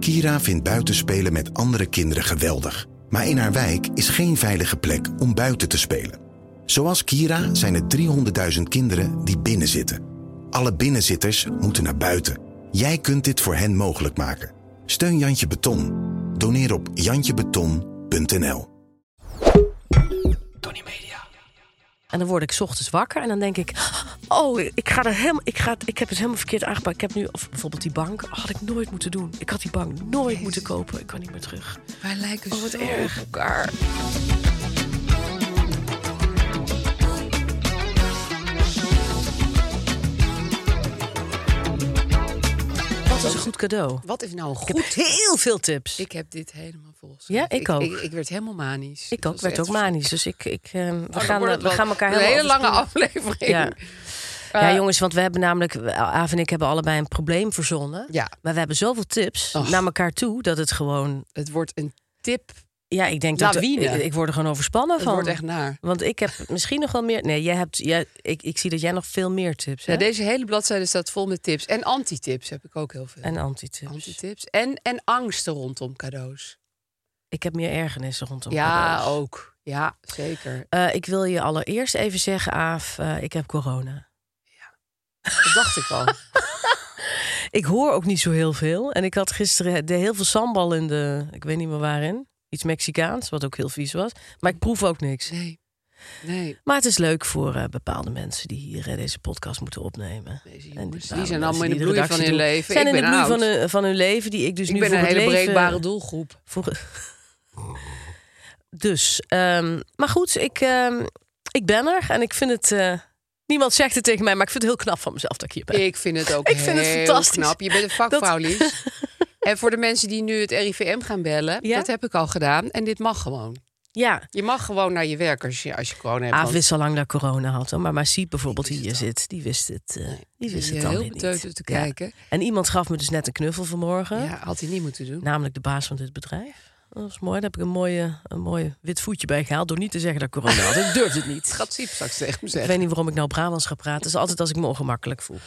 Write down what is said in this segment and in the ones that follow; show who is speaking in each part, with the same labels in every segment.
Speaker 1: Kira vindt buitenspelen met andere kinderen geweldig. Maar in haar wijk is geen veilige plek om buiten te spelen. Zoals Kira zijn er 300.000 kinderen die binnenzitten. Alle binnenzitters moeten naar buiten. Jij kunt dit voor hen mogelijk maken. Steun Jantje Beton. Doneer op jantjebeton.nl.
Speaker 2: Tony Media.
Speaker 3: En dan word ik 's ochtends wakker en dan denk ik... Oh, ik, ga er helemaal, ik, ga, ik heb het helemaal verkeerd aangepakt. Ik heb nu of bijvoorbeeld die bank. oh, had ik nooit moeten doen. Ik had die bank nooit moeten kopen. Ik kan niet meer terug.
Speaker 2: Wij lijken
Speaker 3: Oh, wat
Speaker 2: zo
Speaker 3: erg.
Speaker 2: op elkaar.
Speaker 3: Wat is een goed cadeau.
Speaker 2: Wat is nou
Speaker 3: Ik heb
Speaker 2: goed?
Speaker 3: heel veel tips. Ik,
Speaker 2: Ik heb dit helemaal volgens.
Speaker 3: Ja, ik ook.
Speaker 2: Ik, werd helemaal manisch. Dat
Speaker 3: ook,
Speaker 2: was
Speaker 3: werd
Speaker 2: echt
Speaker 3: ook manisch. Dus ik, ik, eh, we,
Speaker 2: Oh, dan
Speaker 3: gaan,
Speaker 2: wordt
Speaker 3: eh,
Speaker 2: het
Speaker 3: we
Speaker 2: wel
Speaker 3: gaan elkaar
Speaker 2: een
Speaker 3: helemaal
Speaker 2: hele lange
Speaker 3: overstuur.
Speaker 2: aflevering.
Speaker 3: Ja. ja,
Speaker 2: Eh,
Speaker 3: jongens, want we hebben namelijk... Aaf en ik hebben allebei een probleem verzonnen.
Speaker 2: Ja,
Speaker 3: Maar we hebben zoveel tips
Speaker 2: Och.
Speaker 3: naar elkaar toe... dat het gewoon...
Speaker 2: het wordt een tip.
Speaker 3: Ja, ik denk dat... Ik,
Speaker 2: Lawine.
Speaker 3: ik word er gewoon overspannen
Speaker 2: Het
Speaker 3: van.
Speaker 2: wordt echt naar.
Speaker 3: Want ik heb misschien nog wel meer... Nee, jij hebt, jij, ik, ik zie dat jij nog veel meer tips
Speaker 2: Ja,
Speaker 3: hebt.
Speaker 2: deze hele bladzijde staat vol met tips. En anti-tips heb ik ook heel veel.
Speaker 3: En antitips.
Speaker 2: Anti-tips. En, en angsten rondom cadeaus.
Speaker 3: Ik heb meer ergernissen rondom
Speaker 2: ja,
Speaker 3: cadeaus.
Speaker 2: ook. Ja, zeker.
Speaker 3: Eh, ik wil je allereerst even zeggen, Aaf, eh, ik heb corona.
Speaker 2: Dat dacht ik al.
Speaker 3: Ik hoor ook niet zo heel veel. En ik had gisteren de heel veel sambal in de... Ik weet niet meer waarin. Iets Mexicaans, wat ook heel vies was. Maar ik proef ook niks.
Speaker 2: Nee. Nee.
Speaker 3: Maar het is leuk voor eh, bepaalde mensen die hier eh, deze podcast moeten opnemen.
Speaker 2: Deze
Speaker 3: En nou,
Speaker 2: jongens, die
Speaker 3: bepaalde
Speaker 2: zijn
Speaker 3: mensen
Speaker 2: allemaal in de
Speaker 3: die
Speaker 2: bloei
Speaker 3: redactie
Speaker 2: van hun
Speaker 3: doen.
Speaker 2: leven.
Speaker 3: Zijn
Speaker 2: Ik
Speaker 3: in
Speaker 2: ben
Speaker 3: de bloei
Speaker 2: oud.
Speaker 3: van hun, van hun leven, die ik dus
Speaker 2: Ik
Speaker 3: nu
Speaker 2: ben
Speaker 3: voor
Speaker 2: een
Speaker 3: het
Speaker 2: hele
Speaker 3: leven...
Speaker 2: breekbare doelgroep.
Speaker 3: Voor... Dus, ehm, maar goed, ik, ehm, ik ben er en ik vind het. eh, niemand zegt het tegen mij, maar ik vind het heel knap van mezelf dat ik hier ben.
Speaker 2: Ik vind het ook
Speaker 3: Ik vind het
Speaker 2: heel
Speaker 3: fantastisch.
Speaker 2: knap. Je bent een vakvrouw,
Speaker 3: Dat-
Speaker 2: Lies. En voor de mensen die nu het RIVM gaan bellen,
Speaker 3: Ja?
Speaker 2: dat heb ik al gedaan. En dit mag gewoon.
Speaker 3: Ja,
Speaker 2: Je mag gewoon naar je werk als je, als je corona hebt.
Speaker 3: Aaf
Speaker 2: want
Speaker 3: Ah, wist al lang dat ik corona had, hoor, maar Masie bijvoorbeeld
Speaker 2: Die
Speaker 3: die hier
Speaker 2: wist het
Speaker 3: zit, die wist het. eh, die
Speaker 2: die
Speaker 3: wist
Speaker 2: is
Speaker 3: het dan
Speaker 2: heel
Speaker 3: weer niet.
Speaker 2: beteuterd te
Speaker 3: Ja.
Speaker 2: kijken.
Speaker 3: En iemand gaf me dus net een knuffel vanmorgen,
Speaker 2: Ja, had hij niet moeten doen.
Speaker 3: namelijk de baas van dit bedrijf. Dat was mooi. Daar heb ik een mooie, een mooie wit voetje bij gehaald door niet te zeggen dat ik corona had. Ik durfde het niet.
Speaker 2: Gaat Siep straks tegen me
Speaker 3: Ik
Speaker 2: zeggen.
Speaker 3: weet niet waarom ik nou Brabants ga praten. Dat is altijd als ik me ongemakkelijk voel.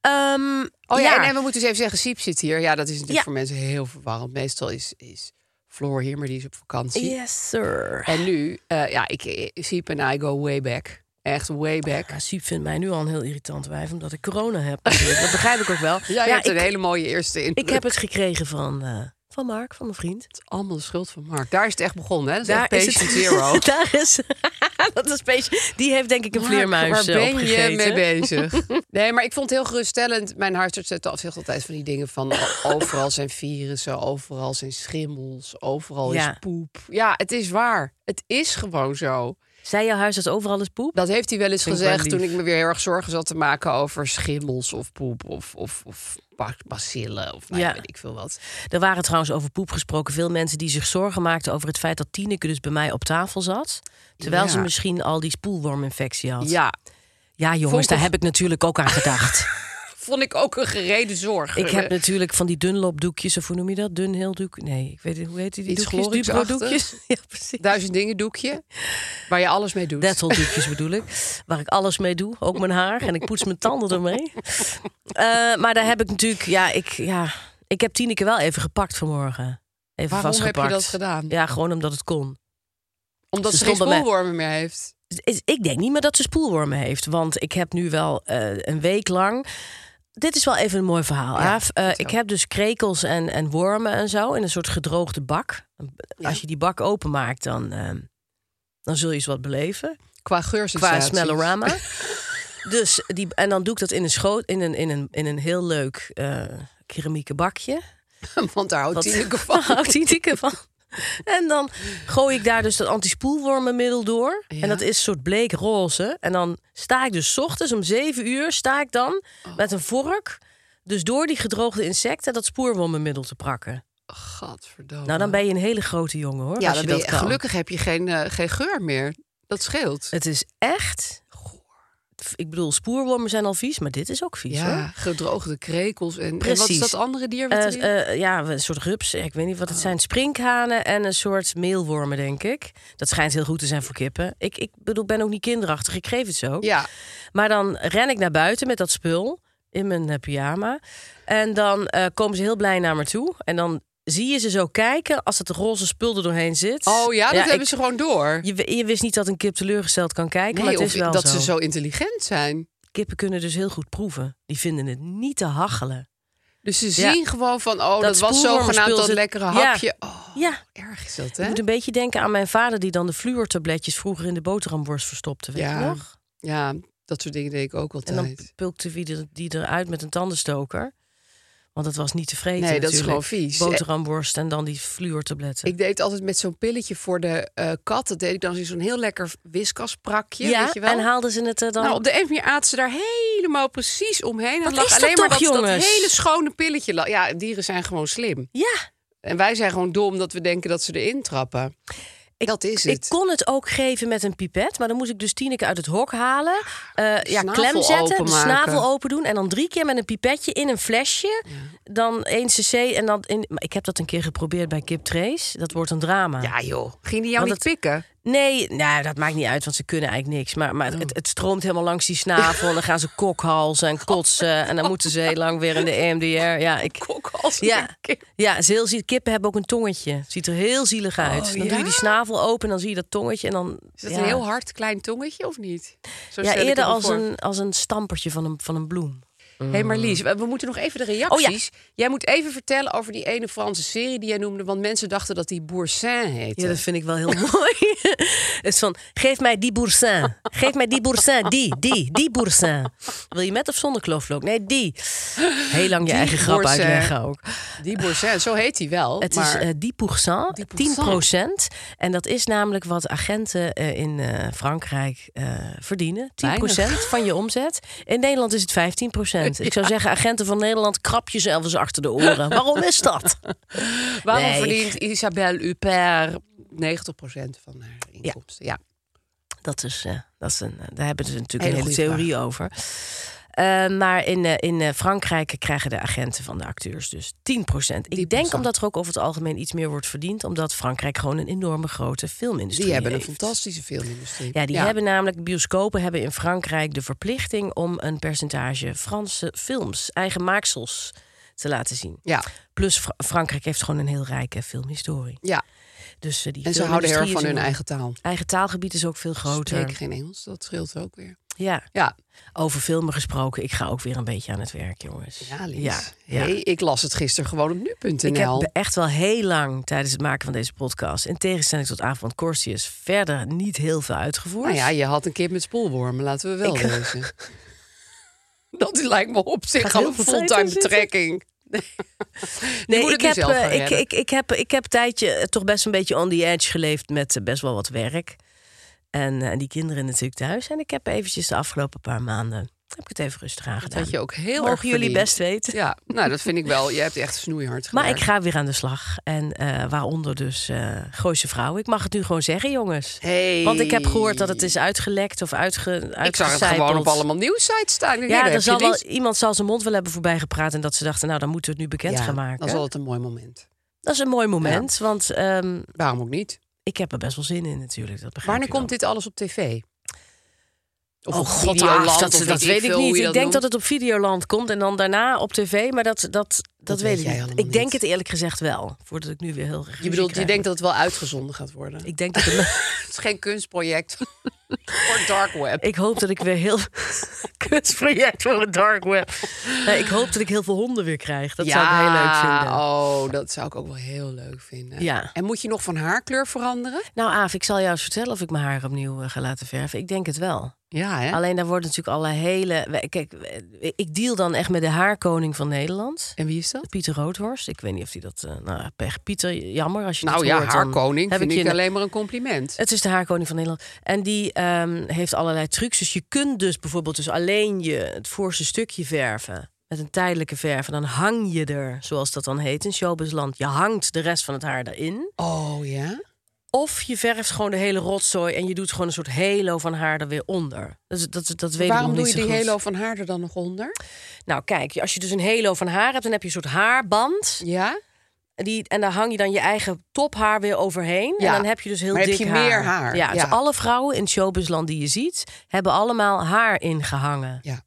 Speaker 3: Ehm,
Speaker 2: Oh ja, En, en we moeten dus even zeggen, Siep zit hier. Ja, dat is natuurlijk
Speaker 3: Ja.
Speaker 2: voor mensen heel verwarrend. Meestal is, is Floor hier, maar die is op vakantie.
Speaker 3: Yes, sir.
Speaker 2: En nu, eh, ja, ik, eh, Siep en I go way back. Echt way back.
Speaker 3: Ja, Siep vindt mij nu al een heel irritant wijf, omdat ik corona heb. natuurlijk. Dat begrijp ik ook wel.
Speaker 2: Jij hebt
Speaker 3: ik,
Speaker 2: een hele mooie eerste indruk.
Speaker 3: ik heb het gekregen van, eh, van Mark, van mijn vriend.
Speaker 2: allemaal de schuld van Mark. Daar is het echt begonnen, hè? Dat is echt patient zero.
Speaker 3: Daar is... dat is patient... Die heeft denk ik een
Speaker 2: Mark,
Speaker 3: vleermuis
Speaker 2: Waar
Speaker 3: eh,
Speaker 2: ben je
Speaker 3: opgegeten.
Speaker 2: mee bezig? Nee, maar ik vond het heel geruststellend. Mijn huisarts zette af zegt altijd van die dingen van o- overal zijn virussen, overal zijn schimmels, overal
Speaker 3: Ja.
Speaker 2: is poep. Ja, het is waar. Het is gewoon zo.
Speaker 3: Zei jouw huisarts overal is poep?
Speaker 2: Dat heeft hij wel eens
Speaker 3: Vind ik wel
Speaker 2: gezegd
Speaker 3: lief.
Speaker 2: toen ik me weer heel erg zorgen zat te maken over schimmels of poep of, of, of ba- bacillen of nou,
Speaker 3: Ja.
Speaker 2: weet ik veel wat.
Speaker 3: Er waren trouwens over poep gesproken veel mensen die zich zorgen maakten over het feit dat Tineke dus bij mij op tafel zat. Terwijl
Speaker 2: Ja.
Speaker 3: ze misschien al die spoelworminfectie had.
Speaker 2: Ja,
Speaker 3: Ja,
Speaker 2: Vond
Speaker 3: jongens,
Speaker 2: ik
Speaker 3: daar
Speaker 2: ook-
Speaker 3: heb ik natuurlijk ook aan gedacht.
Speaker 2: vond ik ook een gereden zorg.
Speaker 3: Ik heb natuurlijk van die dunlopdoekjes, of hoe noem je dat? Dunheeldoek? Nee, ik weet niet, hoe heet die
Speaker 2: Iets
Speaker 3: doekjes?
Speaker 2: glorieksachtigs.
Speaker 3: Dupro-doekjes? Ja, precies.
Speaker 2: duizend dingen doekje waar je alles mee doet.
Speaker 3: Detteldoekjes bedoel ik. Waar ik alles mee doe. Ook mijn haar. En ik poets mijn tanden ermee. Eh, maar daar heb ik natuurlijk... Ja, ik, ja, ik heb Tineke wel even gepakt vanmorgen. Even
Speaker 2: Waarom heb
Speaker 3: vastgepakt.
Speaker 2: je dat gedaan?
Speaker 3: Ja, gewoon omdat het kon.
Speaker 2: Omdat
Speaker 3: Ze
Speaker 2: ze, geen
Speaker 3: stond bij mij.
Speaker 2: spoelwormen meer heeft.
Speaker 3: Dus Is- Ik denk niet meer dat ze spoelwormen heeft. Want ik heb nu wel eh, een week lang. Dit is wel even een mooi verhaal.
Speaker 2: Ja,
Speaker 3: Aaf. Eh,
Speaker 2: vertel.
Speaker 3: ik heb dus krekels en, en wormen en zo in een soort gedroogde bak.
Speaker 2: Ja.
Speaker 3: Als je die bak openmaakt, dan, eh, dan zul je eens wat beleven.
Speaker 2: Qua geursensaties.
Speaker 3: Qua smellorama. dus die, en dan doe ik dat in een, schoot, in een, in een, in een heel leuk eh keramieke bakje.
Speaker 2: Want daar houdt
Speaker 3: Wat-
Speaker 2: Tineke
Speaker 3: Daar
Speaker 2: van.
Speaker 3: houdt Tineke van. En dan gooi ik daar dus dat antispoelwormenmiddel door.
Speaker 2: Ja.
Speaker 3: En dat is een soort bleekroze. En dan sta ik dus 's ochtends om 7 uur sta ik dan
Speaker 2: Oh.
Speaker 3: met een vork. Dus door die gedroogde insecten dat spoelwormenmiddel te prakken.
Speaker 2: Gadverdomme.
Speaker 3: Nou, dan ben je een hele grote jongen hoor.
Speaker 2: Oh, ja,
Speaker 3: als
Speaker 2: dan
Speaker 3: je
Speaker 2: ben
Speaker 3: dat
Speaker 2: je-
Speaker 3: kan. Eh,
Speaker 2: gelukkig heb je geen, eh, geen geur meer. Dat scheelt.
Speaker 3: Het is echt. Ik bedoel, spoorwormen zijn al vies, maar dit is ook vies hoor.
Speaker 2: ja, gedroogde krekels. En, en wat is
Speaker 3: Precies.
Speaker 2: dat andere dier? Wat
Speaker 3: Eh
Speaker 2: erin-
Speaker 3: eh, ja, een soort rups. Ik weet niet wat het
Speaker 2: Oh.
Speaker 3: zijn. Sprinkhanen en een soort meelwormen, denk ik. Dat schijnt heel goed te zijn voor kippen. Ik, ik bedoel, ben ook niet kinderachtig. Ik geef het zo.
Speaker 2: ja,
Speaker 3: Maar dan ren ik naar buiten met dat spul in mijn eh, pyjama. En dan eh, komen ze heel blij naar me toe. En dan zie je ze zo kijken als het roze spul er doorheen zit.
Speaker 2: Oh ja, dat hebben
Speaker 3: ik-
Speaker 2: ze gewoon door.
Speaker 3: Je, w- je wist niet dat een kip teleurgesteld kan kijken, maar
Speaker 2: Nee,
Speaker 3: het
Speaker 2: of
Speaker 3: is wel zo.
Speaker 2: dat ze zo intelligent zijn.
Speaker 3: Kippen kunnen dus heel goed proeven. Die vinden het niet te hachelen.
Speaker 2: Dus ze
Speaker 3: Ja.
Speaker 2: zien gewoon van, oh, dat,
Speaker 3: Dat
Speaker 2: was
Speaker 3: spoelwormenspul
Speaker 2: zogenaamd dat
Speaker 3: zit-
Speaker 2: lekkere
Speaker 3: Ja.
Speaker 2: hapje. Oh,
Speaker 3: Ja,
Speaker 2: erg is dat,
Speaker 3: ik
Speaker 2: hè?
Speaker 3: moet een beetje denken aan mijn vader... die dan de fluortabletjes vroeger in de boterhamworst verstopte. Weet
Speaker 2: Ja.
Speaker 3: je nog?
Speaker 2: Ja, dat soort dingen deed ik ook
Speaker 3: En dan
Speaker 2: altijd.
Speaker 3: pulkte wie er- die eruit met een tandenstoker. Want dat was niet te vreten
Speaker 2: Nee, dat is
Speaker 3: natuurlijk.
Speaker 2: gewoon vies.
Speaker 3: Boterhamworst en dan die fluortabletten.
Speaker 2: Ik deed het altijd met zo'n pilletje voor de eh, kat. Dat deed ik dan in zo'n heel lekker wiskasprakje,
Speaker 3: ja,
Speaker 2: weet je wel.
Speaker 3: en haalden ze het eh, dan...
Speaker 2: Nou, op de een of andere manier aten ze daar helemaal precies omheen.
Speaker 3: Wat
Speaker 2: en lag
Speaker 3: is dat
Speaker 2: alleen maar
Speaker 3: toch,
Speaker 2: dat, dat
Speaker 3: jongens?
Speaker 2: hele schone pilletje. lag. Ja, dieren zijn gewoon slim.
Speaker 3: Ja,
Speaker 2: En wij zijn gewoon dom dat we denken dat ze erin trappen.
Speaker 3: Ik-
Speaker 2: dat is
Speaker 3: ik
Speaker 2: het.
Speaker 3: kon het ook geven met een pipet, maar dan moest ik dus Tineke uit het hok halen, eh, ja,
Speaker 2: Snavel
Speaker 3: klem zetten, de
Speaker 2: openmaken.
Speaker 3: snavel open doen en dan drie keer met een pipetje in een flesje, dan 1 cc en dan in. Maar ik heb dat een keer geprobeerd bij Kip Trace, dat wordt een drama.
Speaker 2: Ja joh, ging die jou
Speaker 3: Want
Speaker 2: niet pikken?
Speaker 3: Nee, nou, dat maakt niet uit, want ze kunnen eigenlijk niks. Maar, maar het,
Speaker 2: Oh.
Speaker 3: het, het stroomt helemaal langs die snavel. En dan gaan ze kokhalzen en kotsen. En dan moeten ze heel lang weer in de E EMDR. Ja, ik,
Speaker 2: Kok als
Speaker 3: ja,
Speaker 2: een kip.
Speaker 3: ja is heel zielig. kippen hebben ook een tongetje. Ziet er heel zielig uit. dan doe
Speaker 2: Oh, ja?
Speaker 3: je die snavel open en dan zie je dat tongetje. En dan,
Speaker 2: Is dat
Speaker 3: ja.
Speaker 2: een heel hard klein tongetje of niet? Zo
Speaker 3: Ja,
Speaker 2: stel ik
Speaker 3: eerder
Speaker 2: het me
Speaker 3: als
Speaker 2: voor.
Speaker 3: een, als een stampertje van een, van een bloem.
Speaker 2: Hé,
Speaker 3: Mm.
Speaker 2: hey, maar Lies, we we moeten nog even de
Speaker 3: Oh
Speaker 2: reacties. Jij moet even vertellen over die ene Franse serie die jij noemde. Want mensen dachten dat die Boursin heette.
Speaker 3: Ja, dat vind ik wel heel mooi. Het is van, geef mij die boursin. Geef mij die boursin. Die, die, die boursin. Wil je met of zonder kloofvlook? Nee, die. Heel lang je eigen grap
Speaker 2: boursin.
Speaker 3: uitleggen ook.
Speaker 2: Die Boursin, zo heet hij wel.
Speaker 3: Het
Speaker 2: maar...
Speaker 3: is eh die boursin, 10
Speaker 2: boursin.
Speaker 3: En dat is namelijk wat agenten eh, in eh, Frankrijk eh, verdienen. 10 van je omzet. In Nederland is het 15 Ik zou zeggen, agenten van Nederland, krap jezelf eens achter de oren. Waarom is dat?
Speaker 2: Waarom
Speaker 3: Nee.
Speaker 2: verdient Isabelle Huppert 90% van haar inkomsten?
Speaker 3: Dus
Speaker 2: Ja.
Speaker 3: Dat is, eh, dat is een, daar hebben ze natuurlijk
Speaker 2: Hele
Speaker 3: een hele
Speaker 2: goede
Speaker 3: theorie over. Eh, maar in, eh, in eh, Frankrijk krijgen de agenten van de acteurs dus 10%. Ik denk
Speaker 2: 10%.
Speaker 3: omdat er ook over het algemeen iets meer wordt verdiend. Omdat Frankrijk gewoon een enorme grote filmindustrie
Speaker 2: Die hebben een
Speaker 3: heeft.
Speaker 2: fantastische filmindustrie.
Speaker 3: Ja, die hebben namelijk, bioscopen hebben in Frankrijk de verplichting... om een percentage Franse films, eigen maaksels, te laten zien.
Speaker 2: Ja,
Speaker 3: Plus Fra- Frankrijk heeft gewoon een heel rijke filmhistorie.
Speaker 2: ja.
Speaker 3: Dus, eh, die
Speaker 2: en ze houden heel erg
Speaker 3: filmindustrie
Speaker 2: van
Speaker 3: is
Speaker 2: hun
Speaker 3: enorm.
Speaker 2: eigen taal.
Speaker 3: Eigen taalgebied is ook veel groter.
Speaker 2: Zeker geen Engels, dat scheelt ook weer.
Speaker 3: Ja.
Speaker 2: Ja,
Speaker 3: Over filmen gesproken, ik ga ook weer een beetje aan het werk, jongens.
Speaker 2: ja Lies.
Speaker 3: Ja, ja.
Speaker 2: Hey, ik las het gisteren gewoon op
Speaker 3: Ik heb
Speaker 2: nu.nl.
Speaker 3: be- echt wel heel lang tijdens het maken van deze podcast... in tegenstelling tot Avond Corsius verder niet heel veel uitgevoerd.
Speaker 2: Nou ja, je had een kip met spoelwormen, laten we wel
Speaker 3: Ik-
Speaker 2: wezen. Dat lijkt me op zich
Speaker 3: Gaat
Speaker 2: al
Speaker 3: heel
Speaker 2: een
Speaker 3: veel tijd
Speaker 2: fulltime
Speaker 3: in zitten.
Speaker 2: betrekking.
Speaker 3: Nee,
Speaker 2: moet
Speaker 3: ik,
Speaker 2: het nu
Speaker 3: heb,
Speaker 2: zelf gaan
Speaker 3: eh, ik,
Speaker 2: redden.
Speaker 3: ik, ik, heb, ik heb een tijdje eh, toch best een beetje on the edge geleefd met eh, best wel wat werk. En eh, die kinderen natuurlijk thuis. En ik heb eventjes de afgelopen paar maanden heb ik het even rustig aan
Speaker 2: Dat
Speaker 3: gedaan.
Speaker 2: had je ook heel erg
Speaker 3: Nou, Mogen jullie
Speaker 2: verdiend.
Speaker 3: best weten.
Speaker 2: Ja, nou dat vind ik wel. Je hebt echt snoeihard
Speaker 3: Maar
Speaker 2: gewerkt.
Speaker 3: ik ga weer aan de slag. En eh, waaronder dus eh Gooise Vrouw. Ik mag het nu gewoon zeggen, jongens.
Speaker 2: Hey.
Speaker 3: Want ik heb gehoord dat het is uitgelekt of uitge,
Speaker 2: Ik zag het gewoon
Speaker 3: uitgecijpeld.
Speaker 2: op allemaal nieuwsites staan. Ja,
Speaker 3: Ja,
Speaker 2: daar
Speaker 3: er
Speaker 2: heb
Speaker 3: zal
Speaker 2: je
Speaker 3: wel,
Speaker 2: Lies.
Speaker 3: iemand zal zijn mond wel hebben voorbij gepraat... en dat ze dachten, nou, dan moeten we het nu bekend
Speaker 2: Ja,
Speaker 3: gaan maken.
Speaker 2: Dat is altijd een mooi moment.
Speaker 3: een mooi moment, want ehm,
Speaker 2: Waarom ook niet?
Speaker 3: ik heb er best wel zin in natuurlijk. Dat begrijp
Speaker 2: Wanneer
Speaker 3: je wel.
Speaker 2: komt dit alles op tv? Of op
Speaker 3: oh god,
Speaker 2: Videoland,
Speaker 3: Aaf, dat,
Speaker 2: of
Speaker 3: dat, weet ik
Speaker 2: veel hoe
Speaker 3: niet.
Speaker 2: je
Speaker 3: Ik denk
Speaker 2: noemt.
Speaker 3: dat het op Videoland komt en dan daarna op tv. Maar dat, dat, dat,
Speaker 2: weet
Speaker 3: weet ik
Speaker 2: jij
Speaker 3: niet.
Speaker 2: allemaal
Speaker 3: Ik denk
Speaker 2: niet.
Speaker 3: het eerlijk gezegd wel. Voordat ik nu weer heel erg
Speaker 2: Je
Speaker 3: ruzie
Speaker 2: bedoelt, je
Speaker 3: krijg.
Speaker 2: denkt dat het wel uitgezonden gaat worden.
Speaker 3: Ik denk dat het...
Speaker 2: Het is geen kunstproject. Voor dark web.
Speaker 3: ik hoop dat ik weer heel... Kunstproject voor het dark web. Nee, ik hoop dat ik heel veel honden weer krijg. Dat zou ik heel leuk vinden.
Speaker 2: Oh, dat zou ik ook wel heel leuk vinden.
Speaker 3: Ja.
Speaker 2: En moet je nog van haar kleur veranderen?
Speaker 3: Nou Aaf, ik zal jou eens vertellen of ik mijn haar opnieuw eh, ga laten verven. Ik denk het wel.
Speaker 2: Ja, hè?
Speaker 3: Alleen daar wordt natuurlijk alle hele... we- Kijk, we- ik deal dan echt met de haarkoning van Nederland.
Speaker 2: En wie is dat?
Speaker 3: Pieter Roodhorst. Ik weet niet of hij dat... eh, nou, pech. Pieter, jammer als je
Speaker 2: Nou
Speaker 3: dit
Speaker 2: ja,
Speaker 3: hoort,
Speaker 2: haar
Speaker 3: dan
Speaker 2: koning
Speaker 3: heb
Speaker 2: vind
Speaker 3: je
Speaker 2: ik
Speaker 3: in-
Speaker 2: alleen maar een compliment.
Speaker 3: Het is de haarkoning van Nederland. En die ehm, heeft allerlei trucs. Dus je kunt dus bijvoorbeeld dus alleen je het voorste stukje verven. Met een tijdelijke verf. En dan hang je er, zoals dat dan heet in showbizland. Je hangt de rest van het haar erin.
Speaker 2: Oh ja?
Speaker 3: Of je verft gewoon de hele rotzooi. En je doet gewoon een soort halo van haar er weer onder. Dus dat, dat, dat weet ik
Speaker 2: Waarom
Speaker 3: nog
Speaker 2: doe je
Speaker 3: niet
Speaker 2: die
Speaker 3: zo goed.
Speaker 2: halo van haar er dan nog onder?
Speaker 3: Nou kijk, als je dus een halo van haar hebt. Dan heb je een soort haarband.
Speaker 2: Ja?
Speaker 3: Die, en daar hang je dan je eigen tophaar weer overheen.
Speaker 2: Ja.
Speaker 3: En dan heb je dus heel
Speaker 2: Maar heb
Speaker 3: dik
Speaker 2: je
Speaker 3: haar.
Speaker 2: meer haar?
Speaker 3: Ja, dus
Speaker 2: Ja.
Speaker 3: alle vrouwen in showbizland die je ziet... hebben allemaal haar ingehangen.
Speaker 2: Ja.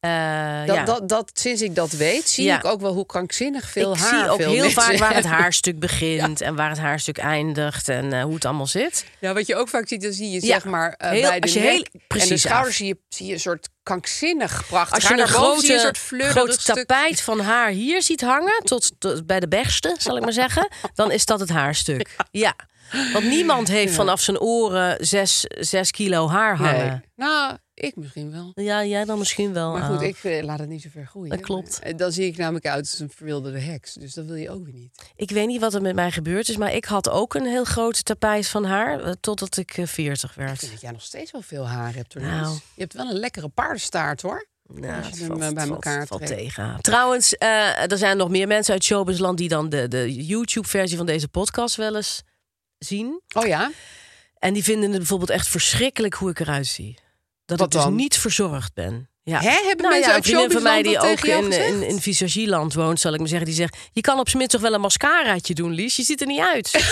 Speaker 3: Eh,
Speaker 2: Dat,
Speaker 3: ja.
Speaker 2: dat, dat, sinds ik dat weet, zie
Speaker 3: Ja.
Speaker 2: ik ook wel hoe krankzinnig veel
Speaker 3: ik
Speaker 2: haar
Speaker 3: zie ook
Speaker 2: veel
Speaker 3: heel
Speaker 2: mensen
Speaker 3: vaak waar het
Speaker 2: hebben.
Speaker 3: haarstuk begint en waar het haarstuk eindigt en eh, hoe het allemaal zit.
Speaker 2: Ja, Nou, wat je ook vaak ziet, dan zie je
Speaker 3: Ja.
Speaker 2: zeg maar eh,
Speaker 3: Heel-
Speaker 2: bij de
Speaker 3: als je
Speaker 2: nek
Speaker 3: heel
Speaker 2: en de
Speaker 3: precies
Speaker 2: schouders
Speaker 3: af.
Speaker 2: zie je, zie je een soort krankzinnig prachtig
Speaker 3: Als je
Speaker 2: haar.
Speaker 3: een
Speaker 2: Daarboven zie je
Speaker 3: grote,
Speaker 2: een soort fleurderig
Speaker 3: groot
Speaker 2: stuk.
Speaker 3: tapijt van haar hier ziet hangen, tot, tot bij de bergste, zal ik maar zeggen, dan is dat het haarstuk. Ja. Want niemand heeft vanaf zijn oren zes, zes kilo haar hangen.
Speaker 2: Nee. Nou, ik misschien wel.
Speaker 3: Ja, jij dan misschien wel.
Speaker 2: Maar goed,
Speaker 3: Aal.
Speaker 2: ik eh, laat het niet zo ver groeien.
Speaker 3: Dat klopt.
Speaker 2: En dan zie ik namelijk uit als een verwilderde heks. Dus dat wil je ook weer niet.
Speaker 3: Ik weet niet wat er met mij gebeurd is, maar ik had ook een heel grote tapijt van haar eh, totdat ik eh, 40
Speaker 2: Ik vind
Speaker 3: werd.
Speaker 2: dat jij nog steeds wel veel haar hebt. Hoor,
Speaker 3: Nou.
Speaker 2: Niels. Je hebt wel een lekkere paardenstaart hoor.
Speaker 3: Nou,
Speaker 2: je
Speaker 3: het
Speaker 2: hem,
Speaker 3: valt-
Speaker 2: eh,
Speaker 3: het
Speaker 2: bij
Speaker 3: valt-
Speaker 2: elkaar
Speaker 3: valt
Speaker 2: trekt.
Speaker 3: tegen. Trouwens, eh, er zijn nog meer mensen uit Showbizland die dan de, de YouTube-versie van deze podcast wel eens zien.
Speaker 2: Oh ja?
Speaker 3: En die vinden het bijvoorbeeld echt verschrikkelijk hoe ik eruit zie. Dat
Speaker 2: Wat
Speaker 3: ik dus
Speaker 2: dan?
Speaker 3: niet verzorgd ben. Ja.
Speaker 2: Hè, hebben
Speaker 3: nou
Speaker 2: mensen
Speaker 3: ja,
Speaker 2: uit
Speaker 3: een vriendin van mij die
Speaker 2: Showbizland dat
Speaker 3: ook
Speaker 2: tegen jou
Speaker 3: in, in,
Speaker 2: gezegd?
Speaker 3: in visagieland woont, zal ik maar zeggen, die zegt: Je kan op z'n minst toch wel een mascaraatje doen, Lies? Je ziet er niet uit.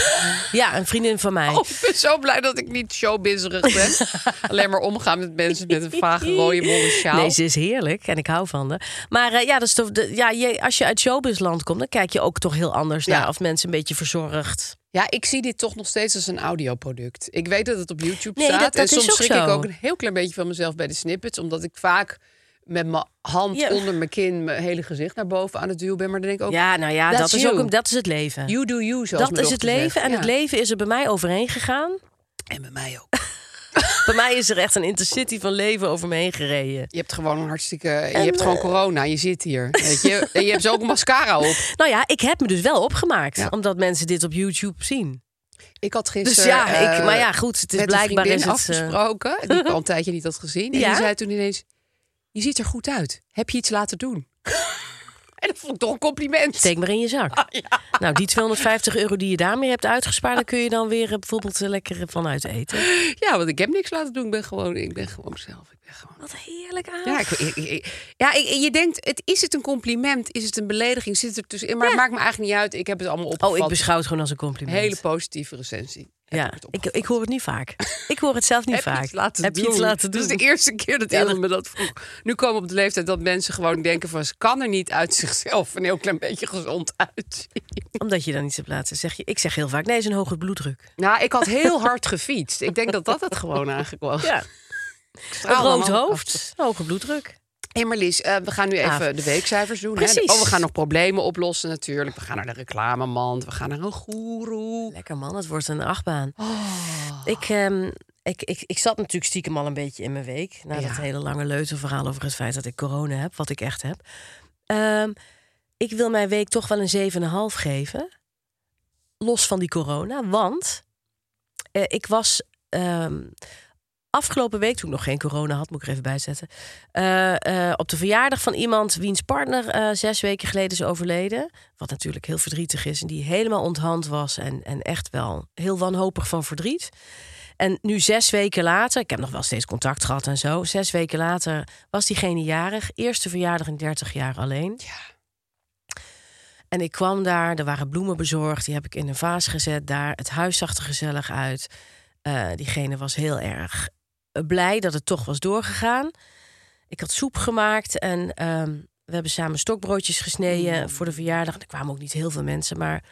Speaker 3: ja, een vriendin van mij.
Speaker 2: Oh, ik ben zo blij dat ik niet showbizerig ben. Alleen maar omgaan met mensen met een vage rode wollen sjaal.
Speaker 3: Nee, ze is heerlijk en ik hou van haar. Maar eh, ja, dat is toch, de- ja, je, als je uit showbizland komt, dan kijk je ook toch heel anders
Speaker 2: Ja.
Speaker 3: naar of mensen een beetje verzorgd.
Speaker 2: Ja, ik zie dit toch nog steeds als een audioproduct. Ik weet dat het op YouTube
Speaker 3: Nee,
Speaker 2: staat.
Speaker 3: dat- dat
Speaker 2: en
Speaker 3: is
Speaker 2: soms
Speaker 3: ook
Speaker 2: schrik
Speaker 3: zo.
Speaker 2: ik ook een heel klein beetje van mezelf bij de snippets. Omdat ik vaak met mijn hand
Speaker 3: Ja.
Speaker 2: onder mijn kin mijn hele gezicht naar boven aan het duwen ben. Maar dan denk ik ook,
Speaker 3: ja, nou ja, dat
Speaker 2: that's
Speaker 3: is ook
Speaker 2: you.
Speaker 3: een, dat is het leven.
Speaker 2: you do you, zoals
Speaker 3: dat
Speaker 2: mijn
Speaker 3: is het
Speaker 2: dochter
Speaker 3: leven
Speaker 2: zegt.
Speaker 3: en
Speaker 2: Ja.
Speaker 3: het leven is er bij mij overheen gegaan.
Speaker 2: En bij mij ook.
Speaker 3: Bij mij is er echt een intercity van leven over me heen gereden.
Speaker 2: Je hebt gewoon een hartstikke... je hebt
Speaker 3: eh,
Speaker 2: gewoon corona, je zit hier. Weet je? En je hebt zo ook een mascara op.
Speaker 3: Nou ja, ik heb me dus wel opgemaakt,
Speaker 2: Ja.
Speaker 3: omdat mensen dit op YouTube zien.
Speaker 2: Ik had
Speaker 3: Dus
Speaker 2: gisteren...
Speaker 3: ja, ik,
Speaker 2: eh,
Speaker 3: maar ja, goed, het is
Speaker 2: met een
Speaker 3: blijkbaar is
Speaker 2: vriendin
Speaker 3: het. eh,
Speaker 2: afgesproken. Die ik al een tijdje niet had gezien. En
Speaker 3: Ja?
Speaker 2: die zei toen ineens... Je ziet er goed uit. Heb je iets laten doen? en dat vond ik toch een compliment.
Speaker 3: steek maar in je
Speaker 2: Oh,
Speaker 3: zak. Nou, die 250 euro die je daarmee hebt uitgespaard, daar kun je dan weer eh, bijvoorbeeld eh, lekker vanuit eten.
Speaker 2: Ja, want ik heb niks laten doen. Ik ben gewoon, ik ben gewoon mezelf. Ik ben gewoon...
Speaker 3: Wat heerlijk aan.
Speaker 2: Ja, ik, ik- ik- ja ik- je denkt, het, is het een compliment? Is het een belediging? Zit er tussen? Maar het maakt me eigenlijk niet uit. Ik heb het allemaal opgevat.
Speaker 3: oh, ik beschouw het gewoon als een compliment.
Speaker 2: Hele positieve recensie. Heb
Speaker 3: ja,
Speaker 2: ik, het
Speaker 3: ik,
Speaker 2: opgevat.
Speaker 3: ik hoor het niet vaak. Ik hoor het zelf niet
Speaker 2: Heb je
Speaker 3: vaak.
Speaker 2: iets laten
Speaker 3: heb
Speaker 2: doen? Dus
Speaker 3: je iets laten doen?
Speaker 2: Dat is de eerste keer dat
Speaker 3: Ja,
Speaker 2: iemand
Speaker 3: dat-
Speaker 2: me dat vroeg. Nu komen we op de leeftijd dat mensen gewoon denken van... ze kan er niet uit zichzelf een heel klein beetje gezond uitzien.
Speaker 3: Omdat je dan iets hebt laten. Zeg je, ik zeg heel vaak, nee, het is een hoge bloeddruk.
Speaker 2: Nou, ik had heel hard gefietst. Ik denk dat dat het gewoon eigenlijk was.
Speaker 3: Ja, een rood hoofd, hoge bloeddruk.
Speaker 2: Hé hey Marlies, eh, we gaan nu even
Speaker 3: Ah,
Speaker 2: de weekcijfers doen. Hè?
Speaker 3: precies.
Speaker 2: Oh, we gaan nog problemen oplossen natuurlijk. We gaan naar de reclamemand. We gaan naar een goeroe.
Speaker 3: Lekker man, het wordt een achtbaan.
Speaker 2: Oh.
Speaker 3: Ik, ehm, ik, ik, ik zat natuurlijk stiekem al een beetje in mijn week. Na dat
Speaker 2: Ja.
Speaker 3: hele lange leutenverhaal over het feit dat ik corona heb, wat ik echt heb. Ehm, ik wil mijn week toch wel een 7,5 geven. Los van die corona. Want eh, ik was ehm, afgelopen week, toen ik nog geen corona had, moet ik er even bijzetten. eh, eh, op de verjaardag van iemand wiens partner eh, zes weken geleden is overleden. Wat natuurlijk heel verdrietig is. En die helemaal onthand was. En, en echt wel heel wanhopig van verdriet. En nu zes weken later, ik heb nog wel steeds contact gehad en zo. Zes weken later was diegene jarig. Eerste verjaardag in 30 jaar alleen.
Speaker 2: Ja.
Speaker 3: En ik kwam daar, er waren bloemen bezorgd. Die heb ik in een vaas gezet daar. Het huis zag er gezellig uit. Eh, diegene was heel erg eh, blij dat het toch was doorgegaan. Ik had soep gemaakt en ehm, we hebben samen stokbroodjes gesneden
Speaker 2: Mm.
Speaker 3: voor de verjaardag. Er kwamen ook niet heel veel mensen, maar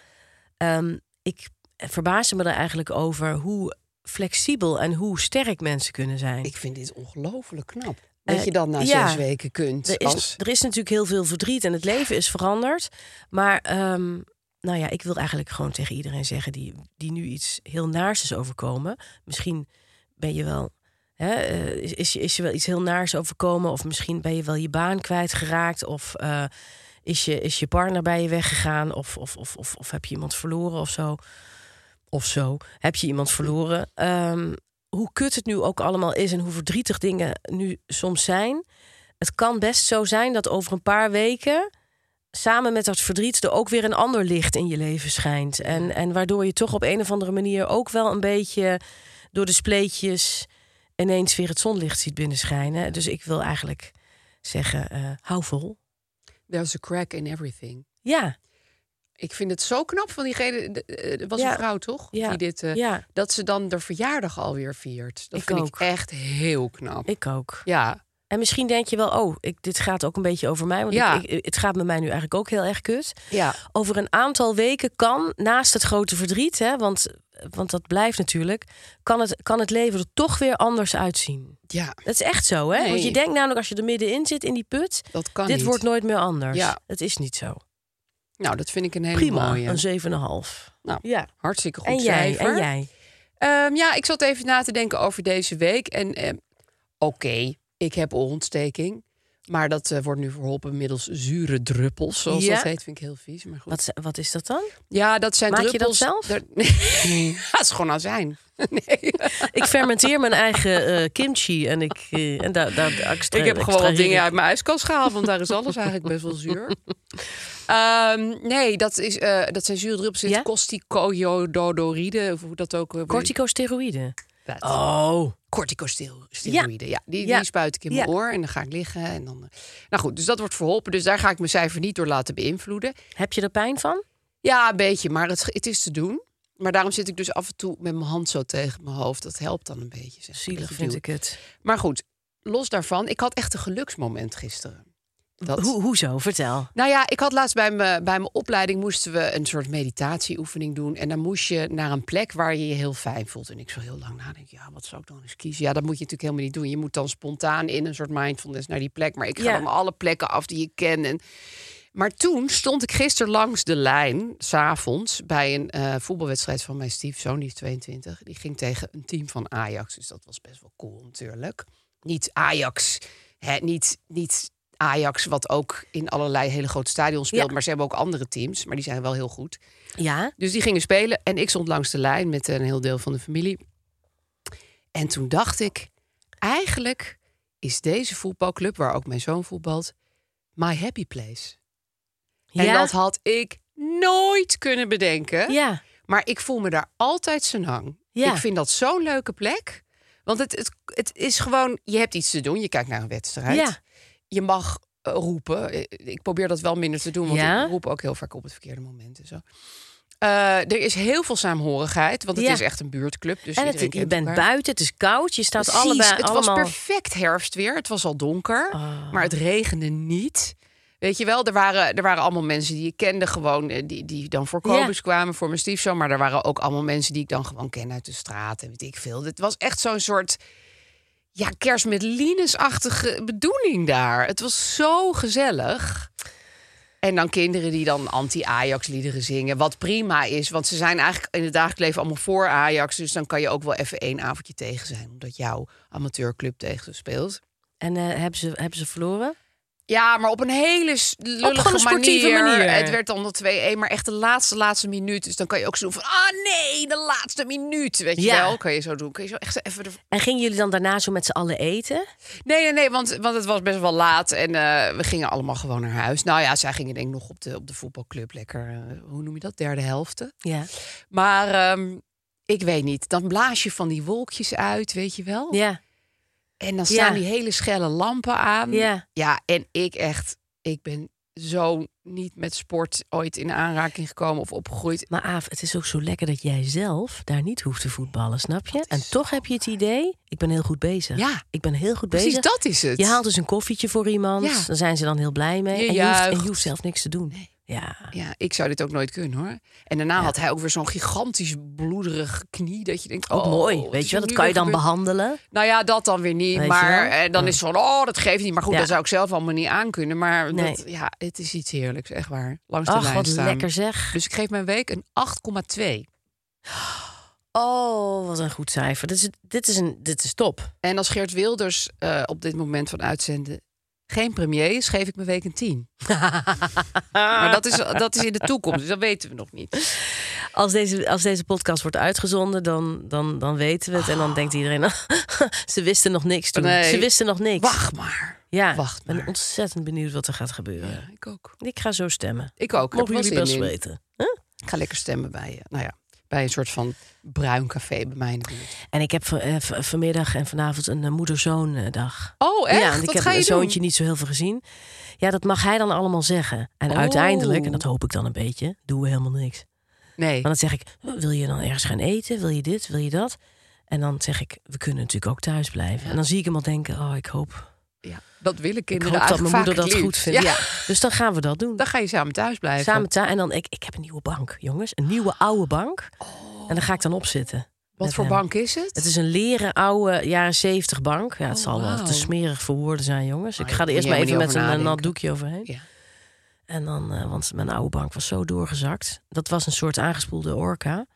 Speaker 3: ehm, ik verbaasde me er eigenlijk over hoe flexibel en hoe sterk mensen kunnen zijn.
Speaker 2: Ik vind dit ongelooflijk knap.
Speaker 3: Eh,
Speaker 2: Dat je dan na
Speaker 3: ja.
Speaker 2: zes weken kunt.
Speaker 3: Er is,
Speaker 2: als...
Speaker 3: er is natuurlijk heel veel verdriet en het leven is veranderd. Maar ehm, nou ja, ik wil eigenlijk gewoon tegen iedereen zeggen die, die nu iets heel naars is overkomen. Misschien ben je wel. Hè, eh, is, is, je- is je wel iets heel naars overkomen? Of misschien ben je wel je baan kwijtgeraakt? Of eh, is, je, is je partner bij je weggegaan? Of, of, of, of, of heb je iemand verloren of zo? Of zo. Heb je iemand verloren? Ehm, hoe kut het nu ook allemaal is en hoe verdrietig dingen nu soms zijn het kan best zo zijn dat over een paar weken samen met dat verdriet er ook weer een ander licht in je leven schijnt. En, en waardoor je toch op een of andere manier ook wel een beetje door de spleetjes ineens weer het zonlicht ziet binnenschijnen. Dus ik wil eigenlijk zeggen, eh, hou vol.
Speaker 2: There's a crack in everything.
Speaker 3: Ja,
Speaker 2: Ik vind het zo knap van diegene. de- eh, Er was
Speaker 3: Ja.
Speaker 2: een vrouw, toch?
Speaker 3: Ja.
Speaker 2: Die dit, eh,
Speaker 3: ja,
Speaker 2: Dat ze dan de verjaardag alweer viert. Dat
Speaker 3: Ik
Speaker 2: vind
Speaker 3: ook.
Speaker 2: ik echt heel knap.
Speaker 3: ik ook.
Speaker 2: Ja.
Speaker 3: En misschien denk je wel, oh, ik, dit gaat ook een beetje over mij. Want
Speaker 2: Ja.
Speaker 3: ik, ik- het gaat met mij nu eigenlijk ook heel erg kut.
Speaker 2: Ja.
Speaker 3: Over een aantal weken kan, naast het grote verdriet, hè, want, want dat blijft natuurlijk, kan het, kan het leven er toch weer anders uitzien.
Speaker 2: Ja,
Speaker 3: Dat is echt zo, hè? Want
Speaker 2: Nee.
Speaker 3: je denkt namelijk als je er middenin zit in die put,
Speaker 2: dat kan
Speaker 3: dit
Speaker 2: niet.
Speaker 3: wordt nooit meer anders.
Speaker 2: Ja.
Speaker 3: Het is niet zo.
Speaker 2: Nou, dat vind ik een hele
Speaker 3: Prima,
Speaker 2: mooie.
Speaker 3: een 7,5.
Speaker 2: Nou,
Speaker 3: ja.
Speaker 2: Hartstikke goed
Speaker 3: En jij,
Speaker 2: cijfer.
Speaker 3: en jij.
Speaker 2: Ehm, ja, ik zat even na te denken over deze week. En ehm, oké, ik heb oorontsteking. Maar dat eh, wordt nu verholpen middels zure druppels, zoals
Speaker 3: Ja.
Speaker 2: dat heet. Vind ik heel vies, maar goed.
Speaker 3: Wat, wat is dat dan?
Speaker 2: Ja, dat zijn
Speaker 3: Maak je dat
Speaker 2: druppels.
Speaker 3: zelf?
Speaker 2: Daar- Nee, dat is gewoon azijn. Nee.
Speaker 3: Ik fermenteer mijn eigen eh, kimchi en ik eh, en daar daar extra-
Speaker 2: Ik heb gewoon wat
Speaker 3: extraheer
Speaker 2: dingen
Speaker 3: ik-
Speaker 2: uit mijn ijskast gehaald, want daar is alles eigenlijk best wel zuur. Ehm, nee, dat, is, eh, dat zijn zure druppels.
Speaker 3: Ja?
Speaker 2: Ja? Corticoiododoride, of hoe dat ook... eh,
Speaker 3: Corticosteroïden.
Speaker 2: dat-
Speaker 3: Oh.
Speaker 2: corticosteroïden. Ja, die,
Speaker 3: Ja.
Speaker 2: die spuit ik in mijn
Speaker 3: Ja.
Speaker 2: oor en dan ga ik liggen. En dan, eh. nou goed, dus dat wordt verholpen. Dus daar ga ik mijn cijfer niet door laten beïnvloeden.
Speaker 3: Heb je er pijn van?
Speaker 2: Ja, een beetje, maar het, het is te doen. Maar daarom zit ik dus af en toe met mijn hand zo tegen mijn hoofd. Dat helpt dan een beetje. Zeg.
Speaker 3: Zielig
Speaker 2: Beetje
Speaker 3: vind
Speaker 2: duwen.
Speaker 3: ik het.
Speaker 2: Maar goed, los daarvan. Ik had echt een geluksmoment gisteren. Dat...
Speaker 3: Hoe, hoezo? Vertel.
Speaker 2: Nou ja, ik had laatst bij mijn, bij mijn opleiding moesten we een soort meditatieoefening doen. En dan moest je naar een plek waar je je heel fijn voelt. En ik zo heel lang nadenken, ja, wat zou ik dan eens kiezen? Ja, dat moet je natuurlijk helemaal niet doen. Je moet dan spontaan in een soort mindfulness naar die plek. Maar ik ga
Speaker 3: Ja.
Speaker 2: dan alle plekken af die je kent. En... Maar toen stond ik gisteren langs de lijn, s'avonds, bij een eh, voetbalwedstrijd van mijn stiefzoon, die is 22. Die ging tegen een team van Ajax. Dus dat was best wel cool natuurlijk. Niet Ajax, hè, niet, niet Ajax, wat ook in allerlei hele grote stadions speelt.
Speaker 3: Ja.
Speaker 2: Maar ze hebben ook andere teams, maar die zijn wel heel goed.
Speaker 3: Ja?
Speaker 2: Dus die gingen spelen en ik stond langs de lijn met een heel deel van de familie. En toen dacht ik, eigenlijk is deze voetbalclub, waar ook mijn zoon voetbalt, my happy place. En
Speaker 3: ja?
Speaker 2: dat had ik nooit kunnen bedenken.
Speaker 3: ja.
Speaker 2: Maar ik voel me daar altijd zijn hang.
Speaker 3: Ja.
Speaker 2: Ik vind dat zo'n leuke plek. Want het, het, het is gewoon, je hebt iets te doen. Je kijkt naar een wedstrijd.
Speaker 3: Ja.
Speaker 2: Je mag eh, roepen. Eh, Ik probeer dat wel minder te doen. Want
Speaker 3: Ja.
Speaker 2: ik roep ook heel vaak op het verkeerde moment. En zo. Eh, er is heel veel saamhorigheid. Want het
Speaker 3: Ja.
Speaker 2: is echt een buurtclub. Dus
Speaker 3: en het,
Speaker 2: iedereen
Speaker 3: je
Speaker 2: kent
Speaker 3: bent
Speaker 2: elkaar.
Speaker 3: buiten, het is koud, je staat
Speaker 2: Precies,
Speaker 3: allebei
Speaker 2: het
Speaker 3: allemaal... Ah.
Speaker 2: was perfect herfstweer. Het was al donker, maar het regende niet. Weet je wel, er waren, er waren allemaal mensen die ik kende gewoon... eh, die, die dan voor
Speaker 3: Ja.
Speaker 2: Kobus kwamen, voor mijn stiefzoon. Maar er waren ook allemaal mensen die ik dan gewoon ken uit de straat en weet ik veel. Het was echt zo'n soort ja, kerst met Linus-achtige bedoeling daar. Het was zo gezellig. En dan kinderen die dan anti-Ajax-liederen zingen. Wat prima is, want ze zijn eigenlijk in het dagelijks leven allemaal voor Ajax. Dus dan kan je ook wel even één avondje tegen zijn. Omdat jouw amateurclub tegen ze speelt.
Speaker 3: En eh, hebben, ze, hebben ze verloren?
Speaker 2: Ja, maar op een hele s-
Speaker 3: gewoon een
Speaker 2: lullige
Speaker 3: sportieve
Speaker 2: manier.
Speaker 3: manier.
Speaker 2: Het werd dan nog 2-1, maar echt de laatste, laatste minuut. Dus dan kan je ook zo doen van, ah nee, de laatste minuut. Weet je
Speaker 3: Ja.
Speaker 2: wel, kan je zo doen. Kan je zo echt even... er-
Speaker 3: En gingen jullie dan daarna zo met z'n allen eten?
Speaker 2: Nee, nee, nee, want, want het was best wel laat. En eh, we gingen allemaal gewoon naar huis. Nou ja, zij gingen denk ik nog op de, op de voetbalclub lekker... eh, hoe noem je dat? Derde helft.
Speaker 3: Ja.
Speaker 2: Maar ehm, ik weet niet. Dan blaas je van die wolkjes uit, weet je wel.
Speaker 3: Ja.
Speaker 2: En dan staan
Speaker 3: Ja.
Speaker 2: die hele schelle lampen aan.
Speaker 3: Ja.
Speaker 2: Ja, en ik echt, ik ben zo niet met sport ooit in aanraking gekomen of opgegroeid.
Speaker 3: Maar Aaf, het is ook zo lekker dat jij zelf daar niet hoeft te voetballen, snap je? En
Speaker 2: is
Speaker 3: toch heb je het idee, ik ben heel goed bezig.
Speaker 2: Ja.
Speaker 3: Ik ben heel goed
Speaker 2: Precies,
Speaker 3: bezig.
Speaker 2: dat is het.
Speaker 3: Je haalt dus een koffietje voor iemand,
Speaker 2: Ja.
Speaker 3: dan zijn ze dan heel blij mee.
Speaker 2: Je
Speaker 3: en, je hoeft, en je
Speaker 2: juicht.
Speaker 3: hoeft zelf niks te doen. Ja.
Speaker 2: Ja, ik zou dit ook nooit kunnen hoor. En daarna had hij ook weer zo'n gigantisch bloederig knie dat je denkt,
Speaker 3: Ook
Speaker 2: oh,
Speaker 3: mooi,
Speaker 2: wat
Speaker 3: weet
Speaker 2: is
Speaker 3: je
Speaker 2: er
Speaker 3: wel. Dat
Speaker 2: nu
Speaker 3: kan je
Speaker 2: weer
Speaker 3: dan
Speaker 2: gebeurd?
Speaker 3: behandelen.
Speaker 2: Nou ja, dat dan weer niet.
Speaker 3: Weet je
Speaker 2: maar
Speaker 3: wel?
Speaker 2: eh, dan is het van, oh, dat geeft niet. Maar goed,
Speaker 3: Ja.
Speaker 2: dat zou ik zelf allemaal niet aankunnen. Maar
Speaker 3: Nee.
Speaker 2: dat, ja, het is iets heerlijks, echt waar. Langs de
Speaker 3: Ach,
Speaker 2: lijn
Speaker 3: wat
Speaker 2: staan.
Speaker 3: lekker zeg.
Speaker 2: Dus ik geef mijn week een 8,2.
Speaker 3: Oh, wat een goed cijfer. Dit is, dit is, een, dit is top.
Speaker 2: En als Geert Wilders eh, op dit moment van uitzenden geen premier is, geef ik mijn week een 10. maar dat is, dat is in de toekomst, dus dat weten we nog niet.
Speaker 3: Als deze, als deze podcast wordt uitgezonden, dan, dan, dan weten we het. En dan denkt iedereen, ze wisten nog niks toen.
Speaker 2: Nee.
Speaker 3: Ze wisten nog niks.
Speaker 2: Wacht maar.
Speaker 3: Ja,
Speaker 2: Wacht
Speaker 3: ik ben
Speaker 2: maar.
Speaker 3: ontzettend benieuwd wat er gaat gebeuren.
Speaker 2: Ja, ik ook.
Speaker 3: Ik ga zo stemmen.
Speaker 2: Ik ook.
Speaker 3: Mogen
Speaker 2: Heb
Speaker 3: jullie
Speaker 2: er wel
Speaker 3: best
Speaker 2: zin in.
Speaker 3: weten. Huh?
Speaker 2: Ik ga lekker stemmen bij, eh, nou ja, bij een soort van bruin café bij mij in de buurt.
Speaker 3: En ik heb van- eh, van- vanmiddag en vanavond een eh, moeder-zoon-dag.
Speaker 2: Oh, echt?
Speaker 3: Ja, want
Speaker 2: Wat
Speaker 3: ik heb
Speaker 2: ga je
Speaker 3: mijn
Speaker 2: doen?
Speaker 3: zoontje niet zo heel veel gezien. Ja, dat mag hij dan allemaal zeggen. En
Speaker 2: Oh.
Speaker 3: uiteindelijk, en dat hoop ik dan een beetje, doen we helemaal niks.
Speaker 2: Nee.
Speaker 3: Maar dan zeg ik, wil je dan ergens gaan eten? Wil je dit? Wil je dat? En dan zeg ik, we kunnen natuurlijk ook thuis blijven. En dan zie ik hem al denken, oh, ik hoop
Speaker 2: Ja, dat willen
Speaker 3: Ik
Speaker 2: kinderen
Speaker 3: hoop dat
Speaker 2: eigenlijk
Speaker 3: mijn moeder
Speaker 2: vaak
Speaker 3: dat
Speaker 2: het
Speaker 3: goed
Speaker 2: liefst.
Speaker 3: vindt. Ja.
Speaker 2: Ja.
Speaker 3: Dus dan gaan we dat doen.
Speaker 2: Dan ga je samen thuis blijven.
Speaker 3: Samen thuis. En dan, ik, ik heb een nieuwe bank, jongens. Een nieuwe oude bank.
Speaker 2: Oh.
Speaker 3: En daar ga ik dan op zitten.
Speaker 2: Wat
Speaker 3: met
Speaker 2: voor
Speaker 3: hem.
Speaker 2: bank is het?
Speaker 3: Het is een leren oude jaren zeventig bank. Ja, het
Speaker 2: Oh,
Speaker 3: zal wel
Speaker 2: wauw.
Speaker 3: te smerig voor woorden zijn, jongens. Ik
Speaker 2: Maar
Speaker 3: ga er
Speaker 2: moet
Speaker 3: eerst
Speaker 2: je
Speaker 3: maar even
Speaker 2: helemaal
Speaker 3: met
Speaker 2: niet
Speaker 3: een
Speaker 2: over
Speaker 3: eh, nat
Speaker 2: nadenken.
Speaker 3: doekje overheen.
Speaker 2: Ja.
Speaker 3: En dan, eh, want mijn oude bank was zo doorgezakt. Dat was een soort aangespoelde orka.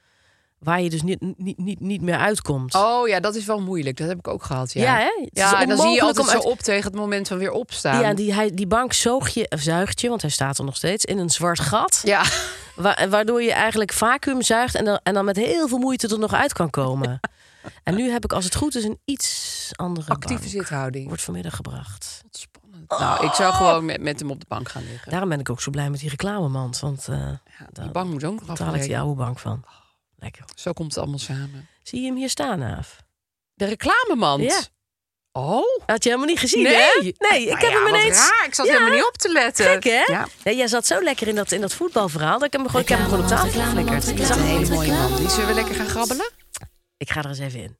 Speaker 3: Waar je dus niet, niet, niet, niet meer uitkomt.
Speaker 2: Oh ja, dat is wel moeilijk. Dat heb ik ook gehad. Ja,
Speaker 3: Ja, hè? Het is
Speaker 2: ja en dan zie je
Speaker 3: onmogelijk
Speaker 2: altijd
Speaker 3: om
Speaker 2: zo
Speaker 3: uit-
Speaker 2: op tegen het moment van weer opstaan.
Speaker 3: Ja, die, hij, die bank zoog je, of zuigt je, want hij staat er nog steeds, in een zwart gat.
Speaker 2: Ja.
Speaker 3: Wa- waardoor je eigenlijk vacuüm zuigt en dan, en dan met heel veel moeite er nog uit kan komen. en nu heb ik, als het goed is, een iets andere
Speaker 2: actieve
Speaker 3: bank.
Speaker 2: zithouding.
Speaker 3: Wordt vanmiddag gebracht.
Speaker 2: Wat spannend.
Speaker 3: Oh.
Speaker 2: Nou, ik zou gewoon met, met hem op de bank gaan liggen.
Speaker 3: Daarom ben ik ook zo blij met die reclamemand. Want eh
Speaker 2: die bank moet ook nog
Speaker 3: daar haal ik die
Speaker 2: afbreken.
Speaker 3: oude bank van.
Speaker 2: Oh.
Speaker 3: Lekker.
Speaker 2: Zo komt het allemaal samen.
Speaker 3: Zie je hem hier staan, Naaf?
Speaker 2: De reclamemand.
Speaker 3: Ja.
Speaker 2: Oh.
Speaker 3: Had je helemaal niet gezien,
Speaker 2: Nee.
Speaker 3: hè? Nee, ik
Speaker 2: Nou
Speaker 3: heb
Speaker 2: ja,
Speaker 3: hem
Speaker 2: wat
Speaker 3: ineens...
Speaker 2: raar. Ik zat
Speaker 3: Ja.
Speaker 2: helemaal niet op te letten.
Speaker 3: Gek, hè?
Speaker 2: Ja.
Speaker 3: Nee, jij zat zo lekker in dat, in dat voetbalverhaal... dat ik hem gewoon, ik heb hem gewoon op tafel geflikkerd. Ik
Speaker 2: Dat is
Speaker 3: zag-
Speaker 2: een hele mooie man. Die zullen we lekker gaan grabbelen?
Speaker 3: Ik ga er eens even in.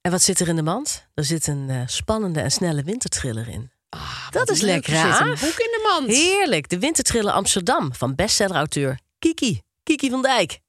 Speaker 3: En wat zit er in de mand? Er zit een eh, spannende en snelle wintertriller in.
Speaker 2: Ah,
Speaker 3: Dat
Speaker 2: wat
Speaker 3: is
Speaker 2: leuk.
Speaker 3: lekker,
Speaker 2: Er zit een
Speaker 3: Aaf.
Speaker 2: boek in de mand.
Speaker 3: Heerlijk, de wintertriller Amsterdam van bestsellerauteur Kiki. Kiki van Dijk.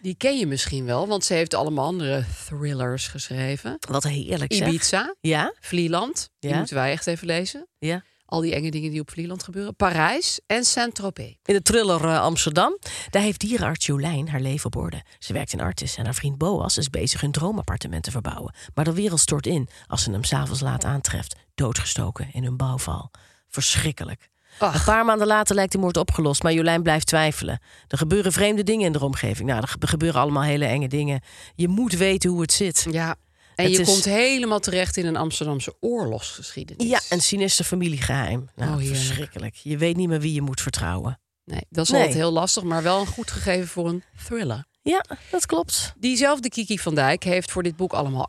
Speaker 2: Die ken je misschien wel, want ze heeft allemaal andere thrillers geschreven.
Speaker 3: Wat heerlijk zeg.
Speaker 2: Ibiza,
Speaker 3: Ja,
Speaker 2: Vlieland. Die
Speaker 3: Ja.
Speaker 2: moeten wij echt even lezen.
Speaker 3: ja.
Speaker 2: Al die enge dingen die op Vlieland gebeuren. Parijs en Saint-Tropez.
Speaker 3: In de thriller eh, Amsterdam. Daar heeft dierenarts Jolijn haar leven op orde. Ze werkt in Artis en haar vriend Boas is bezig hun droomappartement te verbouwen. Maar de wereld stort in als ze hem s'avonds laat aantreft. Doodgestoken in hun bouwval. Verschrikkelijk. Een
Speaker 2: Ach,
Speaker 3: paar maanden later lijkt de moord opgelost, maar Jolijn blijft twijfelen. Er gebeuren vreemde dingen in de omgeving. Nou, er ge- gebeuren allemaal hele enge dingen. Je moet weten hoe het zit.
Speaker 2: ja. En
Speaker 3: Het
Speaker 2: je
Speaker 3: is-
Speaker 2: komt helemaal terecht in een Amsterdamse oorlogsgeschiedenis.
Speaker 3: Ja, een sinister familiegeheim.
Speaker 2: Oh,
Speaker 3: Nou,
Speaker 2: heerlijk.
Speaker 3: verschrikkelijk. Je weet niet meer wie je moet vertrouwen.
Speaker 2: Nee, dat is
Speaker 3: Nee.
Speaker 2: altijd heel lastig, maar wel een goed gegeven voor een thriller.
Speaker 3: Ja, dat klopt.
Speaker 2: Diezelfde Kiki van Dijk heeft voor dit boek allemaal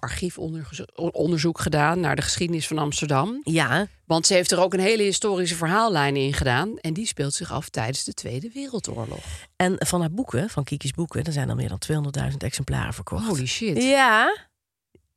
Speaker 2: archiefonderzoek gedaan naar de geschiedenis van Amsterdam.
Speaker 3: Ja,
Speaker 2: Want ze heeft er ook een hele historische verhaallijn in gedaan. En die speelt zich af tijdens de Tweede Wereldoorlog.
Speaker 3: en van haar boeken, van Kiki's boeken, er zijn al meer dan 200.000 exemplaren verkocht.
Speaker 2: Holy shit.
Speaker 3: Ja.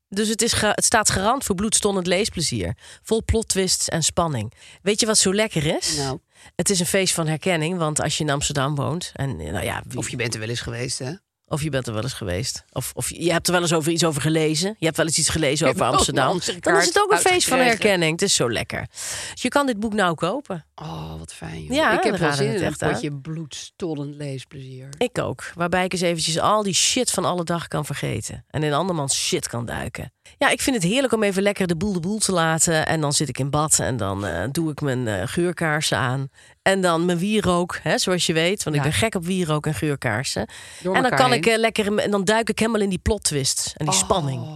Speaker 3: Dus het, is ge- het staat garant voor bloedstollend leesplezier. Vol plot twists en spanning. Weet je wat zo lekker is?
Speaker 2: Nou.
Speaker 3: Het is een feest van herkenning, want als je in Amsterdam woont... en eh, nou ja, wie-
Speaker 2: Of je bent er wel eens geweest, hè?
Speaker 3: of je bent er wel eens geweest. Of, of je hebt er wel eens over iets over gelezen. Je hebt wel eens iets gelezen
Speaker 2: Ik
Speaker 3: over
Speaker 2: heb ook mijn
Speaker 3: Amsterdam. Dan
Speaker 2: Amsterkaart
Speaker 3: is het ook een feest van
Speaker 2: uitgekregen.
Speaker 3: herkenning. Het is zo lekker. Dus je kan dit boek nou kopen.
Speaker 2: Oh, wat fijn. joh.
Speaker 3: Ja,
Speaker 2: ik
Speaker 3: we
Speaker 2: heb wel
Speaker 3: raden
Speaker 2: zin
Speaker 3: het
Speaker 2: in een
Speaker 3: echt aan.
Speaker 2: potje bloedstollend leesplezier.
Speaker 3: Ik ook. Waarbij ik eens eventjes al die shit van alle dag kan vergeten. En in andermans shit kan duiken. Ja, ik vind het heerlijk om even lekker de boel de boel te laten. En dan zit ik in bad en dan eh, doe ik mijn eh, geurkaarsen aan. En dan mijn wierook, hè, zoals je weet. Want ik
Speaker 2: Ja.
Speaker 3: ben gek op wierook en geurkaarsen.
Speaker 2: Door
Speaker 3: en dan
Speaker 2: elkaar
Speaker 3: kan ik eh, lekker... in- En dan duik ik helemaal in die plot twist. En die
Speaker 2: Oh.
Speaker 3: spanning.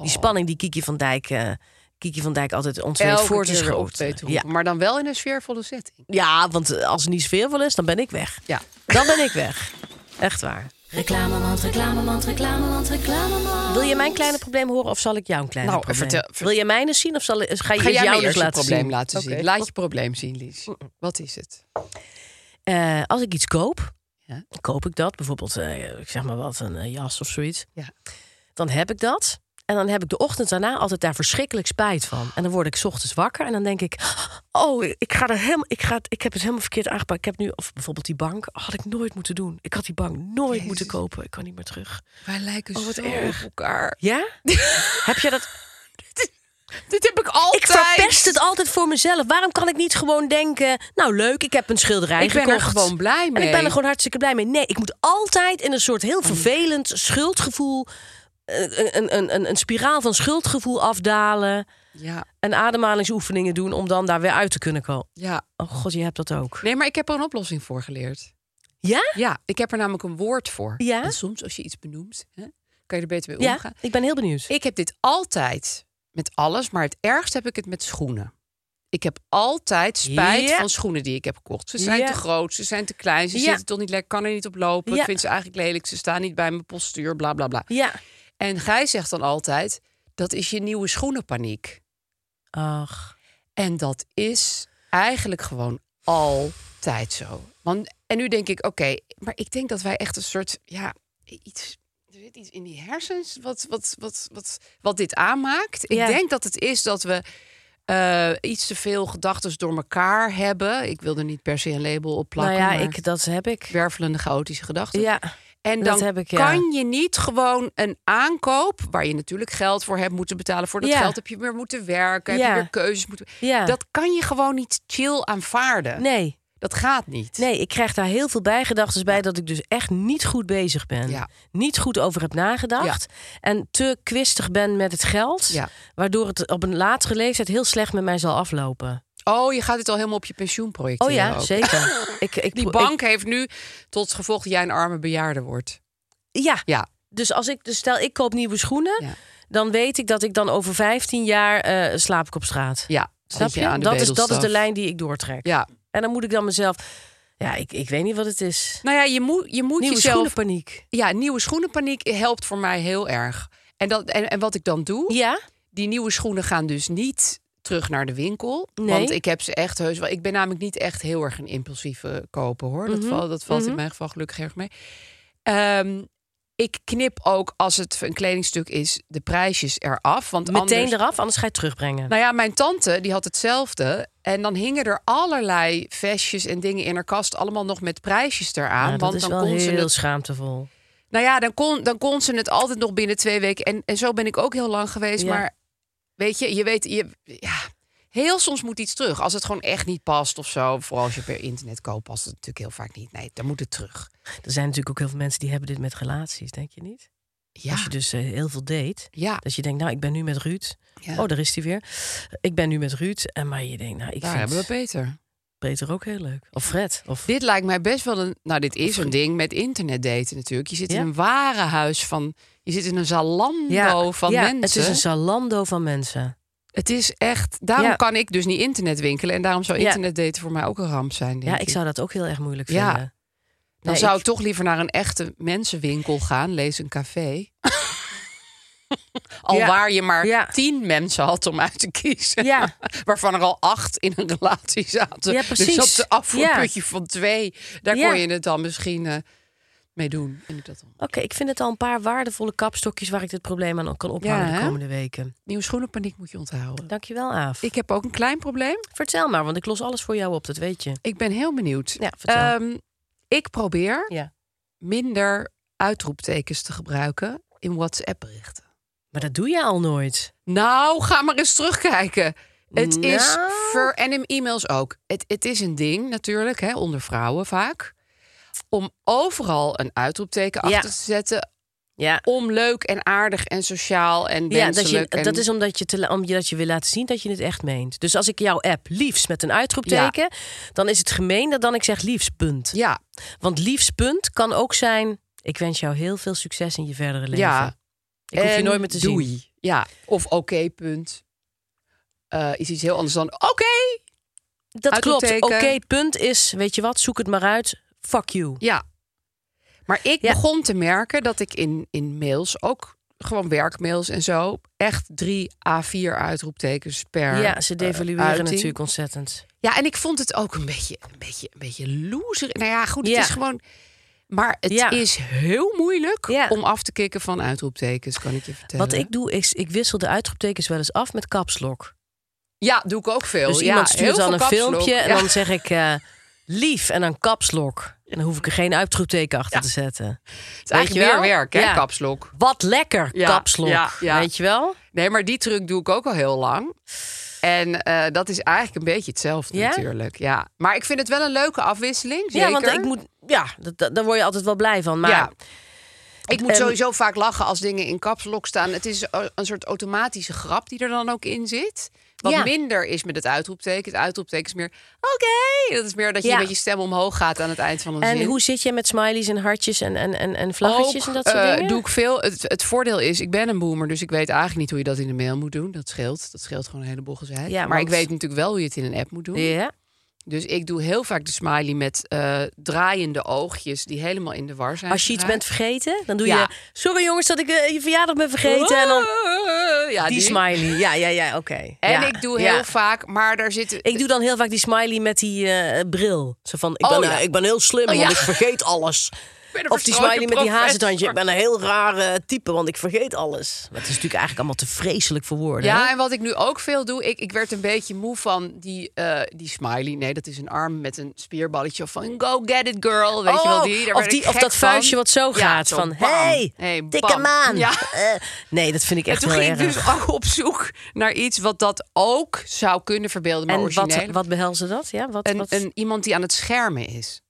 Speaker 3: Die spanning die Kiki van Dijk... eh, Kiki van Dijk altijd ontzettend
Speaker 2: Elke
Speaker 3: voor te
Speaker 2: keer weer op
Speaker 3: schoten.
Speaker 2: weet te
Speaker 3: Ja.
Speaker 2: roepen, Maar dan wel in een sfeervolle setting.
Speaker 3: ja, want eh, als er niet zoveel is, dan ben ik weg.
Speaker 2: Ja.
Speaker 3: Dan ben ik weg. Echt waar.
Speaker 4: Reclamemand, reclamemand, reclamemand, reclamemand.
Speaker 3: Wil je mijn kleine probleem horen of zal ik jou een kleine
Speaker 2: Nou,
Speaker 3: probleem?
Speaker 2: vertel- ver-
Speaker 3: Wil je mijne zien of zal, ga je
Speaker 2: Ga
Speaker 3: eerst
Speaker 2: jij
Speaker 3: jouw
Speaker 2: me eerst je
Speaker 3: laten
Speaker 2: probleem
Speaker 3: zien?
Speaker 2: laten zien.
Speaker 3: Oké. Mm,
Speaker 2: Laat je probleem zien, Lies. Wat is het?
Speaker 3: Eh, als ik iets koop,
Speaker 2: Ja.
Speaker 3: koop ik dat. Bijvoorbeeld, eh, ik zeg maar wat, een eh, jas of zoiets.
Speaker 2: Ja.
Speaker 3: Dan heb ik dat. En dan heb ik de ochtend daarna altijd daar verschrikkelijk spijt van. En dan word ik 's ochtends wakker en dan denk ik... Oh, ik, ga er helemaal, ik, ga, het- ik heb het helemaal verkeerd aangepakt. Ik heb nu, of bijvoorbeeld die bank, had ik nooit moeten doen. Ik had die bank nooit
Speaker 2: Jezus.
Speaker 3: moeten kopen. Ik kan niet meer terug.
Speaker 2: Wij lijken
Speaker 3: Oh, wat
Speaker 2: zo
Speaker 3: erg.
Speaker 2: op elkaar.
Speaker 3: Ja? heb je dat
Speaker 2: Dit heb ik altijd.
Speaker 3: Ik verpest het altijd voor mezelf. Waarom kan ik niet gewoon denken... nou leuk, ik heb een schilderij
Speaker 2: Ik ben er
Speaker 3: gekocht.
Speaker 2: gewoon blij
Speaker 3: En
Speaker 2: mee.
Speaker 3: ik ben er gewoon hartstikke blij mee. Nee, ik moet altijd in een soort heel
Speaker 2: Mm.
Speaker 3: vervelend schuldgevoel... eh, een, een, een, een spiraal van schuldgevoel afdalen...
Speaker 2: Ja,
Speaker 3: en ademhalingsoefeningen doen... om dan daar weer uit te kunnen komen.
Speaker 2: ja.
Speaker 3: Oh god, je hebt dat ook.
Speaker 2: Nee, maar ik heb er een oplossing voor geleerd.
Speaker 3: Ja?
Speaker 2: Ja, ik heb er namelijk een woord voor.
Speaker 3: Ja?
Speaker 2: En soms als je iets benoemt, hè, kan je er beter mee
Speaker 3: Ja,
Speaker 2: omgaan.
Speaker 3: ik ben heel benieuwd.
Speaker 2: Ik heb dit altijd met alles, maar het ergst heb ik het met schoenen. Ik heb altijd spijt
Speaker 3: Ja.
Speaker 2: van schoenen die ik heb gekocht. Ze zijn
Speaker 3: Ja.
Speaker 2: te groot, ze zijn te klein, ze
Speaker 3: Ja.
Speaker 2: zitten toch niet lekker, kan er niet op lopen.
Speaker 3: Ja.
Speaker 2: Ik vind ze eigenlijk lelijk, ze staan niet bij mijn postuur, bla bla bla.
Speaker 3: Ja.
Speaker 2: En Gij zegt dan altijd, dat is je nieuwe schoenenpaniek.
Speaker 3: Ach.
Speaker 2: En dat is eigenlijk gewoon altijd zo. Want, en nu denk ik, oké, maar ik denk dat wij echt een soort, ja, iets, er zit iets in die hersens wat, wat, wat, wat, wat dit aanmaakt. Ik
Speaker 3: Ja.
Speaker 2: denk dat het is dat we eh, iets te veel gedachten door elkaar hebben. Ik wil er niet per se een label op plakken.
Speaker 3: nou ja,
Speaker 2: maar
Speaker 3: ik, dat heb ik.
Speaker 2: wervelende chaotische gedachten.
Speaker 3: Ja,
Speaker 2: en
Speaker 3: dat
Speaker 2: dan
Speaker 3: heb ik, ja.
Speaker 2: kan je niet gewoon een aankoop waar je natuurlijk geld voor hebt moeten betalen. Voor dat
Speaker 3: Ja.
Speaker 2: geld heb je weer moeten werken,
Speaker 3: Ja.
Speaker 2: heb je weer keuzes moeten.
Speaker 3: ja.
Speaker 2: Dat kan je gewoon niet chill aanvaarden.
Speaker 3: Nee,
Speaker 2: Dat gaat niet.
Speaker 3: nee, ik krijg daar heel veel bijgedachten bij dat ik dus echt niet goed bezig ben.
Speaker 2: Ja.
Speaker 3: Niet goed over heb nagedacht. En te kwistig ben met het geld.
Speaker 2: Ja.
Speaker 3: Waardoor het op een latere leeftijd heel slecht met mij zal aflopen.
Speaker 2: Oh, je gaat dit al helemaal op je pensioen projecteren.
Speaker 3: Oh ja,
Speaker 2: ook.
Speaker 3: zeker. ik, ik,
Speaker 2: Die
Speaker 3: ik-
Speaker 2: bank heeft nu tot gevolg dat jij een arme bejaarde wordt.
Speaker 3: ja,
Speaker 2: Ja,
Speaker 3: dus als ik, dus stel ik koop nieuwe schoenen.
Speaker 2: Ja.
Speaker 3: Dan weet ik dat ik dan over 15 jaar eh slaap ik op straat.
Speaker 2: ja.
Speaker 3: Snap
Speaker 2: Zit
Speaker 3: je?
Speaker 2: aan de
Speaker 3: dat, is, dat is
Speaker 2: bedelstaf.
Speaker 3: de lijn die ik doortrek.
Speaker 2: Ja.
Speaker 3: En dan moet ik dan mezelf. Ja, ik, ik weet niet wat het is.
Speaker 2: Nou ja, je moet, je moet
Speaker 3: Nieuwe
Speaker 2: jezelf...
Speaker 3: schoenenpaniek.
Speaker 2: Ja, nieuwe schoenenpaniek helpt voor mij heel erg. En, dat, en, en wat ik dan doe,
Speaker 3: Ja?
Speaker 2: die nieuwe schoenen gaan dus niet terug naar de winkel.
Speaker 3: Nee.
Speaker 2: Want ik heb ze echt heus wel... Ik ben namelijk niet echt heel erg een impulsieve koper, hoor.
Speaker 3: Mhm.
Speaker 2: Dat, valt- dat valt in mijn geval gelukkig erg mee. Ehm, ik knip ook, als het een kledingstuk is, de prijsjes eraf. Want
Speaker 3: Meteen
Speaker 2: anders...
Speaker 3: eraf, anders ga je het terugbrengen.
Speaker 2: Nou ja, mijn tante die had hetzelfde. En dan hingen er allerlei vestjes en dingen in haar kast. Allemaal nog met prijsjes eraan.
Speaker 3: Ja, dat
Speaker 2: want
Speaker 3: is
Speaker 2: dan
Speaker 3: wel
Speaker 2: kon ze
Speaker 3: heel
Speaker 2: het.
Speaker 3: schaamtevol.
Speaker 2: Nou ja, dan kon, dan kon ze het altijd nog binnen twee weken. En, en zo ben ik ook heel lang geweest.
Speaker 3: Ja.
Speaker 2: Maar weet je, je weet. Je, ja, heel soms moet iets terug. Als het gewoon echt niet past of zo. Vooral als je per internet koopt, past het natuurlijk heel vaak niet. Nee, dan moet het terug.
Speaker 3: Er zijn natuurlijk ook heel veel mensen die hebben dit met relaties, denk je niet?
Speaker 2: Ja,
Speaker 3: Als je dus eh, heel veel date.
Speaker 2: ja.
Speaker 3: Dat je denkt, nou, ik ben nu met Ruud.
Speaker 2: ja.
Speaker 3: Oh, daar is hij weer. Ik ben nu met Ruud. En maar je denkt, nou, ik
Speaker 2: Daar
Speaker 3: vind
Speaker 2: hebben we Peter.
Speaker 3: Peter ook heel leuk. Of Fred. Of...
Speaker 2: Dit lijkt mij best wel een. Nou, dit is een ding met internet daten natuurlijk. Je zit
Speaker 3: Ja.
Speaker 2: in een warenhuis van. Je zit in een zalando van
Speaker 3: ja,
Speaker 2: mensen.
Speaker 3: Het is een Zalando van mensen.
Speaker 2: Het is echt. Daarom
Speaker 3: Ja.
Speaker 2: kan ik dus niet internet winkelen. En daarom zou
Speaker 3: Ja.
Speaker 2: internet daten voor mij ook een ramp zijn. Denk
Speaker 3: Ja, ik zou dat ook heel erg moeilijk
Speaker 2: Ja.
Speaker 3: vinden.
Speaker 2: Dan
Speaker 3: Nee,
Speaker 2: zou
Speaker 3: ik-
Speaker 2: ik toch liever naar een echte mensenwinkel gaan. Lees een café. Al
Speaker 3: Ja.
Speaker 2: waar je maar
Speaker 3: Ja.
Speaker 2: tien mensen had om uit te kiezen.
Speaker 3: Ja.
Speaker 2: Waarvan er al acht in een relatie zaten.
Speaker 3: Ja,
Speaker 2: Dus
Speaker 3: precies.
Speaker 2: op de afvoerputje
Speaker 3: Ja.
Speaker 2: van twee. Daar
Speaker 3: Ja.
Speaker 2: kon je het dan misschien eh, mee doen. En ik dat dan.
Speaker 3: Oké, ik vind het al een paar waardevolle kapstokjes waar ik dit probleem aan kan ophangen
Speaker 2: Ja,
Speaker 3: de
Speaker 2: hè?
Speaker 3: komende weken.
Speaker 2: Nieuwe schoenenpaniek moet je onthouden.
Speaker 3: Dankjewel, Aaf.
Speaker 2: Ik heb ook een klein probleem.
Speaker 3: Vertel maar, want ik los alles voor jou op, dat weet je. Eh,
Speaker 2: Ik ben heel benieuwd.
Speaker 3: Ja, vertel.
Speaker 2: Ehm, ik probeer
Speaker 3: Ja.
Speaker 2: minder uitroeptekens te gebruiken in WhatsApp-berichten.
Speaker 3: Maar dat doe je al nooit.
Speaker 2: Nou, ga maar eens terugkijken. Het is
Speaker 3: Nou.
Speaker 2: ver en in e-mails ook. Het, het is een ding natuurlijk, hè, onder vrouwen vaak. Om overal een uitroepteken
Speaker 3: Ja.
Speaker 2: achter te zetten.
Speaker 3: Ja.
Speaker 2: Om leuk en aardig en sociaal en
Speaker 3: Ja, dat, je,
Speaker 2: menselijk. en...
Speaker 3: dat is omdat je, te, la- omdat je wil laten zien dat je het echt meent. Dus als ik jouw app liefst met een uitroepteken, dan is het gemeener dan ik zeg liefst punt.
Speaker 2: Ja,
Speaker 3: Want liefst punt kan ook zijn: ik wens jou heel veel succes in je verdere leven.
Speaker 2: ja.
Speaker 3: Ik hoef je
Speaker 2: En
Speaker 3: nooit meer te
Speaker 2: doei.
Speaker 3: zien.
Speaker 2: Ja, of oké, punt. Eh, is iets heel anders dan oké.
Speaker 3: Dat klopt. Oké,
Speaker 2: Uitroepteken.
Speaker 3: punt is, weet je wat, zoek het maar uit. Fuck you.
Speaker 2: Ja. Maar ik
Speaker 3: Ja.
Speaker 2: begon te merken dat ik in, in mails, ook gewoon werkmails en zo, echt drie A4 uitroeptekens per.
Speaker 3: Ja, ze devalueren
Speaker 2: eh, uiting.
Speaker 3: natuurlijk ontzettend.
Speaker 2: Ja, en ik vond het ook een beetje, een beetje, een beetje loser. Nou ja, goed, het
Speaker 3: Ja.
Speaker 2: is gewoon. Maar het
Speaker 3: Ja.
Speaker 2: is heel moeilijk
Speaker 3: Ja.
Speaker 2: om af te kicken van uitroeptekens, kan ik je vertellen.
Speaker 3: Wat ik doe is, ik wissel de uitroeptekens wel eens af met kapslok.
Speaker 2: Ja, doe ik ook veel.
Speaker 3: Dus
Speaker 2: Oh, ja,
Speaker 3: iemand
Speaker 2: heel
Speaker 3: stuurt dan
Speaker 2: veel
Speaker 3: een
Speaker 2: kapslok.
Speaker 3: filmpje en
Speaker 2: Ja.
Speaker 3: dan zeg ik eh, lief en dan kapslok. En dan hoef ik er geen uitroepteken achter te zetten.
Speaker 2: het is eigenlijk
Speaker 3: weet je
Speaker 2: meer
Speaker 3: wel?
Speaker 2: werk, hè,
Speaker 3: Ja.
Speaker 2: kapslok.
Speaker 3: Wat lekker,
Speaker 2: Ja,
Speaker 3: kapslok.
Speaker 2: ja, ja.
Speaker 3: Weet je wel?
Speaker 2: Nee, maar die truc doe ik ook al heel lang. En eh, dat is eigenlijk een beetje hetzelfde
Speaker 3: Ja?
Speaker 2: natuurlijk. Ja. Maar ik vind het wel een leuke afwisseling.
Speaker 3: Ja,
Speaker 2: Zeker.
Speaker 3: want ik moet, ja, dat, dat- daar word je altijd wel blij van. Maar ehm,
Speaker 2: Ja. Ik moet
Speaker 3: en-
Speaker 2: sowieso vaak lachen als dingen in kapslok staan. Het is o- een soort automatische grap die er dan ook in zit. Wat
Speaker 3: Ja.
Speaker 2: minder is met het uitroepteken. Het uitroepteken is meer oké. Dat is meer dat je
Speaker 3: Ja.
Speaker 2: met je stem omhoog gaat aan het eind van een
Speaker 3: En
Speaker 2: zin.
Speaker 3: hoe zit je met smileys en hartjes en, en, en, en vlaggetjes
Speaker 2: Ook,
Speaker 3: en dat soort
Speaker 2: eh,
Speaker 3: dingen?
Speaker 2: doe ik veel. Het, het voordeel is, ik ben een boomer, dus ik weet eigenlijk niet hoe je dat in de mail moet doen. Dat scheelt. Dat scheelt gewoon een heleboel gezeik.
Speaker 3: Ja,
Speaker 2: maar ik
Speaker 3: want-
Speaker 2: weet natuurlijk wel hoe je het in een app moet doen.
Speaker 3: Ja.
Speaker 2: Dus ik doe heel vaak de smiley met eh, draaiende oogjes die helemaal in de war zijn.
Speaker 3: Als je iets bent
Speaker 2: gedraaid.
Speaker 3: vergeten, dan doe
Speaker 2: Ja.
Speaker 3: je... Sorry jongens dat ik eh, je verjaardag ben vergeten. En dan
Speaker 2: Ah, ja,
Speaker 3: die smiley. Ja, ja, ja, oké.
Speaker 2: En
Speaker 3: Ja,
Speaker 2: ik doe
Speaker 3: ja.
Speaker 2: heel vaak, maar daar zitten.
Speaker 3: Ik doe dan heel vaak die smiley met die eh, bril. Zo van, ik
Speaker 2: Oh,
Speaker 3: ben,
Speaker 2: ja.
Speaker 3: eh, ik ben heel slim,
Speaker 2: Oh, ja.
Speaker 3: want ik vergeet alles.
Speaker 2: ben een
Speaker 3: Of die
Speaker 2: verstrooide
Speaker 3: smiley met die
Speaker 2: professor.
Speaker 3: hazentandje. Ik ben een heel rare type, want ik vergeet alles. Maar het is natuurlijk eigenlijk allemaal te vreselijk voor woorden. hè?
Speaker 2: Ja, en wat ik nu ook veel doe, ik, ik werd een beetje moe van die, eh, die smiley. Nee, dat is een arm met een spierballetje of van go get it girl, weet je wel die. Daar
Speaker 3: Oh, of,
Speaker 2: werd ik
Speaker 3: of
Speaker 2: gek
Speaker 3: dat
Speaker 2: van.
Speaker 3: vuistje wat zo
Speaker 2: Ja,
Speaker 3: gaat.
Speaker 2: zo
Speaker 3: van,
Speaker 2: bam.
Speaker 3: hey,
Speaker 2: Hey,
Speaker 3: dikke
Speaker 2: bam.
Speaker 3: maan.
Speaker 2: Ja.
Speaker 3: Eh, nee, dat vind ik
Speaker 2: En
Speaker 3: echt
Speaker 2: toen
Speaker 3: heel
Speaker 2: ging ik
Speaker 3: erg.
Speaker 2: dus ook op zoek naar iets wat dat ook zou kunnen verbeelden, maar
Speaker 3: en wat,
Speaker 2: origineel.
Speaker 3: wat behelzen dat? Ja, wat,
Speaker 2: Een,
Speaker 3: wat?
Speaker 2: een, iemand die aan het schermen is.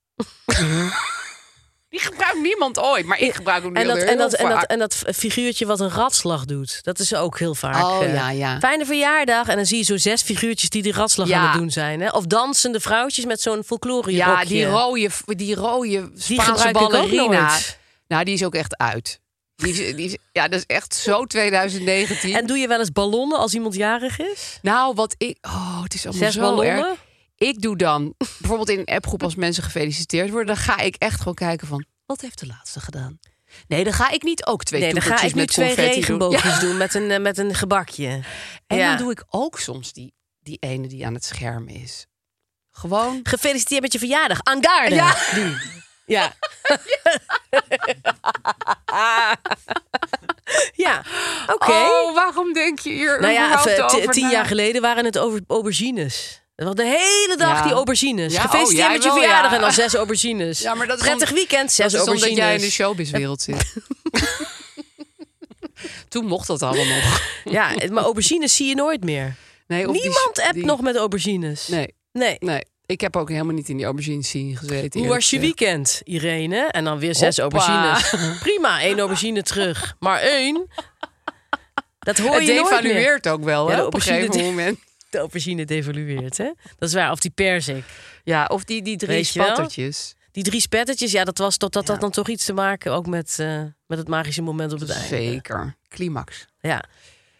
Speaker 2: die gebruikt niemand ooit, maar ik gebruik hem nu
Speaker 3: en, dat,
Speaker 2: alweer
Speaker 3: en, dat,
Speaker 2: heel
Speaker 3: en, dat,
Speaker 2: vaak.
Speaker 3: en dat figuurtje wat een ratslag doet. Dat is ook heel vaak.
Speaker 2: Oh,
Speaker 3: eh,
Speaker 2: ja, ja.
Speaker 3: Fijne verjaardag. En dan zie je zo zes figuurtjes die die ratslag
Speaker 2: Ja.
Speaker 3: aan het doen zijn. Hè? Of dansende vrouwtjes met zo'n folklore
Speaker 2: Ja,
Speaker 3: rokje.
Speaker 2: die rode, die rode Spaanse
Speaker 3: gebruik ik ook
Speaker 2: ballerina.
Speaker 3: nooit.
Speaker 2: Nou, die is ook echt uit. Die is, die is- ja, dat is echt zo 2019.
Speaker 3: En doe je wel eens ballonnen als iemand jarig is?
Speaker 2: nou, wat ik... Oh, het is allemaal
Speaker 3: Zes
Speaker 2: zo
Speaker 3: ballonnen?
Speaker 2: erg. Ik doe dan, bijvoorbeeld in een appgroep als mensen gefeliciteerd worden... dan ga ik echt gewoon kijken van, wat heeft de laatste gedaan? Nee, dan ga ik niet ook twee
Speaker 3: Nee, dan ga
Speaker 2: toetertjes
Speaker 3: ik nu
Speaker 2: met
Speaker 3: twee
Speaker 2: confetti doen. Ja.
Speaker 3: regenboogjes doen, met, een, eh, met een gebakje.
Speaker 2: En
Speaker 3: Ja.
Speaker 2: dan doe ik ook soms die, die ene die aan het scherm is. Gewoon.
Speaker 3: Gefeliciteerd met je verjaardag. Angarde.
Speaker 2: Ja.
Speaker 3: Die. Ja. ja. Oké.
Speaker 2: Oh, waarom denk je hier
Speaker 3: nou ja,
Speaker 2: überhaupt
Speaker 3: even ti-
Speaker 2: over
Speaker 3: tien
Speaker 2: na?
Speaker 3: jaar geleden waren het over aubergines. Dat was de hele dag
Speaker 2: Ja.
Speaker 3: die aubergines.
Speaker 2: Ja,
Speaker 3: Gefeliciteerd
Speaker 2: oh, jij
Speaker 3: met je
Speaker 2: wel,
Speaker 3: verjaardag
Speaker 2: ja.
Speaker 3: en dan zes aubergines.
Speaker 2: Ja, maar dat is
Speaker 3: Prettig
Speaker 2: om-
Speaker 3: weekend, zes
Speaker 2: dat is
Speaker 3: aubergines.
Speaker 2: omdat jij in de showbizwereld zit. Toen mocht dat allemaal nog.
Speaker 3: Ja, eh, maar aubergines zie je nooit meer.
Speaker 2: Nee, dus- of die-
Speaker 3: Niemand appt
Speaker 2: die-
Speaker 3: nog met aubergines.
Speaker 2: Nee,
Speaker 3: nee.
Speaker 2: nee. Ik heb ook helemaal niet in die aubergine scene gezeten.
Speaker 3: Hoe
Speaker 2: eerlijk
Speaker 3: was je
Speaker 2: gezegd.
Speaker 3: weekend, Irene? En dan weer zes
Speaker 2: Hoppa.
Speaker 3: aubergines. Prima, één aubergine terug. Maar één. Dat hoor
Speaker 2: Het
Speaker 3: Oh, je nooit meer.
Speaker 2: devalueert ook wel
Speaker 3: Ja,
Speaker 2: hè,
Speaker 3: de
Speaker 2: op een gegeven
Speaker 3: aubergine-
Speaker 2: moment.
Speaker 3: De aubergine devalueert, hè? Dat is waar. Of die persik.
Speaker 2: Ja, of die, die drie
Speaker 3: Weet je wel?
Speaker 2: spattertjes.
Speaker 3: Die drie spettertjes, ja, dat was totdat dat dan toch iets te maken ook met, eh, met het magische moment op het einde.
Speaker 2: Zeker. Climax.
Speaker 3: Ja.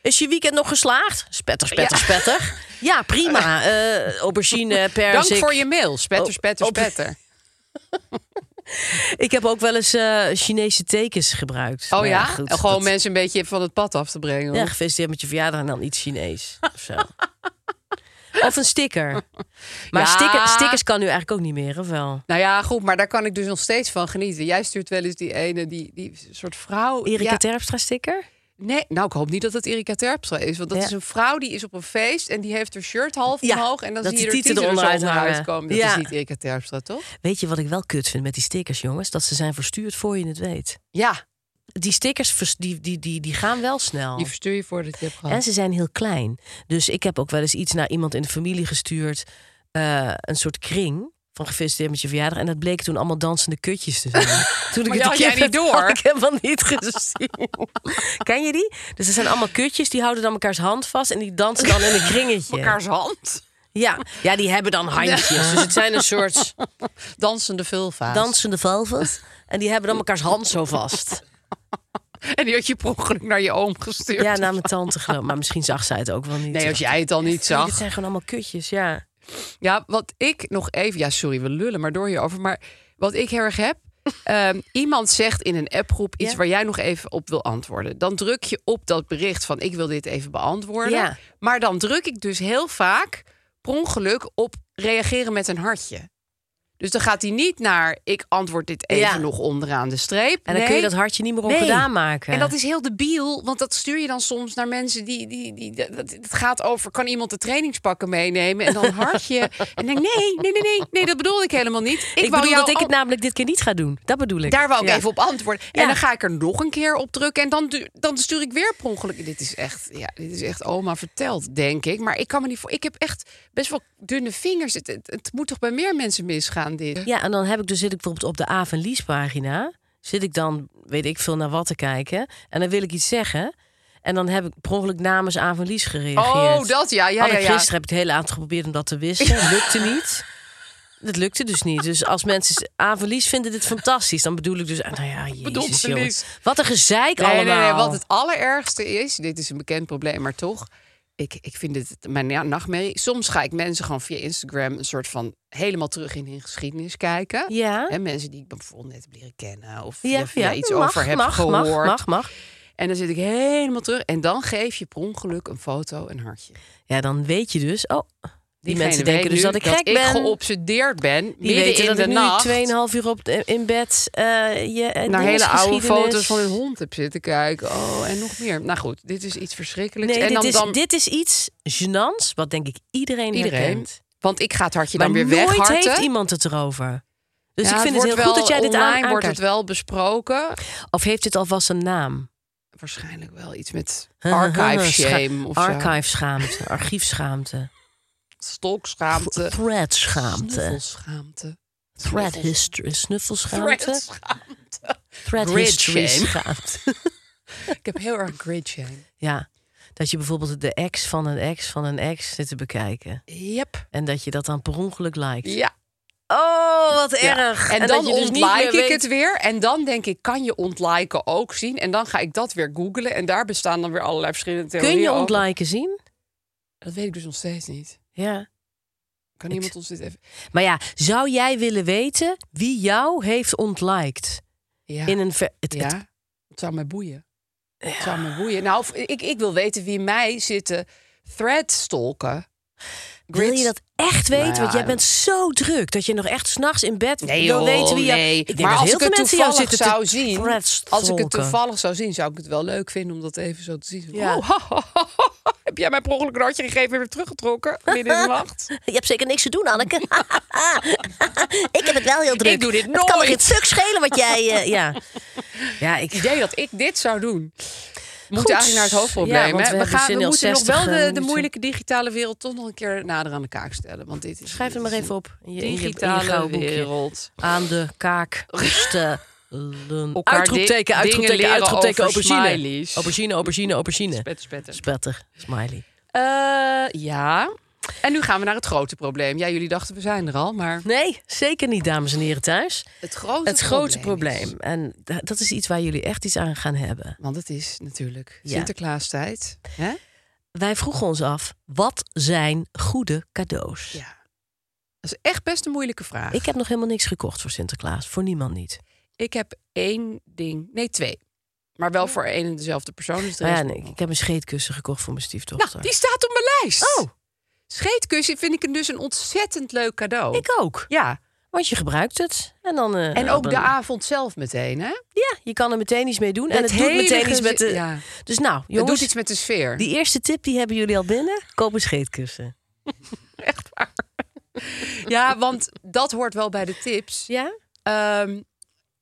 Speaker 3: Is je weekend nog geslaagd? Spetter, spetter,
Speaker 2: Ja.
Speaker 3: spetter. Ja, prima. Eh, aubergine,
Speaker 2: Dank
Speaker 3: persik.
Speaker 2: voor je mail. Spetter,
Speaker 3: Oh,
Speaker 2: spetter,
Speaker 3: op-
Speaker 2: spetter.
Speaker 3: Ik heb ook wel eens eh, Chinese tekens gebruikt.
Speaker 2: Oh
Speaker 3: Maar
Speaker 2: ja?
Speaker 3: Nou goed,
Speaker 2: Gewoon
Speaker 3: dat-
Speaker 2: mensen een beetje van het pad af te brengen.
Speaker 3: Ja,
Speaker 2: hoor.
Speaker 3: gefeliciteerd met je verjaardag en dan iets Chinees of zo. Of een sticker. Maar
Speaker 2: Ja.
Speaker 3: sticker- stickers kan nu eigenlijk ook niet meer, of wel?
Speaker 2: Nou ja, goed, maar daar kan ik dus nog steeds van genieten. Jij stuurt wel eens die ene, die, die soort vrouw.
Speaker 3: Erika
Speaker 2: Ja,
Speaker 3: Terpstra sticker?
Speaker 2: nee, nou ik hoop niet dat het Erika Terpstra is. Want dat
Speaker 3: Ja.
Speaker 2: is een vrouw die is op een feest en die heeft haar shirt half
Speaker 3: Ja,
Speaker 2: omhoog. En dan
Speaker 3: dat
Speaker 2: zie
Speaker 3: die
Speaker 2: je er
Speaker 3: tieten
Speaker 2: tieten er zo
Speaker 3: eronder
Speaker 2: onderuit
Speaker 3: uithangen.
Speaker 2: komen. Dat
Speaker 3: Ja.
Speaker 2: is niet Erika Terpstra, toch?
Speaker 3: Weet je wat ik wel kut vind met die stickers, jongens? Dat ze zijn verstuurd voor je het weet.
Speaker 2: Ja,
Speaker 3: Die stickers vers- die, die, die, die gaan wel snel.
Speaker 2: die verstuur je voordat je hebt gehad.
Speaker 3: En ze zijn heel klein. Dus ik heb ook wel eens iets naar iemand in de familie gestuurd. eh, een soort kring van gefeliciteerd met je verjaardag. En dat bleek toen allemaal dansende kutjes te zijn. toen ik
Speaker 2: die had
Speaker 3: een keer
Speaker 2: jij niet
Speaker 3: had,
Speaker 2: door.
Speaker 3: had ik helemaal niet gezien. Ken je die? Dus er zijn allemaal kutjes. Die houden dan mekaars hand vast. En die dansen dan in een kringetje.
Speaker 2: Mekaars hand.
Speaker 3: Ja. ja, die hebben dan handjes. Dus het zijn een soort
Speaker 2: Dansende vulva's.
Speaker 3: dansende valvers. En die hebben dan mekaars hand zo vast.
Speaker 2: En die had je per ongeluk naar je oom gestuurd.
Speaker 3: Ja, naar mijn tante geloof ik. Maar misschien zag zij het ook wel niet.
Speaker 2: nee, als jij het al niet zag.
Speaker 3: Dit zijn gewoon allemaal kutjes, ja.
Speaker 2: Ja, wat ik nog even. Ja, sorry, we lullen maar door hierover. Maar wat ik heel erg heb. ehm, iemand zegt in een appgroep iets
Speaker 3: Ja.
Speaker 2: waar jij nog even op wil antwoorden. Dan druk je op dat bericht van ik wil dit even beantwoorden.
Speaker 3: Ja.
Speaker 2: Maar dan druk ik dus heel vaak per ongeluk op reageren met een hartje. Dus dan gaat hij niet naar ik antwoord dit even
Speaker 3: Ja.
Speaker 2: nog onderaan de streep.
Speaker 3: En dan kun je
Speaker 2: Nee.
Speaker 3: dat hartje niet meer
Speaker 2: Nee.
Speaker 3: ongedaan maken.
Speaker 2: En dat is heel debiel, want dat stuur je dan soms naar mensen die. die, die dat, dat- het gaat over: kan iemand de trainingspakken meenemen? En dan een hartje. en denk: nee, nee, nee, nee, nee, dat bedoelde ik helemaal niet. Ik,
Speaker 3: ik
Speaker 2: wou
Speaker 3: bedoel
Speaker 2: jou
Speaker 3: dat ik het
Speaker 2: al-
Speaker 3: namelijk dit keer niet ga doen. Dat bedoel ik.
Speaker 2: Daar wou ik
Speaker 3: Ja.
Speaker 2: even op antwoorden. En
Speaker 3: Ja.
Speaker 2: dan ga ik er nog een keer op drukken. En dan, du- dan stuur ik weer per ongeluk. Dit is echt, ja, dit is echt oma verteld, denk ik. Maar ik kan me niet voor. Ik heb echt best wel dunne vingers. Het, het, het moet toch bij meer mensen misgaan, dit?
Speaker 3: Ja, en dan heb ik dus zit ik bijvoorbeeld op de A van Lies pagina. Zit ik dan, weet ik veel, naar wat te kijken. En dan wil ik iets zeggen. En dan heb ik per ongeluk namens A van Lies gereageerd.
Speaker 2: Oh, dat ja. Ja,
Speaker 3: Had
Speaker 2: ja,
Speaker 3: ik
Speaker 2: ja.
Speaker 3: gisteren heb ik het hele avond geprobeerd om dat te wisselen. Lukte niet. Dat lukte dus niet. Dus als mensen A van Lies vinden dit fantastisch, dan bedoel ik dus, ah, nou ja, jezus,
Speaker 2: ze
Speaker 3: jongens.
Speaker 2: Lies.
Speaker 3: Wat een gezeik
Speaker 2: Nee,
Speaker 3: allemaal.
Speaker 2: nee, nee, wat het allerergste is, dit is een bekend probleem, maar toch, ik, ik vind het mijn na- nachtmerrie. Soms ga ik mensen gewoon via Instagram een soort van helemaal terug in hun geschiedenis kijken.
Speaker 3: Ja.
Speaker 2: Hè, mensen die ik bijvoorbeeld net heb leren kennen of
Speaker 3: Ja,
Speaker 2: via, via
Speaker 3: ja.
Speaker 2: iets
Speaker 3: Mag,
Speaker 2: over heb
Speaker 3: mag,
Speaker 2: gehoord.
Speaker 3: Mag, mag, mag.
Speaker 2: En dan zit ik helemaal terug en dan geef je per ongeluk een foto, een hartje.
Speaker 3: Ja, dan weet je dus, oh, Die
Speaker 2: Diegene
Speaker 3: mensen
Speaker 2: weet
Speaker 3: denken dus
Speaker 2: nu
Speaker 3: dat ik gek ben.
Speaker 2: geobsedeerd ben.
Speaker 3: Die
Speaker 2: midden
Speaker 3: weten
Speaker 2: in
Speaker 3: dat
Speaker 2: de
Speaker 3: ik
Speaker 2: nacht.
Speaker 3: nu 2,5 uur op, in bed eh je,
Speaker 2: naar hele oude foto's van hun
Speaker 3: hun
Speaker 2: hond heb zitten kijken. Oh, en nog meer. Nou goed, dit is iets verschrikkelijks.
Speaker 3: Nee,
Speaker 2: en
Speaker 3: dit,
Speaker 2: dan,
Speaker 3: is,
Speaker 2: dan,
Speaker 3: dit is iets gênants, wat denk ik iedereen,
Speaker 2: Iedereen.
Speaker 3: herkent.
Speaker 2: want ik ga het hartje dan
Speaker 3: maar
Speaker 2: weer
Speaker 3: nooit
Speaker 2: wegharten.
Speaker 3: heeft iemand het erover. Dus
Speaker 2: Ja,
Speaker 3: ik vind het,
Speaker 2: wordt
Speaker 3: heel goed
Speaker 2: wel-
Speaker 3: dat jij dit aan,
Speaker 2: online wordt het
Speaker 3: aankaart.
Speaker 2: wel besproken.
Speaker 3: Of heeft dit alvast een naam?
Speaker 2: Waarschijnlijk wel iets met archive shame of zo.
Speaker 3: Archive schaamte, archiefschaamte,
Speaker 2: stalkschaamte,
Speaker 3: thread schaamte,
Speaker 2: snuffelschaamte,
Speaker 3: thread history, snuffelschaamte,
Speaker 2: Threadschaamte.
Speaker 3: thread
Speaker 2: Grid
Speaker 3: history
Speaker 2: shame.
Speaker 3: schaamte.
Speaker 2: Ik heb heel erg grid shame.
Speaker 3: Ja, dat je bijvoorbeeld de ex van een ex van een ex zit te bekijken.
Speaker 2: Yep.
Speaker 3: En dat je dat dan per ongeluk liked.
Speaker 2: Ja.
Speaker 3: Oh, wat
Speaker 2: Ja.
Speaker 3: erg.
Speaker 2: En, dan
Speaker 3: dat je dus niet
Speaker 2: ontlike
Speaker 3: meer
Speaker 2: ik
Speaker 3: weet-
Speaker 2: het weer. En dan denk ik, kan je ontliken ook zien? En dan ga ik dat weer googlen. En daar bestaan dan weer allerlei verschillende theorieën
Speaker 3: Kun je
Speaker 2: over.
Speaker 3: ontliken zien?
Speaker 2: Dat weet ik dus nog steeds niet.
Speaker 3: Ja.
Speaker 2: Kan iemand ons dit even...
Speaker 3: Maar ja, zou jij willen weten wie jou heeft ontliked?
Speaker 2: Ja,
Speaker 3: In een ver- het,
Speaker 2: ja.
Speaker 3: het-
Speaker 2: het zou mij boeien. Het zou mij boeien. Nou, of- ik, ik wil weten wie mij zitten thread stalken.
Speaker 3: wil
Speaker 2: Grids-
Speaker 3: je dat echt weten?
Speaker 2: Nou ja,
Speaker 3: Want jij
Speaker 2: en-
Speaker 3: bent zo druk dat je nog echt s'nachts in bed
Speaker 2: Nee,
Speaker 3: wil
Speaker 2: joh,
Speaker 3: weten wie jou...
Speaker 2: nee.
Speaker 3: Ik denk
Speaker 2: maar
Speaker 3: dat
Speaker 2: als
Speaker 3: heel
Speaker 2: ik het
Speaker 3: veel mensen jou
Speaker 2: toevallig
Speaker 3: zitten te
Speaker 2: zou zien, als ik
Speaker 3: threadstalken.
Speaker 2: het toevallig zou zien, zou ik het wel leuk vinden om dat even zo te zien.
Speaker 3: Ja.
Speaker 2: Oh, heb jij mijn per ongeluk een hartje gegeven en weer teruggetrokken midden in de nacht?
Speaker 3: Je hebt zeker niks te doen, Anneke. ik heb het wel heel druk.
Speaker 2: Ik doe dit
Speaker 3: Het kan me
Speaker 2: nooit.
Speaker 3: geen stuk schelen wat jij... eh, ja. ja, ik...
Speaker 2: Het idee dat ik dit zou doen. We
Speaker 3: Goed.
Speaker 2: moeten eigenlijk naar het hoofdprobleem.
Speaker 3: Ja, want
Speaker 2: hè?
Speaker 3: we
Speaker 2: we
Speaker 3: hebben
Speaker 2: gaan,
Speaker 3: zin
Speaker 2: we
Speaker 3: al
Speaker 2: moeten nog
Speaker 3: 60
Speaker 2: wel de, de
Speaker 3: minuten.
Speaker 2: moeilijke digitale wereld toch nog een keer nader aan de kaak stellen. Want dit is,
Speaker 3: Schrijf het
Speaker 2: dit
Speaker 3: maar
Speaker 2: is
Speaker 3: even
Speaker 2: een
Speaker 3: op. In je, in je- in je
Speaker 2: Digitale
Speaker 3: gouden boekje.
Speaker 2: wereld.
Speaker 3: Aan de kaak stellen.
Speaker 2: Elkaar di-
Speaker 3: Uitroepteken,
Speaker 2: dingen
Speaker 3: uitroepteken,
Speaker 2: leren
Speaker 3: uitroepteken.
Speaker 2: over
Speaker 3: Aubergine.
Speaker 2: smileys.
Speaker 3: Aubergine, aubergine, aubergine.
Speaker 2: Spet, spetter.
Speaker 3: Spetter, smiley.
Speaker 2: Eh, ja. En nu gaan we naar het grote probleem. Ja, jullie dachten we zijn er al, maar
Speaker 3: Nee, zeker niet, dames en heren thuis.
Speaker 2: het grote,
Speaker 3: Het grote
Speaker 2: is-
Speaker 3: probleem. En da- dat is iets waar jullie echt iets aan gaan hebben.
Speaker 2: Want het is natuurlijk
Speaker 3: Ja.
Speaker 2: Sinterklaastijd. Hè?
Speaker 3: Wij vroegen ons af, wat zijn goede cadeaus?
Speaker 2: Ja. Dat is echt best een moeilijke vraag.
Speaker 3: Ik heb nog helemaal niks gekocht voor Sinterklaas. Voor niemand niet.
Speaker 2: Ik heb één ding, nee twee. Maar wel voor één en dezelfde persoon. Dus de
Speaker 3: Maar ja,
Speaker 2: rest-
Speaker 3: nee, ik heb een scheetkussen gekocht voor mijn
Speaker 2: Nou,
Speaker 3: stiefdochter.
Speaker 2: die staat op mijn lijst.
Speaker 3: Oh.
Speaker 2: Scheetkussen vind ik een- dus een ontzettend leuk cadeau.
Speaker 3: Ik ook.
Speaker 2: Ja,
Speaker 3: Want je gebruikt het. En, dan, eh,
Speaker 2: en ook
Speaker 3: op een-
Speaker 2: de avond zelf meteen, hè?
Speaker 3: Ja, je kan er meteen iets mee doen. en het doet
Speaker 2: hele
Speaker 3: meteen iets
Speaker 2: gezin-
Speaker 3: met de...
Speaker 2: Ja,
Speaker 3: Dus nou,
Speaker 2: het
Speaker 3: jongens,
Speaker 2: doet iets met de sfeer.
Speaker 3: die eerste tip die hebben jullie al binnen. Koop een scheetkussen.
Speaker 2: Echt waar. Ja, want dat hoort wel bij de tips.
Speaker 3: Ja?
Speaker 2: Ehm,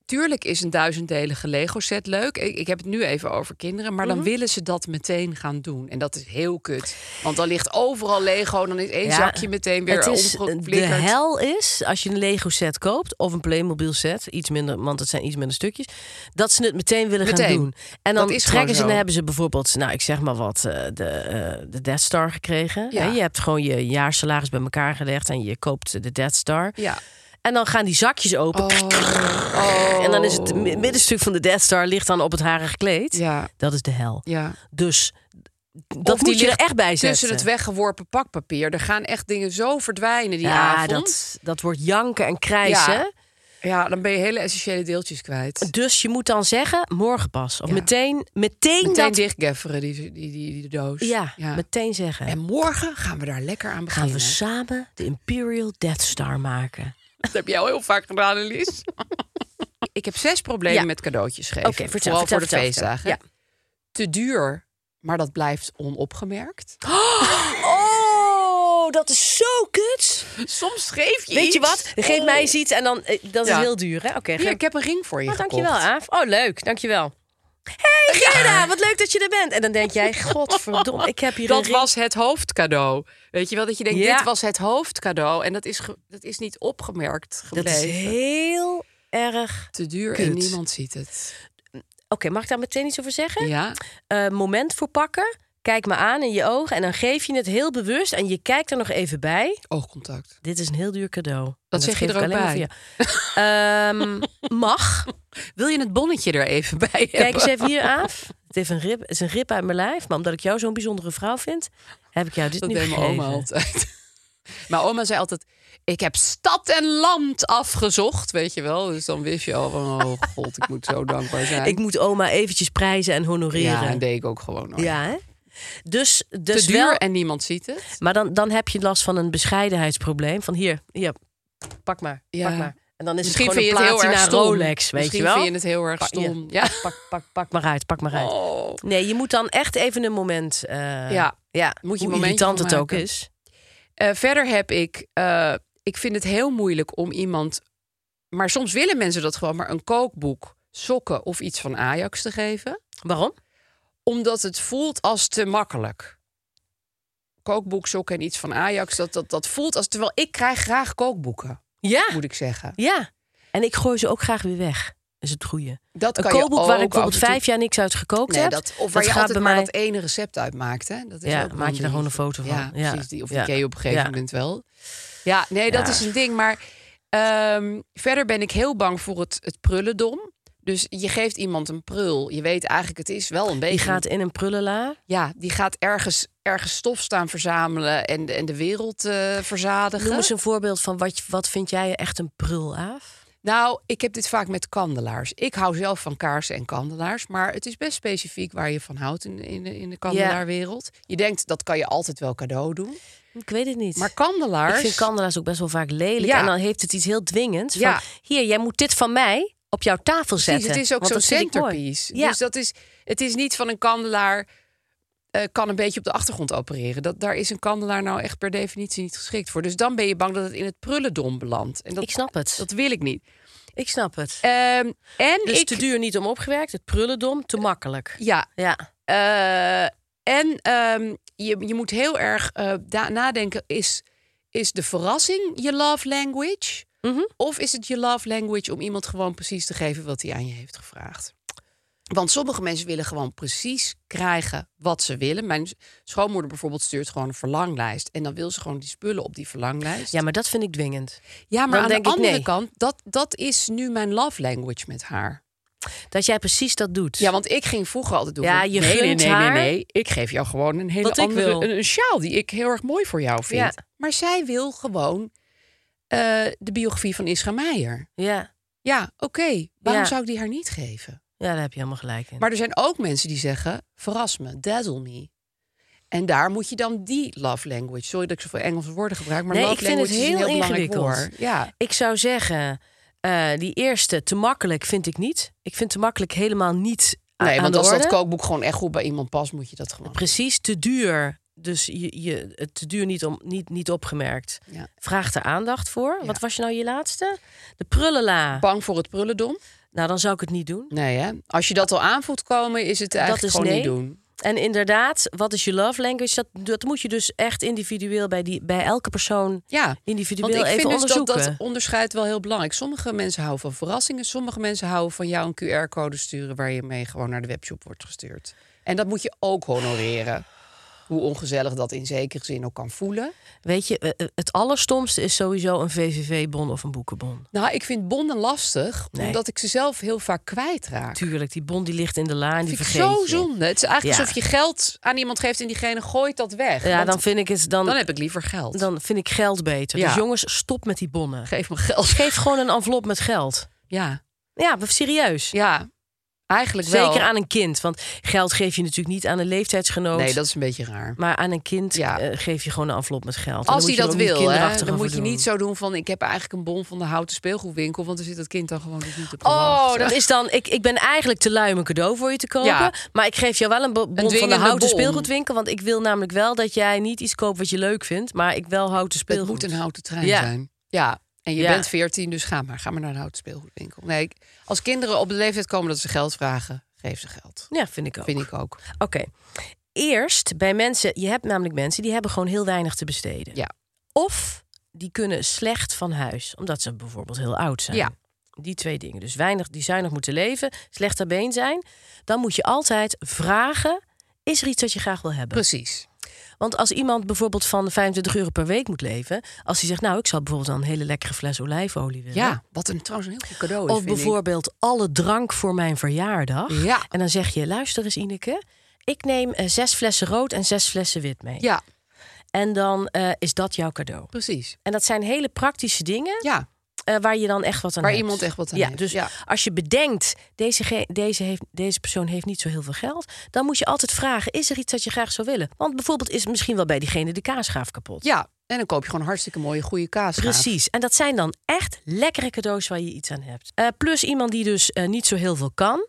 Speaker 2: tuurlijk is een duizenddelige Lego-set leuk. Ik, ik heb het nu even over kinderen. Maar
Speaker 3: Mhm.
Speaker 2: dan willen ze dat meteen gaan doen. En dat is heel kut. Want dan ligt overal Lego. Dan is één
Speaker 3: Ja,
Speaker 2: zakje meteen weer
Speaker 3: het is, de
Speaker 2: omgeflikkerd.
Speaker 3: hel is, als je een Lego set koopt of een Playmobil set, iets minder, want het zijn iets minder stukjes, dat ze het meteen willen gaan
Speaker 2: Meteen.
Speaker 3: doen. En
Speaker 2: Dat
Speaker 3: dan
Speaker 2: is
Speaker 3: trekken
Speaker 2: gewoon
Speaker 3: ze en dan
Speaker 2: zo.
Speaker 3: hebben ze bijvoorbeeld, nou ik zeg maar wat, eh, de, eh, de Death Star gekregen.
Speaker 2: Ja.
Speaker 3: Hè, Je hebt gewoon je jaarsalaris bij elkaar gelegd en je koopt de Death Star.
Speaker 2: Ja.
Speaker 3: En dan gaan die zakjes open.
Speaker 2: Oh.
Speaker 3: Oh. En dan is het mi- middenstuk van de Death Star ligt dan op het harige kleed.
Speaker 2: Ja,
Speaker 3: Dat is de hel.
Speaker 2: ja.
Speaker 3: Dus dat
Speaker 2: Of die
Speaker 3: moet je er
Speaker 2: ligt
Speaker 3: echt bij zetten.
Speaker 2: Tussen het weggeworpen pakpapier. Er gaan echt dingen zo verdwijnen die
Speaker 3: ja,
Speaker 2: avond.
Speaker 3: Dat, dat wordt janken en krijsen.
Speaker 2: Ja. Ja, dan ben je hele essentiële deeltjes kwijt.
Speaker 3: Dus je moet dan zeggen, morgen pas. Of
Speaker 2: Ja.
Speaker 3: meteen, meteen,
Speaker 2: Meteen
Speaker 3: dat...
Speaker 2: dichtgefferen, die, die, die, die doos.
Speaker 3: Ja, meteen zeggen.
Speaker 2: En morgen gaan we daar lekker aan beginnen.
Speaker 3: Gaan we samen de Imperial Death Star maken.
Speaker 2: Dat heb jij al heel vaak gedaan, Elise. ik heb zes problemen
Speaker 3: Ja.
Speaker 2: met cadeautjes geven.
Speaker 3: Oké, vertel,
Speaker 2: Vooral
Speaker 3: vertel,
Speaker 2: voor de
Speaker 3: vertel,
Speaker 2: feestdagen.
Speaker 3: vertel.
Speaker 2: Te duur, maar dat blijft onopgemerkt.
Speaker 3: Oh, dat is zo kut.
Speaker 2: Soms geef je
Speaker 3: Weet
Speaker 2: iets.
Speaker 3: je wat? Geef
Speaker 2: Oh.
Speaker 3: mij eens iets en dan... eh, Dat
Speaker 2: Ja.
Speaker 3: is heel duur, hè? Oké,
Speaker 2: Hier,
Speaker 3: geef-
Speaker 2: ik heb een ring voor je
Speaker 3: Oh,
Speaker 2: gekocht.
Speaker 3: dankjewel, Aaf. Oh, leuk. Dankjewel. Hey Gerda, wat leuk dat je er bent. En dan denk jij, godverdomme, ik heb hier een
Speaker 2: Dat
Speaker 3: ring.
Speaker 2: was het hoofdcadeau. Weet je wel, dat je denkt,
Speaker 3: Ja.
Speaker 2: dit was het hoofdcadeau. En dat is, ge- dat is niet opgemerkt
Speaker 3: Dat is
Speaker 2: gebleven.
Speaker 3: heel erg...
Speaker 2: te duur en
Speaker 3: kut.
Speaker 2: niemand ziet het.
Speaker 3: Oké, mag ik daar meteen iets over zeggen?
Speaker 2: Ja,
Speaker 3: eh, moment voor pakken. Kijk me aan in je ogen en dan geef je het heel bewust en je kijkt er nog even bij.
Speaker 2: oogcontact.
Speaker 3: Dit is een heel duur cadeau. En Dat,
Speaker 2: zeg je
Speaker 3: geef
Speaker 2: er
Speaker 3: ik
Speaker 2: ook
Speaker 3: alleen maar
Speaker 2: bij?
Speaker 3: voor jou. Ehm, mag.
Speaker 2: Wil je het bonnetje er even bij hebben?
Speaker 3: Kijk eens even hier af. Het, heeft een rib, het is een rib uit mijn lijf, maar omdat ik jou zo'n bijzondere vrouw vind, heb ik jou dit
Speaker 2: Dat
Speaker 3: nu
Speaker 2: deed mijn
Speaker 3: gegeven.
Speaker 2: oma altijd. Maar oma zei altijd: Ik heb stad en land afgezocht, weet je wel. Dus dan wist je al van: Oh god, ik moet zo dankbaar zijn.
Speaker 3: Ik moet oma eventjes prijzen en honoreren.
Speaker 2: oh ja, en deed ik ook gewoon. nooit.
Speaker 3: Ja, hè? Dus,
Speaker 2: Te
Speaker 3: dus
Speaker 2: duur
Speaker 3: wel, Dus
Speaker 2: en niemand ziet het.
Speaker 3: maar dan, dan heb je last van een bescheidenheidsprobleem. Van hier, hier pak maar,
Speaker 2: Ja.
Speaker 3: pak maar. En dan is
Speaker 2: Misschien
Speaker 3: het gewoon
Speaker 2: vind je
Speaker 3: een
Speaker 2: het heel erg
Speaker 3: platina
Speaker 2: stom.
Speaker 3: Rolex, weet
Speaker 2: Misschien
Speaker 3: je wel.
Speaker 2: vind je het heel erg
Speaker 3: Pa- ja.
Speaker 2: stom. Ja.
Speaker 3: Pak, pak, pak maar uit, pak maar uit.
Speaker 2: Oh.
Speaker 3: Nee, je moet dan echt even een moment... eh,
Speaker 2: Ja,
Speaker 3: ja,
Speaker 2: moet je een
Speaker 3: hoe
Speaker 2: momentje
Speaker 3: irritant
Speaker 2: van
Speaker 3: het ook
Speaker 2: maken.
Speaker 3: is.
Speaker 2: Eh, verder heb ik, eh, ik vind het heel moeilijk om iemand, maar soms willen mensen dat gewoon, maar een kookboek, sokken of iets van Ajax te geven,
Speaker 3: Waarom?
Speaker 2: omdat het voelt als te makkelijk. Kookboek, sokken en iets van Ajax, dat, dat, dat voelt als. Terwijl ik krijg graag kookboeken,
Speaker 3: Ja,
Speaker 2: moet ik zeggen.
Speaker 3: ja. En ik gooi ze ook graag weer weg. is het goede.
Speaker 2: Dat
Speaker 3: Een
Speaker 2: kan je
Speaker 3: kookboek waar ik
Speaker 2: ook af
Speaker 3: bijvoorbeeld
Speaker 2: en toe-
Speaker 3: vijf jaar niks uit gekookt
Speaker 2: Nee,
Speaker 3: heb.
Speaker 2: dat, of waar je
Speaker 3: gaat
Speaker 2: altijd
Speaker 3: bij
Speaker 2: maar
Speaker 3: mij.
Speaker 2: dat ene recept uit maakt. Hè? Dat is
Speaker 3: Ja,
Speaker 2: ook
Speaker 3: maak je daar gewoon een
Speaker 2: handig.
Speaker 3: foto van.
Speaker 2: Ja,
Speaker 3: Ja.
Speaker 2: precies. Die, of
Speaker 3: Ja.
Speaker 2: die ken je op een gegeven
Speaker 3: Ja.
Speaker 2: moment wel. Ja, nee, dat
Speaker 3: Ja.
Speaker 2: is een ding. Maar ehm, verder ben ik heel bang voor het, het prullendom. Dus je geeft iemand een prul. Je weet eigenlijk, het is wel een beetje...
Speaker 3: Die gaat in een prullenla.
Speaker 2: ja, die gaat ergens, ergens stof staan verzamelen en, en de wereld eh, verzadigen.
Speaker 3: Noem eens een voorbeeld van wat, je- wat vind jij echt een prul af?
Speaker 2: Nou, ik heb dit vaak met kandelaars. Ik hou zelf van kaarsen en kandelaars. Maar het is best specifiek waar je van houdt in, in, de- in de kandelaarwereld. Je denkt, dat kan je altijd wel cadeau doen.
Speaker 3: Ik weet het niet.
Speaker 2: Maar kandelaars...
Speaker 3: ik vind kandelaars ook best wel vaak lelijk.
Speaker 2: Ja.
Speaker 3: En dan heeft het iets heel dwingends.
Speaker 2: Ja.
Speaker 3: Van, hier, jij moet dit van mij op jouw tafel
Speaker 2: precies,
Speaker 3: zetten.
Speaker 2: het is ook
Speaker 3: want
Speaker 2: zo'n
Speaker 3: dat vind ik mooi.
Speaker 2: centerpiece.
Speaker 3: Ja.
Speaker 2: Dus dat is, het is niet van een kandelaar... eh, kan een beetje op de achtergrond opereren. Dat, daar is een kandelaar nou echt per definitie niet geschikt voor. Dus dan ben je bang dat het in het prullendom belandt. En dat,
Speaker 3: Ik snap het.
Speaker 2: dat wil ik niet.
Speaker 3: Ik snap het.
Speaker 2: Ehm, en
Speaker 3: dus
Speaker 2: ik...
Speaker 3: te duur niet om opgewerkt. Het prullendom te makkelijk.
Speaker 2: Ja,
Speaker 3: Ja.
Speaker 2: Eh, en ehm, je, je moet heel erg eh, da- nadenken: is, is de verrassing je love language?
Speaker 3: Mhm.
Speaker 2: Of is het je love language om iemand gewoon precies te geven wat hij aan je heeft gevraagd? Want sommige mensen willen gewoon precies krijgen wat ze willen. Mijn s- schoonmoeder bijvoorbeeld stuurt gewoon een verlanglijst. En dan wil ze gewoon die spullen op die verlanglijst.
Speaker 3: ja, maar dat vind ik dwingend.
Speaker 2: Ja, maar
Speaker 3: dan
Speaker 2: aan
Speaker 3: denk
Speaker 2: de
Speaker 3: ik
Speaker 2: andere
Speaker 3: nee.
Speaker 2: kant, dat, dat is nu mijn love language met haar.
Speaker 3: Dat jij precies dat doet.
Speaker 2: Ja, want ik ging vroeger altijd doen.
Speaker 3: Ja,
Speaker 2: van,
Speaker 3: je
Speaker 2: nee, nee,
Speaker 3: gunt
Speaker 2: nee,
Speaker 3: haar
Speaker 2: nee, nee. Ik geef jou gewoon een hele
Speaker 3: wat ik
Speaker 2: andere
Speaker 3: wil.
Speaker 2: Een, een sjaal die ik heel erg mooi voor jou vind.
Speaker 3: Ja.
Speaker 2: Maar zij wil gewoon eh, de biografie van Isra Meijer.
Speaker 3: ja.
Speaker 2: Ja, oké. Waarom
Speaker 3: Ja.
Speaker 2: zou ik die haar niet geven?
Speaker 3: Ja, daar heb je helemaal gelijk in.
Speaker 2: Maar er zijn ook mensen die zeggen: verras me, dazzle me. En daar moet je dan die love language. Sorry dat ik zoveel Engelse woorden gebruik, maar
Speaker 3: Nee,
Speaker 2: love
Speaker 3: ik vind het
Speaker 2: language is een
Speaker 3: heel
Speaker 2: heel belangrijk
Speaker 3: ingewikkeld.
Speaker 2: woord. Ja.
Speaker 3: Ik zou zeggen, eh, die eerste, te makkelijk vind ik niet. Ik vind te makkelijk helemaal niet a-
Speaker 2: Nee,
Speaker 3: aan
Speaker 2: want
Speaker 3: de
Speaker 2: als
Speaker 3: orde.
Speaker 2: dat kookboek gewoon echt goed bij iemand past, moet je dat gewoon.
Speaker 3: Precies, te duur. Dus je, je, het te duur niet, om, niet, niet opgemerkt.
Speaker 2: Ja.
Speaker 3: Vraag er aandacht voor.
Speaker 2: Ja.
Speaker 3: Wat was je nou je laatste? De prullenla.
Speaker 2: Bang voor het prullendom.
Speaker 3: Nou, dan zou ik het niet doen.
Speaker 2: Nee, hè? Als je dat al aanvoelt komen, is het eigenlijk
Speaker 3: is
Speaker 2: gewoon
Speaker 3: nee.
Speaker 2: niet doen.
Speaker 3: En inderdaad, wat is je love language? Dat, dat moet je dus echt individueel bij, die, bij elke persoon
Speaker 2: Ja,
Speaker 3: individueel
Speaker 2: want ik
Speaker 3: even
Speaker 2: vind dus dat,
Speaker 3: onderzoeken.
Speaker 2: dat onderscheid wel heel belangrijk. Sommige mensen houden van verrassingen. Sommige mensen houden van jou een QR-code sturen... waar je mee gewoon naar de webshop wordt gestuurd. En dat moet je ook honoreren. Hoe ongezellig dat in zekere zin ook kan voelen.
Speaker 3: Weet je, eh, eh, het allerstomste is sowieso een VVV-bon of een boekenbon.
Speaker 2: Nou, ik vind bonden lastig,
Speaker 3: Nee.
Speaker 2: omdat ik ze zelf heel vaak kwijtraak.
Speaker 3: Tuurlijk, die bon die ligt in de la en die
Speaker 2: vind ik
Speaker 3: vergeet
Speaker 2: zo
Speaker 3: je.
Speaker 2: zonde. Het is eigenlijk
Speaker 3: Ja.
Speaker 2: alsof je geld aan iemand geeft en diegene gooit dat weg.
Speaker 3: Ja,
Speaker 2: Want
Speaker 3: dan vind ik het dan,
Speaker 2: dan heb ik liever geld.
Speaker 3: dan vind ik geld beter.
Speaker 2: Ja.
Speaker 3: Dus jongens, stop met die bonnen.
Speaker 2: Geef me geld.
Speaker 3: Geef gewoon een envelop met geld.
Speaker 2: Ja,
Speaker 3: Ja, maar serieus.
Speaker 2: ja. eigenlijk wel.
Speaker 3: Zeker aan een kind, want geld geef je natuurlijk niet aan een leeftijdsgenoot.
Speaker 2: Nee, dat is een beetje raar.
Speaker 3: Maar aan een kind
Speaker 2: Ja.
Speaker 3: eh, geef je gewoon een envelop met geld. En dan
Speaker 2: Als hij
Speaker 3: moet je er
Speaker 2: dat
Speaker 3: ook niet
Speaker 2: wil, hè,
Speaker 3: kinderachtig
Speaker 2: dan
Speaker 3: over
Speaker 2: moet je
Speaker 3: doen.
Speaker 2: niet zo doen van... ik heb eigenlijk een bon van de houten speelgoedwinkel... want er zit dat kind dan gewoon dus niet op te
Speaker 3: Oh,
Speaker 2: wachten.
Speaker 3: dat is dan. Ik, ik ben eigenlijk te lui om een cadeau voor je te kopen.
Speaker 2: Ja.
Speaker 3: Maar ik geef jou wel een bo- bon van de
Speaker 2: dwingende
Speaker 3: houten
Speaker 2: bon.
Speaker 3: speelgoedwinkel. Want ik wil namelijk wel dat jij niet iets koopt wat je leuk vindt. Maar ik wel houten
Speaker 2: Het
Speaker 3: speelgoed.
Speaker 2: moet een houten trein
Speaker 3: Ja.
Speaker 2: zijn. Ja, en je
Speaker 3: Ja.
Speaker 2: bent 14, dus ga maar. Ga maar naar de houten speelgoedwinkel. Nee, ik- als kinderen op de leeftijd komen dat ze geld vragen... geef ze geld.
Speaker 3: Ja, vind ik ook.
Speaker 2: Vind ik ook.
Speaker 3: Oké. Eerst bij mensen. Je hebt namelijk mensen die hebben gewoon heel weinig te besteden.
Speaker 2: Ja.
Speaker 3: Of die kunnen slecht van huis, omdat ze bijvoorbeeld heel oud zijn.
Speaker 2: Ja.
Speaker 3: Die twee dingen. Dus weinig, die zuinig moeten leven, slecht ter been zijn. Dan moet je altijd vragen: is er iets dat je graag wil hebben?
Speaker 2: Precies.
Speaker 3: Want als iemand bijvoorbeeld van 25 euro per week moet leven, als hij zegt, nou, ik zou bijvoorbeeld dan een hele lekkere fles olijfolie willen.
Speaker 2: Ja, wat een, trouwens een heel goed cadeau is,
Speaker 3: Of
Speaker 2: vind ik.
Speaker 3: bijvoorbeeld alle drank voor mijn verjaardag.
Speaker 2: Ja.
Speaker 3: En dan zeg je, luister eens, Ineke, ik neem eh, zes flessen rood en zes flessen wit mee.
Speaker 2: Ja,
Speaker 3: En dan eh, is dat jouw cadeau.
Speaker 2: precies.
Speaker 3: En dat zijn hele praktische dingen
Speaker 2: Ja,
Speaker 3: eh, waar je dan echt wat aan
Speaker 2: Waar
Speaker 3: hebt.
Speaker 2: iemand echt wat aan
Speaker 3: ja,
Speaker 2: heeft,
Speaker 3: Dus
Speaker 2: ja.
Speaker 3: als je bedenkt, deze, ge- deze, heeft, deze persoon heeft niet zo heel veel geld... dan moet je altijd vragen, is er iets dat je graag zou willen? Want bijvoorbeeld is misschien wel bij diegene de kaasgaaf kapot.
Speaker 2: Ja, en dan koop je gewoon hartstikke mooie, goede kaas.
Speaker 3: Precies. En dat zijn dan echt lekkere cadeaus waar je iets aan hebt. Eh, plus iemand die dus eh, niet zo heel veel kan.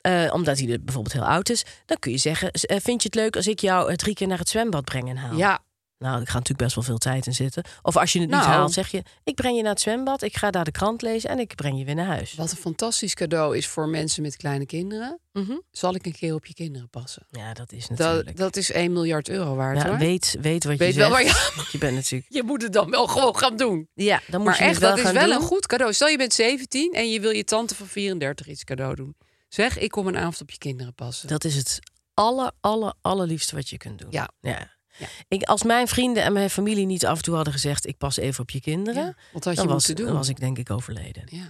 Speaker 3: eh, omdat hij er bijvoorbeeld heel oud is. Dan kun je zeggen, eh, vind je het leuk als ik jou eh, drie keer naar het zwembad breng en haal?
Speaker 2: Ja,
Speaker 3: Nou, er gaat natuurlijk best wel veel tijd in zitten. Of als je het niet
Speaker 2: Nou.
Speaker 3: haalt, zeg je... ik breng je naar het zwembad, ik ga daar de krant lezen... en ik breng je weer naar huis.
Speaker 2: wat een fantastisch cadeau is voor mensen met kleine kinderen.
Speaker 3: Mhm.
Speaker 2: Zal ik een keer op je kinderen passen?
Speaker 3: Ja, dat is
Speaker 2: Dat,
Speaker 3: natuurlijk...
Speaker 2: dat is 1 miljard euro waard.
Speaker 3: Ja,
Speaker 2: hoor.
Speaker 3: weet, weet wat
Speaker 2: Weet
Speaker 3: je
Speaker 2: wel
Speaker 3: zegt.
Speaker 2: waar je-
Speaker 3: Want je bent natuurlijk...
Speaker 2: Je moet het dan wel gewoon gaan doen.
Speaker 3: Ja, dan moet
Speaker 2: Maar
Speaker 3: je het
Speaker 2: echt, dat is
Speaker 3: gaan
Speaker 2: wel
Speaker 3: doen.
Speaker 2: een goed cadeau. Stel je bent 17 en je wil je tante van 34 iets cadeau doen. Zeg, ik kom een avond op je kinderen passen.
Speaker 3: Dat is het aller, aller, allerliefste wat je kunt doen.
Speaker 2: Ja.
Speaker 3: ja.
Speaker 2: Ja.
Speaker 3: Ik, als mijn vrienden en mijn familie niet af en toe hadden gezegd... ik pas even op je kinderen,
Speaker 2: Ja, wat had je
Speaker 3: dan, was,
Speaker 2: moeten doen?
Speaker 3: dan was ik denk ik overleden.
Speaker 2: Ja.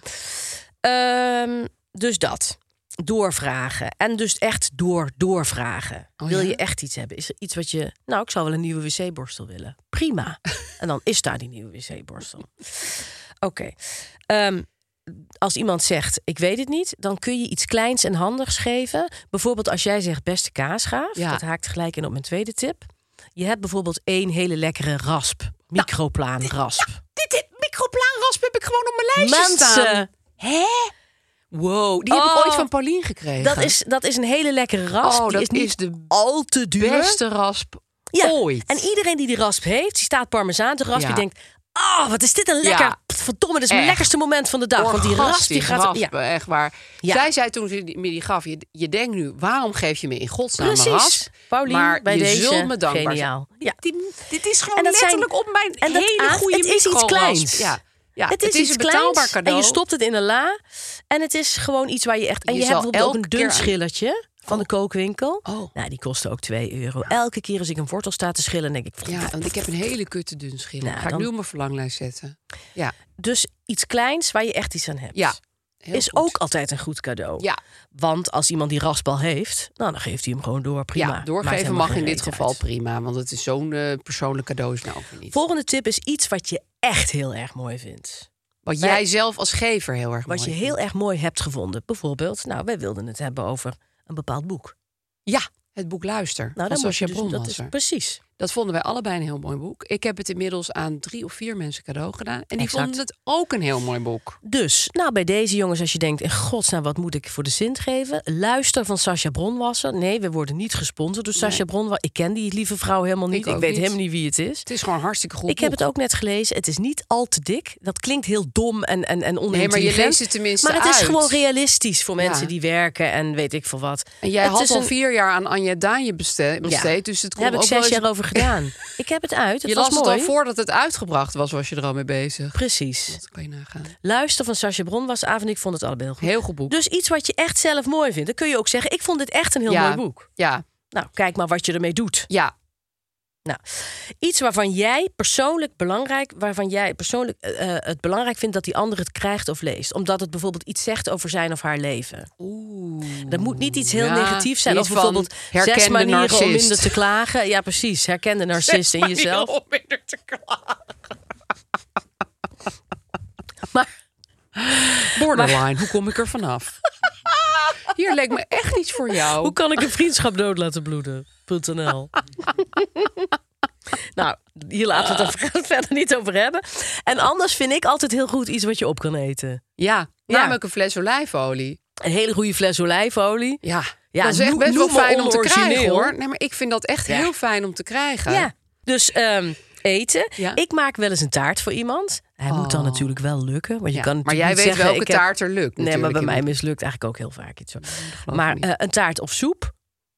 Speaker 3: Ehm, dus dat. Doorvragen. En dus echt door, doorvragen.
Speaker 2: Oh,
Speaker 3: Wil
Speaker 2: ja?
Speaker 3: je echt iets hebben? Is er iets wat je... Nou, ik zou wel een nieuwe wc-borstel willen. Prima. en dan is daar die nieuwe wc-borstel. Oké. Ehm, als iemand zegt, ik weet het niet... dan kun je iets kleins en handigs geven. Bijvoorbeeld als jij zegt, beste kaasgaaf.
Speaker 2: Ja.
Speaker 3: Dat haakt gelijk in op mijn tweede tip. Je hebt bijvoorbeeld één hele lekkere rasp. Microplaanrasp.
Speaker 2: Dit, dit microplaanrasp heb ik gewoon op mijn lijstje staan.
Speaker 3: Mensen,
Speaker 2: Wow, die heb
Speaker 3: Oh.
Speaker 2: ik ooit van Paulien gekregen.
Speaker 3: dat is, dat is een hele lekkere rasp.
Speaker 2: Oh,
Speaker 3: die
Speaker 2: dat
Speaker 3: is niet
Speaker 2: is de
Speaker 3: al te duur.
Speaker 2: beste rasp
Speaker 3: Ja.
Speaker 2: ooit.
Speaker 3: En iedereen die die rasp heeft, die staat parmezaan te rasp.
Speaker 2: Ja.
Speaker 3: Die denkt, oh, wat is dit een lekker...
Speaker 2: Ja.
Speaker 3: Pff, Verdomme, dit is mijn
Speaker 2: Echt.
Speaker 3: lekkerste moment van de dag. Oh, Want die rasp, die
Speaker 2: Orgastisch
Speaker 3: gaat...
Speaker 2: raspen,
Speaker 3: Ja,
Speaker 2: echt waar.
Speaker 3: Ja.
Speaker 2: Zij zei toen ze die- me die gaf, je, je denkt nu, waarom geef je me in godsnaam een
Speaker 3: precies.
Speaker 2: rasp?
Speaker 3: Paulien,
Speaker 2: maar
Speaker 3: bij
Speaker 2: je
Speaker 3: deze,
Speaker 2: zult me dankbaar zijn.
Speaker 3: geniaal. Ja.
Speaker 2: Die- dit is gewoon
Speaker 3: En dat zijn-
Speaker 2: letterlijk op mijn
Speaker 3: en dat
Speaker 2: hele
Speaker 3: aan-
Speaker 2: goede
Speaker 3: het is iets
Speaker 2: microrasp.
Speaker 3: kleins.
Speaker 2: Ja. Ja,
Speaker 3: het is, iets
Speaker 2: een betaalbaar
Speaker 3: kleins
Speaker 2: cadeau.
Speaker 3: en je stopt het in een la. En het is gewoon iets waar je echt... En
Speaker 2: Je
Speaker 3: je,
Speaker 2: zal
Speaker 3: hebt bijvoorbeeld ook
Speaker 2: elke
Speaker 3: een
Speaker 2: keer
Speaker 3: dun
Speaker 2: aan-
Speaker 3: schillertje van de kookwinkel.
Speaker 2: Oh.
Speaker 3: Nou, die kostte ook 2 euro. Elke keer als ik een wortel sta te schillen, denk ik...
Speaker 2: Ja, want ik heb een hele kutte dun schil.
Speaker 3: Nou,
Speaker 2: Ga ik
Speaker 3: dan-
Speaker 2: nu op mijn verlanglijst zetten. Ja,
Speaker 3: Dus iets kleins waar je echt iets aan hebt.
Speaker 2: ja. heel
Speaker 3: is
Speaker 2: goed.
Speaker 3: ook altijd een goed cadeau.
Speaker 2: Ja,
Speaker 3: Want als iemand die raspbal heeft, nou, dan geeft hij hem gewoon door. Prima.
Speaker 2: ja
Speaker 3: Maakt
Speaker 2: doorgeven
Speaker 3: helemaal
Speaker 2: mag in
Speaker 3: geen
Speaker 2: dit
Speaker 3: reet uit.
Speaker 2: geval prima. Want het is zo'n eh, persoonlijk cadeau is nou ook weer niet.
Speaker 3: Volgende tip is iets wat je echt heel erg mooi vindt.
Speaker 2: Wat
Speaker 3: Wij-
Speaker 2: jij zelf als gever heel erg
Speaker 3: Wat
Speaker 2: mooi
Speaker 3: je heel
Speaker 2: vindt.
Speaker 3: erg mooi hebt gevonden. Bijvoorbeeld, nou, wij wilden het hebben over een bepaald boek.
Speaker 2: Ja, het boek Luister.
Speaker 3: Nou,
Speaker 2: van
Speaker 3: moet
Speaker 2: Sascha
Speaker 3: je dus, dat
Speaker 2: Bronwasser.
Speaker 3: is precies.
Speaker 2: Dat vonden wij allebei een heel mooi boek. Ik heb het inmiddels aan drie of vier mensen cadeau gedaan. En die
Speaker 3: Exact.
Speaker 2: vonden het ook een heel mooi boek.
Speaker 3: Dus, nou, bij deze jongens, als je denkt, in godsnaam, wat moet ik voor de zint geven? Luister van Sascha Bronwasser. Nee, we worden niet gesponsord door Sascha Bronwasser. Ik ken die lieve vrouw helemaal niet. Ik,
Speaker 2: ook
Speaker 3: weet
Speaker 2: niet.
Speaker 3: helemaal niet wie het is.
Speaker 2: Het is gewoon een hartstikke goed
Speaker 3: Ik heb het ook net gelezen. Het is niet al te dik. Dat klinkt heel dom en, en, en
Speaker 2: Nee,
Speaker 3: onintelligent.
Speaker 2: maar je leest het tenminste
Speaker 3: Maar het is
Speaker 2: uit.
Speaker 3: gewoon realistisch voor mensen
Speaker 2: Ja.
Speaker 3: die werken en weet ik veel wat.
Speaker 2: En jij
Speaker 3: het
Speaker 2: had
Speaker 3: is
Speaker 2: al
Speaker 3: een-
Speaker 2: vier jaar aan Anja Daanje beste-
Speaker 3: Ja.
Speaker 2: besteed. Dus het
Speaker 3: Daar
Speaker 2: kon
Speaker 3: heb
Speaker 2: ook
Speaker 3: ik zes
Speaker 2: wel eens-
Speaker 3: jaar over gedaan. ik heb het uit. Het
Speaker 2: Je
Speaker 3: was
Speaker 2: las het
Speaker 3: mooi.
Speaker 2: al voordat het uitgebracht was, was je er al mee bezig.
Speaker 3: Precies.
Speaker 2: Dat kan je nagaan.
Speaker 3: Luister van Sascha Bron was avond. Ik vond het allebei heel goed.
Speaker 2: Heel goed boek.
Speaker 3: Dus iets wat je echt zelf mooi vindt. Dan kun je ook zeggen, ik vond dit echt een heel
Speaker 2: Ja.
Speaker 3: mooi boek.
Speaker 2: Ja,
Speaker 3: Nou, kijk maar wat je ermee doet.
Speaker 2: ja.
Speaker 3: Nou, iets waarvan jij persoonlijk belangrijk, waarvan jij persoonlijk eh, eh, het belangrijk vindt dat die ander het krijgt of leest, omdat het bijvoorbeeld iets zegt over zijn of haar leven.
Speaker 2: Oeh.
Speaker 3: Dat moet niet iets heel
Speaker 2: Ja,
Speaker 3: negatiefs zijn,
Speaker 2: iets
Speaker 3: of bijvoorbeeld
Speaker 2: van
Speaker 3: zes
Speaker 2: herkende
Speaker 3: manieren om
Speaker 2: narcist.
Speaker 3: minder te klagen. Ja, precies. Herkende narcist in jezelf.
Speaker 2: Om minder te klagen.
Speaker 3: Maar
Speaker 2: Borderline, hoe kom ik er vanaf? Hier leek me echt iets voor jou.
Speaker 3: hoe kan ik een vriendschap dood laten bloeden.nl Nou, hier laten we het dan verder niet over hebben. En anders vind ik altijd heel goed iets wat je op kan eten.
Speaker 2: Ja, namelijk een fles olijfolie.
Speaker 3: Een hele goede fles olijfolie.
Speaker 2: Ja,
Speaker 3: Ja,
Speaker 2: dat is echt
Speaker 3: noem-
Speaker 2: best wel
Speaker 3: noem me
Speaker 2: fijn om te krijgen
Speaker 3: onorigineel.
Speaker 2: hoor. Nee, maar ik vind dat echt heel fijn om te krijgen.
Speaker 3: Ja. Dus ehm, eten.
Speaker 2: Ja. Oh.
Speaker 3: Ik maak wel eens een taart voor iemand. Hij moet dan natuurlijk wel lukken. Want je
Speaker 2: Ja,
Speaker 3: kan
Speaker 2: maar
Speaker 3: natuurlijk
Speaker 2: jij
Speaker 3: niet
Speaker 2: weet
Speaker 3: zeggen,
Speaker 2: welke
Speaker 3: ik heb-
Speaker 2: taart er lukt
Speaker 3: Nee, maar
Speaker 2: natuurlijk
Speaker 3: bij mij
Speaker 2: iemand.
Speaker 3: mislukt eigenlijk ook heel vaak iets. hoor.
Speaker 2: ik
Speaker 3: maar
Speaker 2: niet.
Speaker 3: eh, een taart of soep.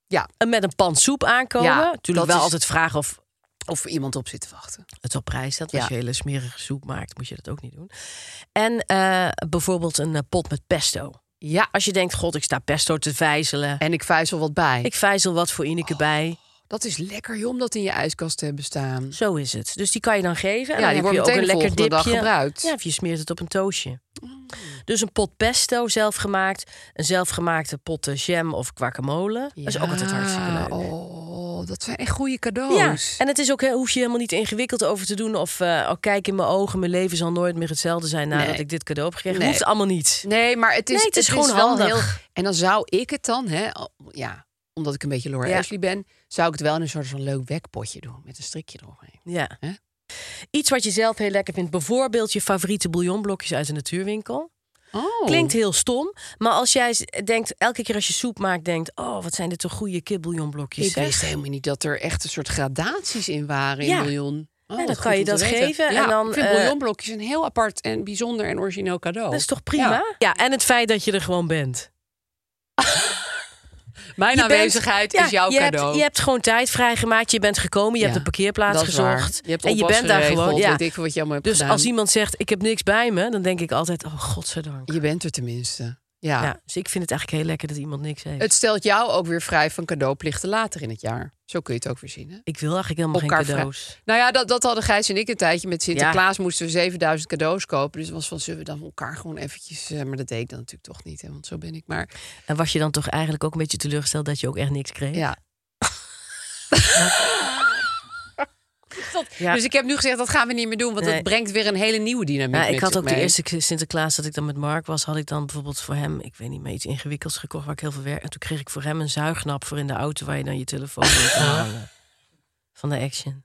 Speaker 2: Ja.
Speaker 3: En Met een pan soep aankomen.
Speaker 2: Ja,
Speaker 3: natuurlijk
Speaker 2: dat
Speaker 3: wel
Speaker 2: is-
Speaker 3: altijd vragen of
Speaker 2: Of iemand op zit te wachten.
Speaker 3: het op prijs staat. Als
Speaker 2: Ja.
Speaker 3: je hele smerige soep maakt, moet je dat ook niet doen. En eh, bijvoorbeeld een eh, pot met pesto.
Speaker 2: Ja,
Speaker 3: Als je denkt, god, ik sta pesto te vijzelen.
Speaker 2: en Oh. ik vijzel wat bij.
Speaker 3: Ik vijzel wat voor Ineke bij.
Speaker 2: Dat is lekker joh, om dat in je ijskast te hebben staan.
Speaker 3: Zo is het. Dus die kan je dan geven. En dan
Speaker 2: Ja, die
Speaker 3: heb
Speaker 2: wordt
Speaker 3: je ook
Speaker 2: meteen
Speaker 3: een
Speaker 2: de
Speaker 3: lekker
Speaker 2: volgende dag
Speaker 3: dipje.
Speaker 2: gebruikt. Oh.
Speaker 3: Ja, of je smeert het op een toastje. Dus een pot pesto zelfgemaakt. Een zelfgemaakte pot eh, jam of guacamole. Dat is ook altijd hartstikke leuk.
Speaker 2: Oh, Wauw, dat zijn echt goede cadeaus.
Speaker 3: en het is ook, hè, hoef je helemaal niet ingewikkeld over te doen. Of eh oh, kijk in mijn ogen, mijn leven zal nooit meer hetzelfde zijn nadat
Speaker 2: Nee.
Speaker 3: ik dit cadeau heb gekregen.
Speaker 2: Nee.
Speaker 3: Hoeft allemaal niet.
Speaker 2: Nee, maar het is,
Speaker 3: Nee, het is gewoon
Speaker 2: wel
Speaker 3: handig.
Speaker 2: heel. En dan zou ik het dan, hè, al- ja, omdat ik een beetje Laura
Speaker 3: Ja.
Speaker 2: Ashley ben, zou ik het wel in een soort van leuk wekpotje doen met een strikje eromheen.
Speaker 3: Ja.
Speaker 2: Hè?
Speaker 3: Iets wat je zelf heel lekker vindt, bijvoorbeeld je favoriete bouillonblokjes uit de natuurwinkel.
Speaker 2: Oh,
Speaker 3: Klinkt heel stom, maar als jij s- denkt, elke keer als je soep maakt, denkt: Oh, wat zijn dit toch goede kibbouillonblokjes?
Speaker 2: Ik
Speaker 3: zeg.
Speaker 2: wist helemaal niet dat er echt een soort gradaties in waren
Speaker 3: Ja.
Speaker 2: in bouillon.
Speaker 3: Ja,
Speaker 2: Oh,
Speaker 3: dan
Speaker 2: wat
Speaker 3: kan
Speaker 2: goed
Speaker 3: je
Speaker 2: om te
Speaker 3: dat
Speaker 2: weten.
Speaker 3: geven
Speaker 2: Ja,
Speaker 3: en dan,
Speaker 2: ik vind
Speaker 3: eh,
Speaker 2: bouillonblokjes een heel apart en bijzonder en origineel cadeau.
Speaker 3: Dat is toch prima? Ja.
Speaker 2: Ja.
Speaker 3: en het feit dat je er gewoon bent.
Speaker 2: Mijn
Speaker 3: Je bent-
Speaker 2: aanwezigheid
Speaker 3: ja,
Speaker 2: is jouw
Speaker 3: je
Speaker 2: cadeau.
Speaker 3: Hebt, je hebt gewoon tijd vrijgemaakt. Je bent gekomen. Je hebt
Speaker 2: Ja,
Speaker 3: een parkeerplaats
Speaker 2: Dat is waar.
Speaker 3: gezocht.
Speaker 2: Je hebt
Speaker 3: en je
Speaker 2: oppas
Speaker 3: bent daar
Speaker 2: geregeld,
Speaker 3: gewoon. Ja.
Speaker 2: Weet ik veel wat je allemaal hebt
Speaker 3: Dus
Speaker 2: gedaan.
Speaker 3: als iemand zegt: Ik heb niks bij me, dan denk ik altijd: Oh, godzijdank.
Speaker 2: Je bent er tenminste. Ja.
Speaker 3: Ja. dus ik vind het eigenlijk heel lekker dat iemand niks heeft.
Speaker 2: Het stelt jou ook weer vrij van cadeauplichten later in het jaar. Zo kun je het ook weer zien. Hè?
Speaker 3: ik wil eigenlijk helemaal geen
Speaker 2: Elkaar vrij-
Speaker 3: cadeaus.
Speaker 2: Nou ja, dat, dat hadden Gijs en ik een tijdje. Met Sinterklaas moesten we 7000 cadeaus kopen. Dus het was van, zullen we dan elkaar gewoon eventjes... eh, Maar dat deed ik dan natuurlijk toch niet, hè, want zo ben ik maar.
Speaker 3: En was je dan toch eigenlijk ook een beetje teleurgesteld dat je ook echt niks kreeg?
Speaker 2: Ja.
Speaker 3: Ja.
Speaker 2: Dus ik heb nu gezegd, dat gaan we niet meer doen. Want
Speaker 3: Nee.
Speaker 2: dat brengt weer een hele nieuwe dynamiek
Speaker 3: Ja, ik
Speaker 2: met
Speaker 3: had
Speaker 2: zich
Speaker 3: ook de
Speaker 2: mee.
Speaker 3: eerste keer Sinterklaas dat ik dan met Mark was, had ik dan bijvoorbeeld voor hem, ik weet niet meer, iets ingewikkelds gekocht waar ik heel veel werk. En toen kreeg ik voor hem een zuignap voor in de auto waar je dan je telefoon in kan hangen. Van de Action.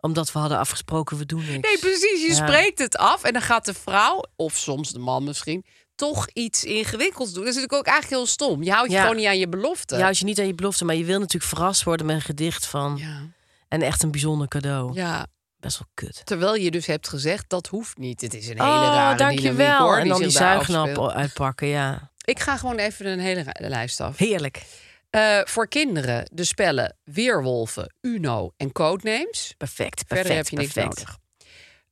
Speaker 3: Omdat we hadden afgesproken, we doen niks.
Speaker 2: Nee, precies. Je
Speaker 3: Ja.
Speaker 2: spreekt het af en dan gaat de vrouw, of soms de man misschien... toch iets ingewikkelds doen. Dat is natuurlijk ook eigenlijk heel stom. Je houdt
Speaker 3: Ja.
Speaker 2: je gewoon niet aan je belofte.
Speaker 3: Je houdt je niet aan je belofte, maar je wil natuurlijk verrast worden met een gedicht van.
Speaker 2: ja.
Speaker 3: En echt een bijzonder cadeau.
Speaker 2: ja,
Speaker 3: Best wel kut.
Speaker 2: terwijl je dus hebt gezegd, dat hoeft niet. Het is een hele
Speaker 3: oh,
Speaker 2: rare dynamiek,
Speaker 3: dankjewel.
Speaker 2: hoor,
Speaker 3: en dan die
Speaker 2: zich daar
Speaker 3: zuignap
Speaker 2: afspeelt.
Speaker 3: uitpakken, ja.
Speaker 2: Ik ga gewoon even een hele ra- lijst af.
Speaker 3: Heerlijk.
Speaker 2: Eh, voor kinderen de spellen Weerwolven, Uno en Codenames.
Speaker 3: Perfect, perfect,
Speaker 2: Verder heb je niks
Speaker 3: perfect.
Speaker 2: nodig.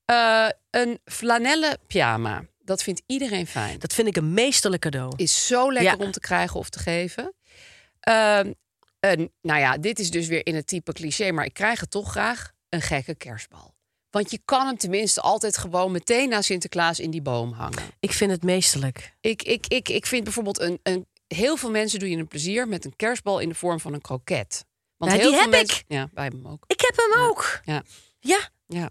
Speaker 2: Eh, een flanellen pyjama. Dat vindt iedereen fijn.
Speaker 3: Dat vind ik een meesterlijk cadeau.
Speaker 2: Is zo lekker
Speaker 3: Ja.
Speaker 2: om te krijgen of te geven. Ehm, een, nou ja, dit is dus weer in het type cliché, maar ik krijg het toch graag. Een gekke kerstbal. Want je kan hem tenminste altijd gewoon meteen na Sinterklaas in die boom hangen.
Speaker 3: Ik vind het meesterlijk.
Speaker 2: Ik, ik, ik, ik vind bijvoorbeeld een, een. Heel veel mensen doen je een plezier met een kerstbal in de vorm van een kroket. Want
Speaker 3: Ja,
Speaker 2: heel
Speaker 3: Nou, die
Speaker 2: veel
Speaker 3: heb
Speaker 2: mensen,
Speaker 3: ik.
Speaker 2: Ja, wij hebben hem ook.
Speaker 3: Ik heb hem ook.
Speaker 2: Ja.
Speaker 3: Ja,
Speaker 2: Ja.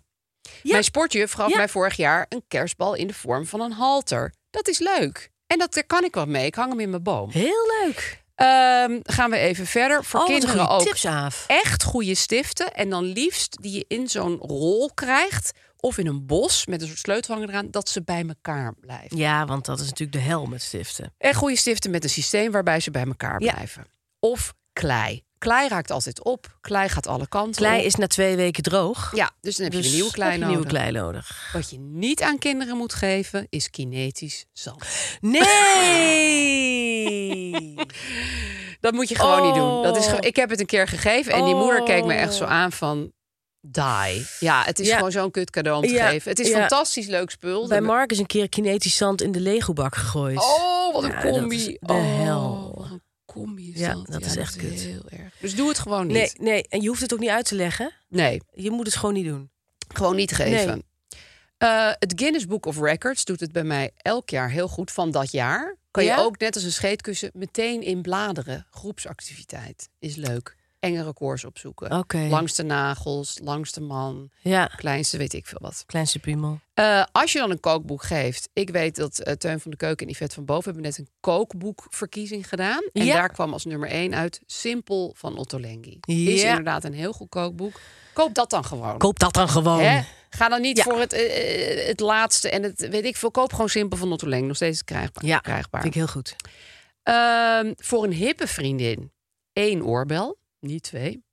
Speaker 3: Ja.
Speaker 2: Mijn sportjuf gaf
Speaker 3: Ja.
Speaker 2: mij vorig jaar een kerstbal in de vorm van een halter. Dat is leuk. En dat, daar kan ik wat mee. Ik hang hem in mijn boom.
Speaker 3: heel leuk.
Speaker 2: Ehm, gaan we even verder. Voor
Speaker 3: Oh, wat een
Speaker 2: kinderen
Speaker 3: goede
Speaker 2: ook
Speaker 3: tips, Aaf.
Speaker 2: echt goede stiften. En dan liefst die je in zo'n rol krijgt. Of in een bos met een soort sleutelhanger eraan. Dat ze bij elkaar blijven.
Speaker 3: Ja, want dat is natuurlijk de hel met stiften.
Speaker 2: En goede stiften met een systeem waarbij ze bij elkaar
Speaker 3: Ja.
Speaker 2: blijven. Of klei. Klei raakt altijd op. Klei gaat alle kanten
Speaker 3: Klei
Speaker 2: op.
Speaker 3: is na twee weken droog.
Speaker 2: Ja, dus dan heb je
Speaker 3: Dus
Speaker 2: een nieuwe klei
Speaker 3: heb je
Speaker 2: nodig.
Speaker 3: nieuwe klei nodig.
Speaker 2: Wat je niet aan kinderen moet geven, is kinetisch zand.
Speaker 3: Nee!
Speaker 2: Dat moet je gewoon niet doen. Dat is
Speaker 3: Oh.
Speaker 2: gewoon- ik heb het een keer gegeven en die moeder keek me echt zo
Speaker 3: Oh.
Speaker 2: aan van... Die. Ja, het is
Speaker 3: Ja.
Speaker 2: gewoon zo'n kut cadeau om te
Speaker 3: Ja,
Speaker 2: geven. Het is
Speaker 3: ja.
Speaker 2: fantastisch leuk spul.
Speaker 3: Bij
Speaker 2: De-
Speaker 3: Mark is een keer kinetisch zand in de Lego-bak gegooid.
Speaker 2: Oh, wat een
Speaker 3: Ja, dat
Speaker 2: combi.
Speaker 3: is de
Speaker 2: Oh,
Speaker 3: hel.
Speaker 2: wat een combi is
Speaker 3: Ja,
Speaker 2: dat.
Speaker 3: dat is echt kut.
Speaker 2: heel erg. Dus doe het gewoon niet.
Speaker 3: nee, nee, en je hoeft het ook niet uit te leggen.
Speaker 2: nee.
Speaker 3: Je moet het gewoon niet doen.
Speaker 2: Gewoon niet geven. Eh, het Guinness Book of Records doet het bij mij elk jaar heel goed van dat jaar. Kan
Speaker 3: Ja?
Speaker 2: je ook net als een scheetkussen meteen in bladeren. Groepsactiviteit is leuk. Enge records opzoeken.
Speaker 3: Oké.
Speaker 2: Langs de nagels, langs de man,
Speaker 3: Ja,
Speaker 2: kleinste weet ik veel wat.
Speaker 3: kleinste piemel.
Speaker 2: Eh, als je dan een kookboek geeft. Ik weet dat eh, Teun van de Keuken en Yvette van Boven hebben net een kookboekverkiezing gedaan. En
Speaker 3: Ja.
Speaker 2: daar kwam als nummer één uit Simpel van Otto Lengi. Is
Speaker 3: Ja.
Speaker 2: inderdaad een heel goed kookboek. Koop dat dan gewoon.
Speaker 3: Koop dat dan gewoon.
Speaker 2: Hè? Ga dan niet
Speaker 3: Ja.
Speaker 2: voor het, eh, eh, het laatste en het weet ik veel. Koop gewoon simpel van Nottoleng. Nog steeds krijgbaar.
Speaker 3: Ja,
Speaker 2: krijgbaar.
Speaker 3: Vind ik heel goed.
Speaker 2: Ehm, voor een hippe vriendin. één oorbel. Niet twee.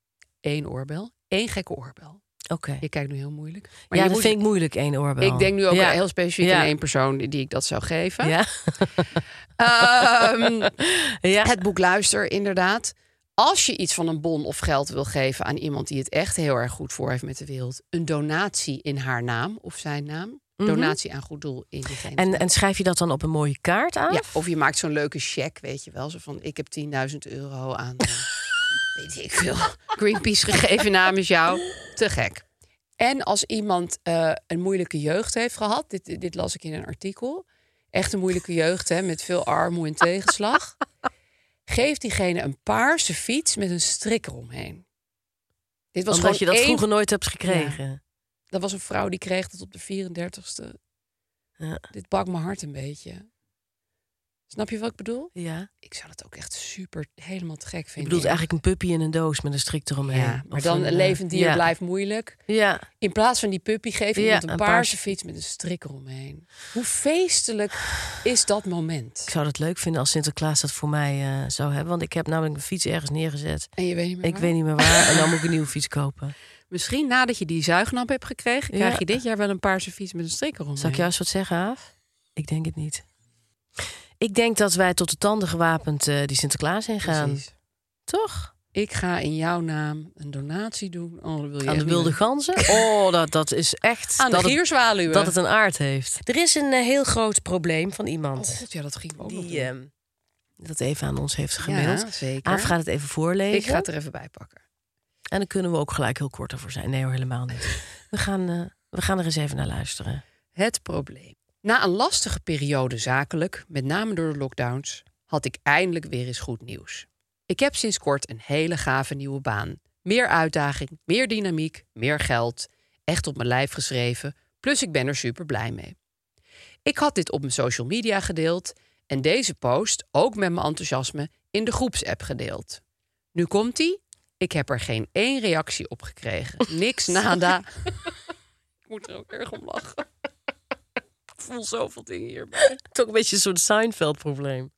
Speaker 2: Eén oorbel. Eén gekke oorbel.
Speaker 3: Oké.
Speaker 2: Je kijkt nu heel moeilijk. Maar
Speaker 3: Ja,
Speaker 2: je
Speaker 3: dat
Speaker 2: moet-
Speaker 3: vind ik moeilijk, één oorbel.
Speaker 2: ik denk nu ook
Speaker 3: Ja.
Speaker 2: heel specifiek
Speaker 3: Ja.
Speaker 2: aan één persoon die die ik dat zou geven.
Speaker 3: Ja.
Speaker 2: Ehm,
Speaker 3: ja.
Speaker 2: het boek Luister, inderdaad. Als je iets van een bon of geld wil geven aan iemand die het echt heel erg goed voor heeft met de wereld, een donatie in haar naam of zijn naam. Donatie aan goed doel in diegene.
Speaker 3: Mhm. En, en schrijf je dat dan op een mooie kaart aan?
Speaker 2: ja, of je maakt zo'n leuke cheque, weet je wel. Zo van, ik heb 10.000 euro aan, eh, weet ik veel, Greenpeace gegeven namens jou. Te gek. En als iemand eh, een moeilijke jeugd heeft gehad, dit, dit las ik in een artikel. Echt een moeilijke jeugd, hè, met veel armoede en tegenslag. Geef diegene een paarse fiets met een strik eromheen. Dit
Speaker 3: Omdat
Speaker 2: was gewoon
Speaker 3: je dat
Speaker 2: één-
Speaker 3: vroeger nooit hebt gekregen.
Speaker 2: Dat was een vrouw die kreeg dat op de 34ste.
Speaker 3: Ja.
Speaker 2: Dit bakt mijn hart een beetje. Snap je wat ik bedoel?
Speaker 3: Ja.
Speaker 2: Ik zou het ook echt super helemaal te gek
Speaker 3: Je
Speaker 2: vinden.
Speaker 3: bedoelt eigenlijk een puppy in een doos met een strik eromheen.
Speaker 2: Ja, maar
Speaker 3: Of
Speaker 2: dan
Speaker 3: een,
Speaker 2: een
Speaker 3: eh,
Speaker 2: levend dier
Speaker 3: ja.
Speaker 2: blijft moeilijk.
Speaker 3: Ja,
Speaker 2: In plaats van die puppy geef je
Speaker 3: Ja,
Speaker 2: iemand een,
Speaker 3: een
Speaker 2: paarse,
Speaker 3: paarse-
Speaker 2: fiets met een strik eromheen. Hoe feestelijk is dat moment?
Speaker 3: ik zou dat leuk vinden als Sinterklaas dat voor mij eh, zou hebben. Want ik heb namelijk mijn fiets ergens neergezet.
Speaker 2: En je weet niet meer
Speaker 3: Ik
Speaker 2: waar?
Speaker 3: weet niet meer waar. en dan moet ik een nieuwe fiets kopen.
Speaker 2: Misschien nadat je die zuignap hebt gekregen...
Speaker 3: Ja.
Speaker 2: krijg je dit jaar wel een paarse fiets met een strik eromheen.
Speaker 3: Zal ik juist wat zeggen, Aaf? Ik denk het niet. Ik denk dat wij tot de tanden gewapend eh, die Sinterklaas heen gaan.
Speaker 2: Precies.
Speaker 3: Toch?
Speaker 2: Ik ga in jouw naam een donatie doen. Oh, dat wil je
Speaker 3: Aan
Speaker 2: echt
Speaker 3: de
Speaker 2: niet
Speaker 3: wilde
Speaker 2: weten.
Speaker 3: ganzen. Oh, dat, dat is echt...
Speaker 2: Aan de
Speaker 3: dat het-
Speaker 2: gierzwaluwen.
Speaker 3: dat het een aard heeft. Er is een eh, heel groot probleem van iemand
Speaker 2: Oh god, ja, dat ging me ook nog
Speaker 3: die
Speaker 2: doen.
Speaker 3: ehm, dat even aan ons heeft gemaild.
Speaker 2: Ja, zeker.
Speaker 3: Aaf gaat het even voorlezen.
Speaker 2: Ik ga het er even bij pakken.
Speaker 3: En dan kunnen we ook gelijk heel kort over zijn. Nee hoor, helemaal niet. We gaan, eh, we gaan er eens even naar luisteren.
Speaker 2: Het probleem. Na een lastige periode zakelijk, met name door de lockdowns, had ik eindelijk weer eens goed nieuws. Ik heb sinds kort een hele gave nieuwe baan. Meer uitdaging, meer dynamiek, meer geld. Echt op mijn lijf geschreven. Plus ik ben er super blij mee. Ik had dit op mijn social media gedeeld en deze post ook met mijn enthousiasme in de groepsapp gedeeld. Nu komt ie. Ik heb er geen één reactie op gekregen. Niks, nada. Ik moet er ook erg om lachen. Ik voel zoveel dingen hierbij.
Speaker 3: Toch een beetje een soort Seinfeld-probleem.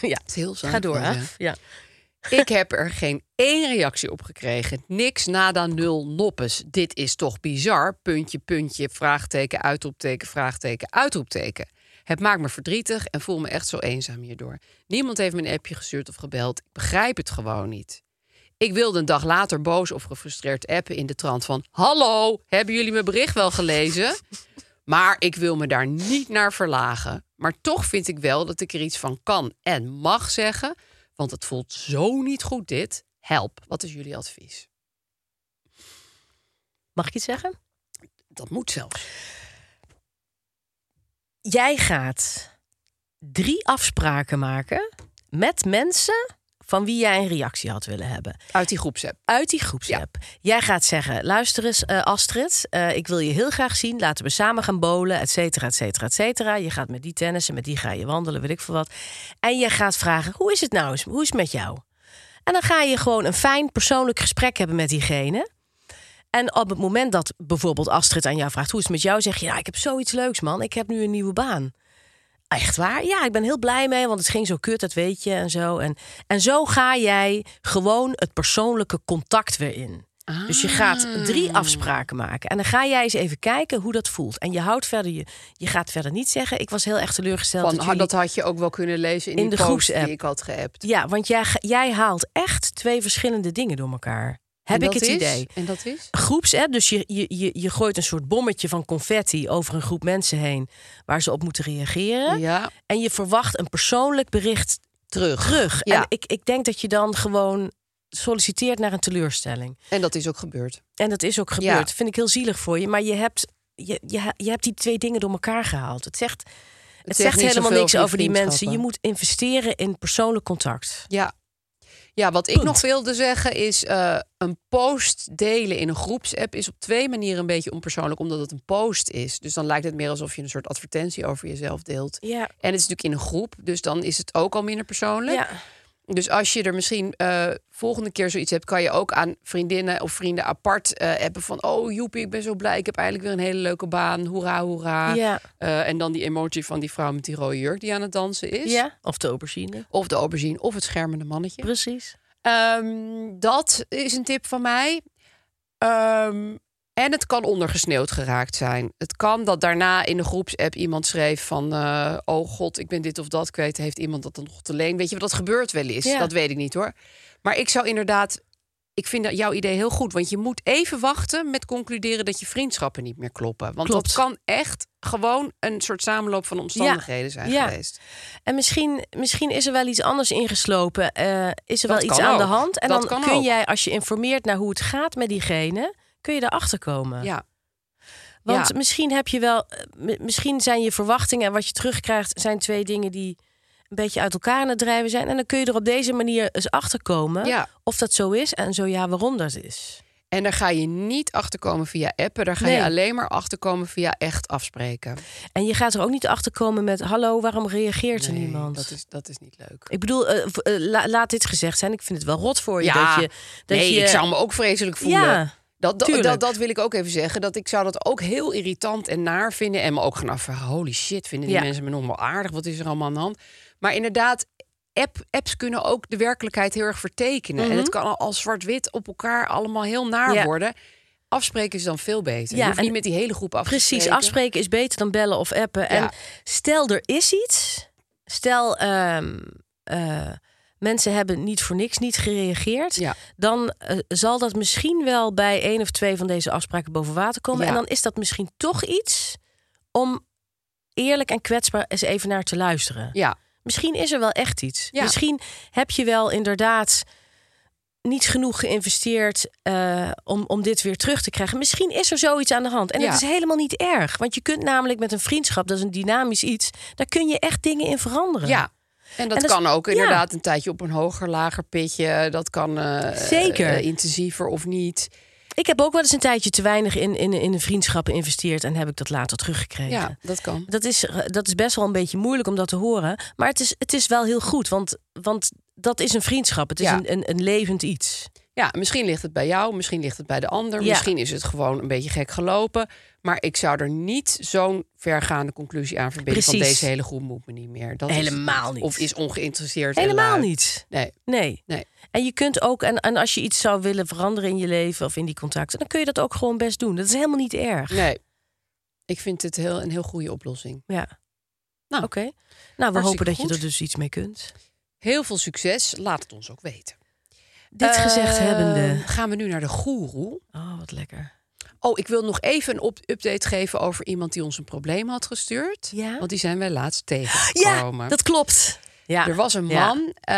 Speaker 3: ja,
Speaker 2: Het is heel oh
Speaker 3: ga door, hè? Ja.
Speaker 2: Ik heb er geen één reactie op gekregen. Niks, nada, nul, noppes. Dit is toch bizar? Puntje, puntje, vraagteken, uitroepteken, vraagteken, uitroepteken. Het maakt me verdrietig en voel me echt zo eenzaam hierdoor. Niemand heeft me een appje gestuurd of gebeld. Ik begrijp het gewoon niet. Ik wilde een dag later boos of gefrustreerd appen in de trant van... Hallo, hebben jullie mijn bericht wel gelezen? Maar ik wil me daar niet naar verlagen. Maar toch vind ik wel dat ik er iets van kan en mag zeggen. Want het voelt zo niet goed dit. Help, wat is jullie advies?
Speaker 3: Mag ik iets zeggen?
Speaker 2: Dat moet zelfs.
Speaker 3: Jij gaat drie afspraken maken met mensen van wie jij een reactie had willen hebben.
Speaker 2: Uit die groepsapp.
Speaker 3: uit die groepsapp. Jij gaat zeggen, luister eens eh, Astrid, eh, ik wil je heel graag zien. Laten we samen gaan bowlen, et cetera, et cetera, et cetera. Je gaat met die tennissen, met die ga je wandelen, weet ik veel wat. En je gaat vragen, hoe is het nou eens? Hoe is het met jou? En dan ga je gewoon een fijn persoonlijk gesprek hebben met diegene. En op het moment dat bijvoorbeeld Astrid aan jou vraagt, hoe is het met jou? Zeg je, nou ik heb zoiets leuks man, ik heb nu een nieuwe baan. Echt waar? Ja, ik ben heel blij mee, want het ging zo kut, dat weet je en zo. En, en zo ga jij gewoon het persoonlijke contact weer in. Dus je
Speaker 2: Ah.
Speaker 3: gaat drie afspraken maken. En dan ga jij eens even kijken hoe dat voelt. En je houdt verder je. Je gaat verder niet zeggen. Ik was heel erg teleurgesteld.
Speaker 2: Van,
Speaker 3: dat
Speaker 2: ha,
Speaker 3: jullie-
Speaker 2: dat had je ook wel kunnen lezen in,
Speaker 3: In
Speaker 2: die
Speaker 3: de
Speaker 2: post
Speaker 3: groepsapp.
Speaker 2: die ik had geappt.
Speaker 3: Ja, want jij, ga- jij haalt echt twee verschillende dingen door elkaar. Heb
Speaker 2: En
Speaker 3: ik
Speaker 2: dat
Speaker 3: het
Speaker 2: is-
Speaker 3: idee?
Speaker 2: En dat is?
Speaker 3: groepsapp. Dus je, je, je, je gooit een soort bommetje van confetti over een groep mensen heen waar ze op moeten reageren.
Speaker 2: Ja,
Speaker 3: En je verwacht een persoonlijk bericht
Speaker 2: terug.
Speaker 3: terug.
Speaker 2: Ja.
Speaker 3: En ik, ik denk dat je dan gewoon solliciteert naar een teleurstelling.
Speaker 2: En dat is ook gebeurd.
Speaker 3: En dat is ook gebeurd. Dat vind ik heel zielig voor je. Maar je hebt, je, je, je hebt die twee dingen door elkaar gehaald. Het zegt, het
Speaker 2: zegt
Speaker 3: zegt
Speaker 2: niet
Speaker 3: helemaal
Speaker 2: zoveel
Speaker 3: niks
Speaker 2: over je
Speaker 3: over die mensen. Je
Speaker 2: vriendschappen.
Speaker 3: moet investeren in persoonlijk contact.
Speaker 2: Ja. Ja, wat ik
Speaker 3: Punt.
Speaker 2: nog wilde zeggen is... eh, een post delen in een groepsapp is op twee manieren een beetje onpersoonlijk... omdat het een post is. Dus dan lijkt het meer alsof je een soort advertentie over jezelf deelt.
Speaker 3: Ja.
Speaker 2: En het is natuurlijk in een groep, dus dan is het ook al minder persoonlijk.
Speaker 3: Ja.
Speaker 2: Dus als je er misschien eh, volgende keer zoiets hebt, kan je ook aan vriendinnen of vrienden apart eh appen van: Oh, joepie, ik ben zo blij. Ik heb eindelijk weer een hele leuke baan. Hoera, hoera.
Speaker 3: Ja.
Speaker 2: Eh, en dan die emoji van die vrouw met die rode jurk die aan het dansen is.
Speaker 3: ja. Of de aubergine.
Speaker 2: Of de aubergine of het schermende mannetje.
Speaker 3: Precies.
Speaker 2: Ehm, dat is een tip van mij. Ehm, en het kan ondergesneeuwd geraakt zijn. Het kan dat daarna in de groepsapp iemand schreef van... eh, oh god, ik ben dit of dat kwijt. Heeft iemand dat dan nog te leen? Weet je, dat gebeurt wel eens.
Speaker 3: Ja.
Speaker 2: Dat weet ik niet hoor. Maar ik zou inderdaad... Ik vind dat jouw idee heel goed. Want je moet even wachten met concluderen dat je vriendschappen niet meer kloppen. Want
Speaker 3: Klopt.
Speaker 2: dat kan echt gewoon een soort samenloop van omstandigheden zijn
Speaker 3: Ja.
Speaker 2: geweest.
Speaker 3: En misschien, misschien is er wel iets anders ingeslopen. eh, is er
Speaker 2: Dat
Speaker 3: wel iets
Speaker 2: kan
Speaker 3: aan de
Speaker 2: ook.
Speaker 3: hand. En
Speaker 2: Dat
Speaker 3: dan
Speaker 2: kan
Speaker 3: kun
Speaker 2: ook.
Speaker 3: jij, als je informeert naar hoe het gaat met diegene, kun je erachter komen.
Speaker 2: Ja.
Speaker 3: Want
Speaker 2: Ja.
Speaker 3: misschien heb je wel, eh, mi- misschien zijn je verwachtingen en wat je terugkrijgt, zijn twee dingen die een beetje uit elkaar aan het drijven zijn. En dan kun je er op deze manier eens achter komen
Speaker 2: Ja.
Speaker 3: of dat zo is en zo ja, waarom dat is.
Speaker 2: En daar ga je niet achterkomen via appen. Daar ga je
Speaker 3: Nee.
Speaker 2: alleen maar achterkomen via echt afspreken.
Speaker 3: En je gaat er ook niet achter komen met: hallo, waarom reageert er
Speaker 2: Nee,
Speaker 3: niemand?
Speaker 2: Dat is, dat is niet leuk.
Speaker 3: Ik bedoel, eh, v- eh, la- laat dit gezegd zijn. Ik vind het wel rot voor je
Speaker 2: Ja,
Speaker 3: dat je. Dat
Speaker 2: nee,
Speaker 3: je
Speaker 2: ik zou me ook vreselijk voelen.
Speaker 3: Ja,
Speaker 2: dat, dat,
Speaker 3: tuurlijk.
Speaker 2: dat, dat wil ik ook even zeggen. Dat ik zou dat ook heel irritant en naar vinden. En me ook gaan afvragen, holy shit, vinden die
Speaker 3: Ja.
Speaker 2: mensen me nog wel aardig? Wat is er allemaal aan de hand? Maar inderdaad, app, apps kunnen ook de werkelijkheid heel erg vertekenen. En het kan al als zwart-wit op elkaar allemaal heel naar
Speaker 3: Mhm. Ja.
Speaker 2: worden. Afspreken is dan veel beter.
Speaker 3: Ja,
Speaker 2: je hoeft niet
Speaker 3: en-
Speaker 2: met die hele groep af te
Speaker 3: precies.
Speaker 2: spreken.
Speaker 3: Afspreken is beter dan bellen of appen. En
Speaker 2: Ja.
Speaker 3: stel er is iets. Stel ehm, eh, mensen hebben niet voor niks niet gereageerd.
Speaker 2: Ja.
Speaker 3: Dan eh, zal dat misschien wel bij één of twee van deze afspraken boven water komen.
Speaker 2: Ja.
Speaker 3: En dan is dat misschien toch iets om eerlijk en kwetsbaar eens even naar te luisteren.
Speaker 2: Ja,
Speaker 3: Misschien is er wel echt iets.
Speaker 2: Ja.
Speaker 3: Misschien heb je wel inderdaad niet genoeg geïnvesteerd eh, om, om dit weer terug te krijgen. Misschien is er zoiets aan de hand. En
Speaker 2: Ja.
Speaker 3: het is helemaal niet erg. Want je kunt namelijk met een vriendschap, dat is een dynamisch iets, daar kun je echt dingen in veranderen.
Speaker 2: ja. En dat
Speaker 3: En dat is-
Speaker 2: kan ook
Speaker 3: ja.
Speaker 2: inderdaad een tijdje op een hoger, lager pitje. Dat kan eh,
Speaker 3: Zeker.
Speaker 2: eh, intensiever of niet.
Speaker 3: Ik heb ook wel eens een tijdje te weinig in, in, in een vriendschap geïnvesteerd en heb ik dat later teruggekregen.
Speaker 2: Ja, dat kan.
Speaker 3: Dat is, dat is best wel een beetje moeilijk om dat te horen. Maar het is, het is wel heel goed, want, want dat is een vriendschap. Het is
Speaker 2: Ja.
Speaker 3: een, een, een levend iets.
Speaker 2: Ja, misschien ligt het bij jou, misschien ligt het bij de ander.
Speaker 3: Ja.
Speaker 2: Misschien is het gewoon een beetje gek gelopen. Maar ik zou er niet zo'n vergaande conclusie aan verbinden. Van
Speaker 3: Precies.
Speaker 2: deze hele groep moet me niet meer. Dat is-
Speaker 3: Helemaal niet.
Speaker 2: Of is ongeïnteresseerd. en
Speaker 3: Helemaal
Speaker 2: lui.
Speaker 3: niet.
Speaker 2: Nee,
Speaker 3: Nee.
Speaker 2: nee.
Speaker 3: En je kunt ook, en, en als je iets zou willen veranderen in je leven of in die contacten, dan kun je dat ook gewoon best doen. Dat is helemaal niet erg.
Speaker 2: nee. Ik vind het heel, een heel goede oplossing.
Speaker 3: Ja.
Speaker 2: Nou,
Speaker 3: Oké. Nou, we
Speaker 2: hartstikke
Speaker 3: hopen dat
Speaker 2: goed.
Speaker 3: je er dus iets mee kunt.
Speaker 2: Heel veel succes. Laat het ons ook weten.
Speaker 3: Dit
Speaker 2: Eh,
Speaker 3: gezegd hebbende.
Speaker 2: Gaan we nu naar de goeroe.
Speaker 3: Oh, wat lekker.
Speaker 2: Oh, ik wil nog even een op- update geven over iemand die ons een probleem had gestuurd.
Speaker 3: Ja.
Speaker 2: Want die zijn wij laatst
Speaker 3: Ja,
Speaker 2: tegengekomen.
Speaker 3: dat klopt. Ja.
Speaker 2: Er was een
Speaker 3: Ja.
Speaker 2: man. eh,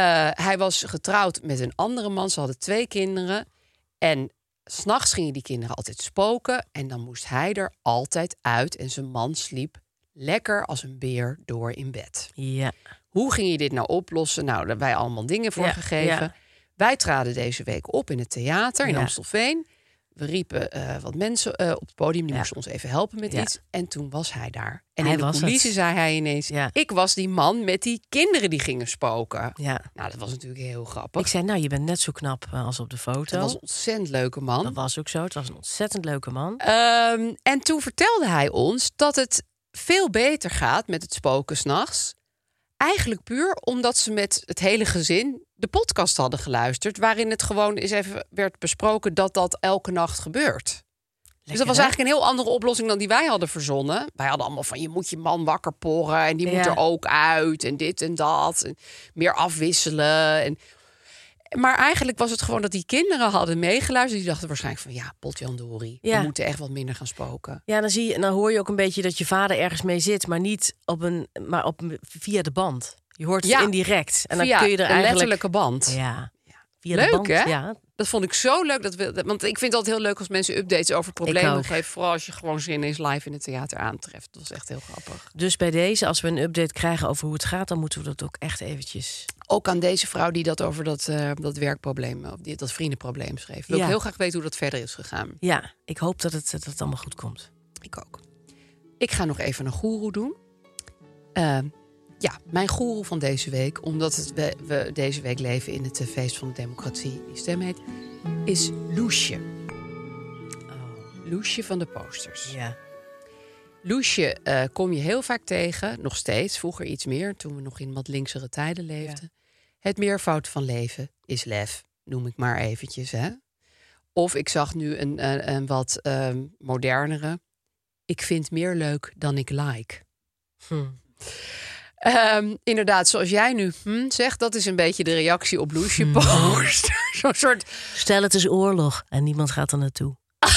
Speaker 2: hij was getrouwd met een andere man. Ze hadden twee kinderen. En s'nachts gingen die kinderen altijd spoken. En dan moest hij er altijd uit. En zijn man sliep lekker als een beer door in bed.
Speaker 3: Ja.
Speaker 2: Hoe ging je dit nou oplossen? Nou, daar hebben wij allemaal dingen voor
Speaker 3: Ja,
Speaker 2: gegeven.
Speaker 3: ja.
Speaker 2: Wij traden deze week op in het theater in
Speaker 3: Ja.
Speaker 2: Amstelveen. We riepen eh, wat mensen eh, op het podium. Die
Speaker 3: Ja.
Speaker 2: moesten ons even helpen met
Speaker 3: Ja.
Speaker 2: iets. En toen was hij daar. En
Speaker 3: Hij
Speaker 2: in de
Speaker 3: was het.
Speaker 2: coulissen zei hij ineens...
Speaker 3: Ja.
Speaker 2: ik was die man met die kinderen die gingen spoken.
Speaker 3: ja.
Speaker 2: Nou, dat was natuurlijk heel grappig.
Speaker 3: Ik zei, nou, je bent net zo knap eh, als op de foto.
Speaker 2: dat was een ontzettend leuke man.
Speaker 3: Dat was ook zo. Het was een ontzettend leuke man.
Speaker 2: Ehm, en toen vertelde hij ons dat het veel beter gaat met het spoken s'nachts. Eigenlijk puur omdat ze met het hele gezin de podcast hadden geluisterd. Waarin het gewoon eens even werd besproken dat dat elke nacht gebeurt. dus dat was
Speaker 3: hè?
Speaker 2: eigenlijk een heel andere oplossing dan die wij hadden verzonnen. Wij hadden allemaal van je moet je man wakker porren en die moet
Speaker 3: Ja.
Speaker 2: er ook uit en dit en dat. En meer afwisselen. En... Maar eigenlijk was het gewoon dat die kinderen hadden meegeluisterd. Die dachten waarschijnlijk van ja, potjan Dori,
Speaker 3: Ja.
Speaker 2: we moeten echt wat minder gaan spoken.
Speaker 3: Ja, dan, zie je, dan hoor je ook een beetje dat je vader ergens mee zit, maar niet op een, maar op een- via de band. Je hoort
Speaker 2: Ja.
Speaker 3: het indirect. En dan
Speaker 2: Via
Speaker 3: kun je er
Speaker 2: een
Speaker 3: eigenlijk.
Speaker 2: letterlijke band.
Speaker 3: Ja. Via
Speaker 2: Leuk,
Speaker 3: de band.
Speaker 2: hè?
Speaker 3: Ja.
Speaker 2: Dat vond ik zo leuk. Dat we, dat- want ik vind het altijd heel leuk als mensen updates over problemen
Speaker 3: ook.
Speaker 2: geven. Vooral als je gewoon zin eens live in het theater aantreft. Dat was echt heel grappig.
Speaker 3: Dus bij deze, als we een update krijgen over hoe het gaat, dan moeten we dat ook echt eventjes.
Speaker 2: Ook aan deze vrouw die dat over dat, eh, dat werkprobleem, of die, dat vriendenprobleem schreef. Wil
Speaker 3: Ja.
Speaker 2: ik heel graag weten hoe dat verder is gegaan.
Speaker 3: Ja, ik hoop dat het, dat het allemaal goed komt.
Speaker 2: Ik ook. Ik ga nog even een goeroe doen. Eh, ja, mijn goeroe van deze week, omdat het we, we deze week leven in het eh, feest van de democratie, die stem heet, is Loesje. Oh. Loesje van de posters.
Speaker 3: Ja.
Speaker 2: Loesje eh, kom je heel vaak tegen, nog steeds, vroeger iets meer, toen we nog in wat linksere tijden leefden. Het meervoud van leven is lef, noem ik maar eventjes. Hè? Of ik zag nu een, eh, een wat ehm, modernere. Ik vind meer leuk dan ik like.
Speaker 3: Hm.
Speaker 2: Ehm, inderdaad, zoals jij nu hm, zegt, dat is een beetje de reactie op Loesje
Speaker 3: Mhm.
Speaker 2: post. Zo'n soort
Speaker 3: Stel, het is oorlog en niemand gaat er naartoe.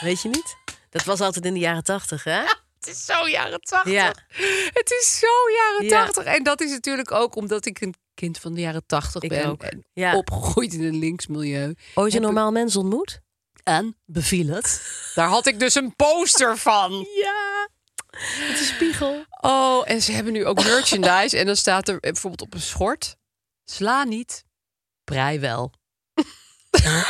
Speaker 3: Weet je niet? Dat was altijd in de jaren tachtig, hè?
Speaker 2: Het is zo jaren tachtig.
Speaker 3: Ja.
Speaker 2: Het is zo jaren
Speaker 3: Ja.
Speaker 2: tachtig. En dat is natuurlijk ook omdat ik een kind van de jaren tachtig
Speaker 3: Ik
Speaker 2: ben.
Speaker 3: ook.
Speaker 2: En
Speaker 3: Ja.
Speaker 2: opgegroeid in een links milieu.
Speaker 3: Ooit een
Speaker 2: Heb ik-
Speaker 3: normaal mens ontmoet?
Speaker 2: En beviel het. Daar had ik dus een poster van.
Speaker 3: Ja. Met de spiegel.
Speaker 2: Oh, en ze hebben nu ook merchandise. En dan staat er eh, bijvoorbeeld op een schort: sla niet, prei wel.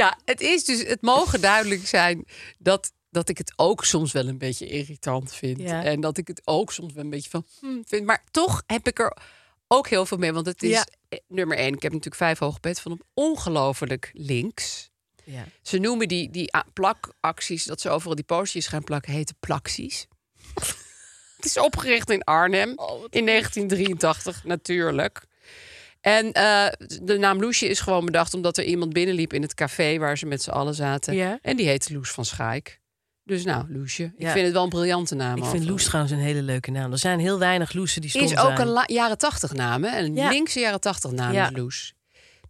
Speaker 2: ja, het is dus, het mogen duidelijk zijn dat, dat ik het ook soms wel een beetje irritant vind.
Speaker 3: Ja.
Speaker 2: En dat ik het ook soms wel een beetje van hmm, vind. Maar toch heb ik er ook heel veel mee, want het is
Speaker 3: Ja.
Speaker 2: eh, nummer één. Ik heb natuurlijk vijf hoge pet van hem. Ongelooflijk links.
Speaker 3: Ja.
Speaker 2: Ze noemen die, die a- plakacties, dat ze overal die postjes gaan plakken, heten plakties. het is opgericht in Arnhem
Speaker 3: Oh,
Speaker 2: in 1983, natuurlijk. En eh, de naam Loesje is gewoon bedacht omdat er iemand binnenliep in het café waar ze met z'n allen zaten.
Speaker 3: Ja.
Speaker 2: En die heette Loes van Schaik. Dus nou, Loesje. Ik
Speaker 3: Ja.
Speaker 2: vind het wel een briljante naam.
Speaker 3: Ik vind
Speaker 2: overigens.
Speaker 3: Loes trouwens een hele leuke naam. Er zijn heel weinig Loesen die stom
Speaker 2: Is ook
Speaker 3: zijn.
Speaker 2: een la- jaren tachtig naam, hè? Een
Speaker 3: Ja.
Speaker 2: linkse jaren tachtig naam
Speaker 3: Ja.
Speaker 2: is Loes.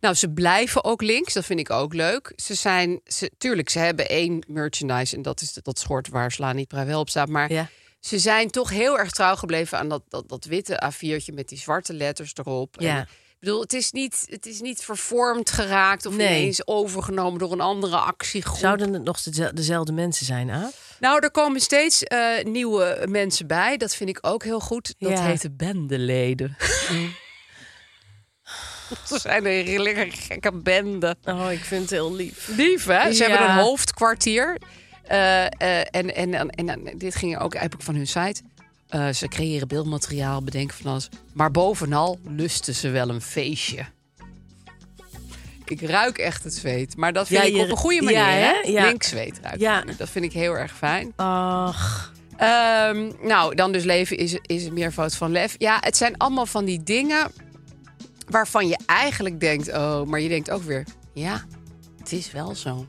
Speaker 2: Nou, ze blijven ook links. Dat vind ik ook leuk. Ze zijn, ze, tuurlijk, ze hebben één merchandise. En dat is dat schort waar Sla niet Pra wel op staat. Maar
Speaker 3: Ja.
Speaker 2: ze zijn toch heel erg trouw gebleven aan dat, dat, dat witte A4'tje met die zwarte letters erop.
Speaker 3: Ja.
Speaker 2: En, ik bedoel, het is, niet, het is niet vervormd geraakt of
Speaker 3: Nee.
Speaker 2: ineens overgenomen door een andere actiegroep.
Speaker 3: Zouden het nog deze- dezelfde mensen zijn, Aaf?
Speaker 2: Nou, er komen steeds eh, nieuwe mensen bij. Dat vind ik ook heel goed. Dat
Speaker 3: Ja.
Speaker 2: heet de bendeleden. Ze zijn een hele gekke bende.
Speaker 3: Oh, ik vind het heel lief.
Speaker 2: Lief, hè? Ze
Speaker 3: Ja.
Speaker 2: hebben een hoofdkwartier. Eh, eh, en, en, en, en- en dit ging ook eigenlijk van hun site. Eh, ze creëren beeldmateriaal, bedenken van alles. Maar bovenal lusten ze wel een feestje. Ik ruik echt het zweet. Maar dat vind
Speaker 3: Ja,
Speaker 2: ik
Speaker 3: je-
Speaker 2: op een goede manier.
Speaker 3: ja,
Speaker 2: hè?
Speaker 3: hè? Ja.
Speaker 2: Linkzweet ruik ik
Speaker 3: Ja.
Speaker 2: nu. Dat vind ik heel erg fijn.
Speaker 3: Ach,
Speaker 2: Ehm, nou, dan dus leven is, is een meervoud van lef. Ja, het zijn allemaal van die dingen waarvan je eigenlijk denkt... oh, maar je denkt ook weer... ja, het is wel zo.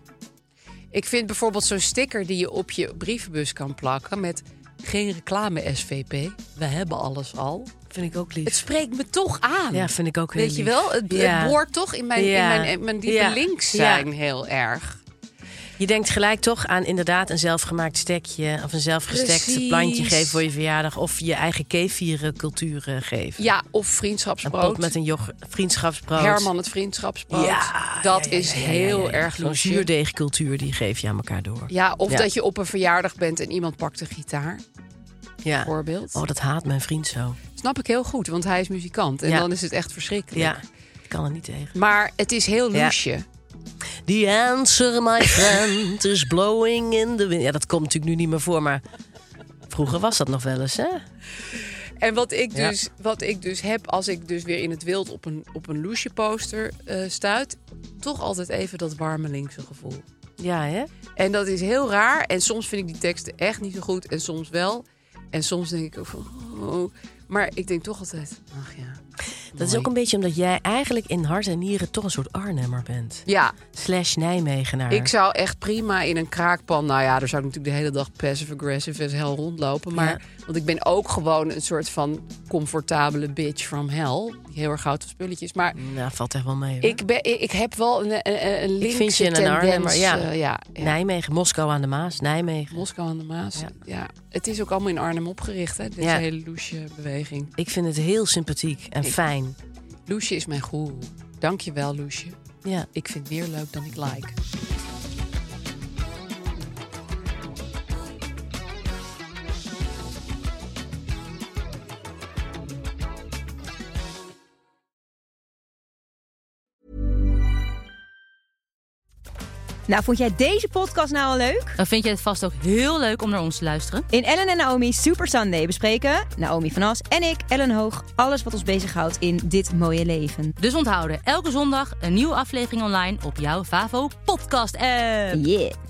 Speaker 2: Ik vind bijvoorbeeld zo'n sticker die je op je brievenbus kan plakken... met geen reclame SVP, we hebben alles al.
Speaker 3: vind ik ook
Speaker 2: Het
Speaker 3: lief.
Speaker 2: spreekt me toch aan.
Speaker 3: Ja, vind ik ook heel
Speaker 2: Weet je
Speaker 3: lief.
Speaker 2: wel, het,
Speaker 3: Ja.
Speaker 2: het boort toch in mijn,
Speaker 3: Ja.
Speaker 2: in mijn, in mijn diepe
Speaker 3: Ja.
Speaker 2: links
Speaker 3: Ja.
Speaker 2: zijn heel erg.
Speaker 3: Je denkt gelijk toch aan inderdaad een zelfgemaakt stekje... of een zelfgestekt
Speaker 2: Precies.
Speaker 3: plantje geven voor je verjaardag... of je eigen kevieren cultuur eh, geven.
Speaker 2: Ja, of
Speaker 3: Een
Speaker 2: vriendschapsbrood.
Speaker 3: pot met een yoghurt, vriendschapsbrood.
Speaker 2: Herman het vriendschapsbrood.
Speaker 3: Ja,
Speaker 2: dat
Speaker 3: ja, ja,
Speaker 2: is
Speaker 3: ja, ja,
Speaker 2: heel
Speaker 3: ja, ja.
Speaker 2: erg
Speaker 3: Zo'n
Speaker 2: losje.
Speaker 3: zuurdeegcultuur, die geef je aan elkaar door.
Speaker 2: Ja, of
Speaker 3: Ja.
Speaker 2: dat je op een verjaardag bent en iemand pakt een gitaar,
Speaker 3: Ja.
Speaker 2: bijvoorbeeld.
Speaker 3: Oh, dat haat mijn vriend zo.
Speaker 2: Snap ik heel goed, want hij is muzikant. En
Speaker 3: Ja.
Speaker 2: dan is het echt verschrikkelijk.
Speaker 3: Ja, ik kan er niet tegen.
Speaker 2: Maar het is heel
Speaker 3: Ja.
Speaker 2: loesje.
Speaker 3: The answer, my friend, is blowing in the wind. Ja, dat komt natuurlijk nu niet meer voor, maar vroeger was dat nog wel eens, hè?
Speaker 2: En wat ik,
Speaker 3: Ja.
Speaker 2: dus, wat ik dus heb als ik dus weer in het wild op een, op een loesje poster eh, stuit... toch altijd even dat warme linkse gevoel.
Speaker 3: Ja, hè?
Speaker 2: En dat is heel raar. En soms vind ik die teksten echt niet zo goed. En soms wel. En soms denk ik ook van... Oh. Maar ik denk toch altijd... Ach ja.
Speaker 3: Dat is ook een beetje omdat jij eigenlijk in hart en nieren toch een soort Arnhemmer bent.
Speaker 2: Ja,
Speaker 3: Slash Nijmegenaar.
Speaker 2: Ik zou echt prima in een kraakpan. Nou ja, daar zou ik natuurlijk de hele dag passive aggressive as hell rondlopen. Maar want ik ben ook gewoon een soort van comfortabele bitch from hell. Die heel erg houdt van spulletjes. Maar
Speaker 3: Nou, valt echt wel mee, hoor.
Speaker 2: ik, ben, ik ik heb wel een, een, een- een linkse
Speaker 3: vind je een
Speaker 2: tendens.
Speaker 3: Arnhemmer, ja.
Speaker 2: eh, ja, ja.
Speaker 3: Nijmegen, Moskou aan de Maas, Nijmegen.
Speaker 2: Moskou aan de Maas. Ja.
Speaker 3: Ja.
Speaker 2: Het is ook allemaal in Arnhem opgericht, hè? Deze
Speaker 3: Ja.
Speaker 2: hele loesje beweging.
Speaker 3: Ik vind het heel sympathiek en fijn.
Speaker 2: Loesje is mijn goeroe. Dank je wel, Loesje.
Speaker 3: Ja.
Speaker 2: Ik vind meer leuk dan ik like.
Speaker 5: Nou, vond jij deze podcast nou al leuk?
Speaker 6: Dan vind je het vast ook heel leuk om naar ons te luisteren.
Speaker 5: In Ellen en Naomi Super Sunday bespreken Naomi van As en ik, Ellen Hoog, alles wat ons bezighoudt in dit mooie leven.
Speaker 6: Dus onthouden, elke zondag een nieuwe aflevering online op jouw Favo podcast app.
Speaker 5: Yeah.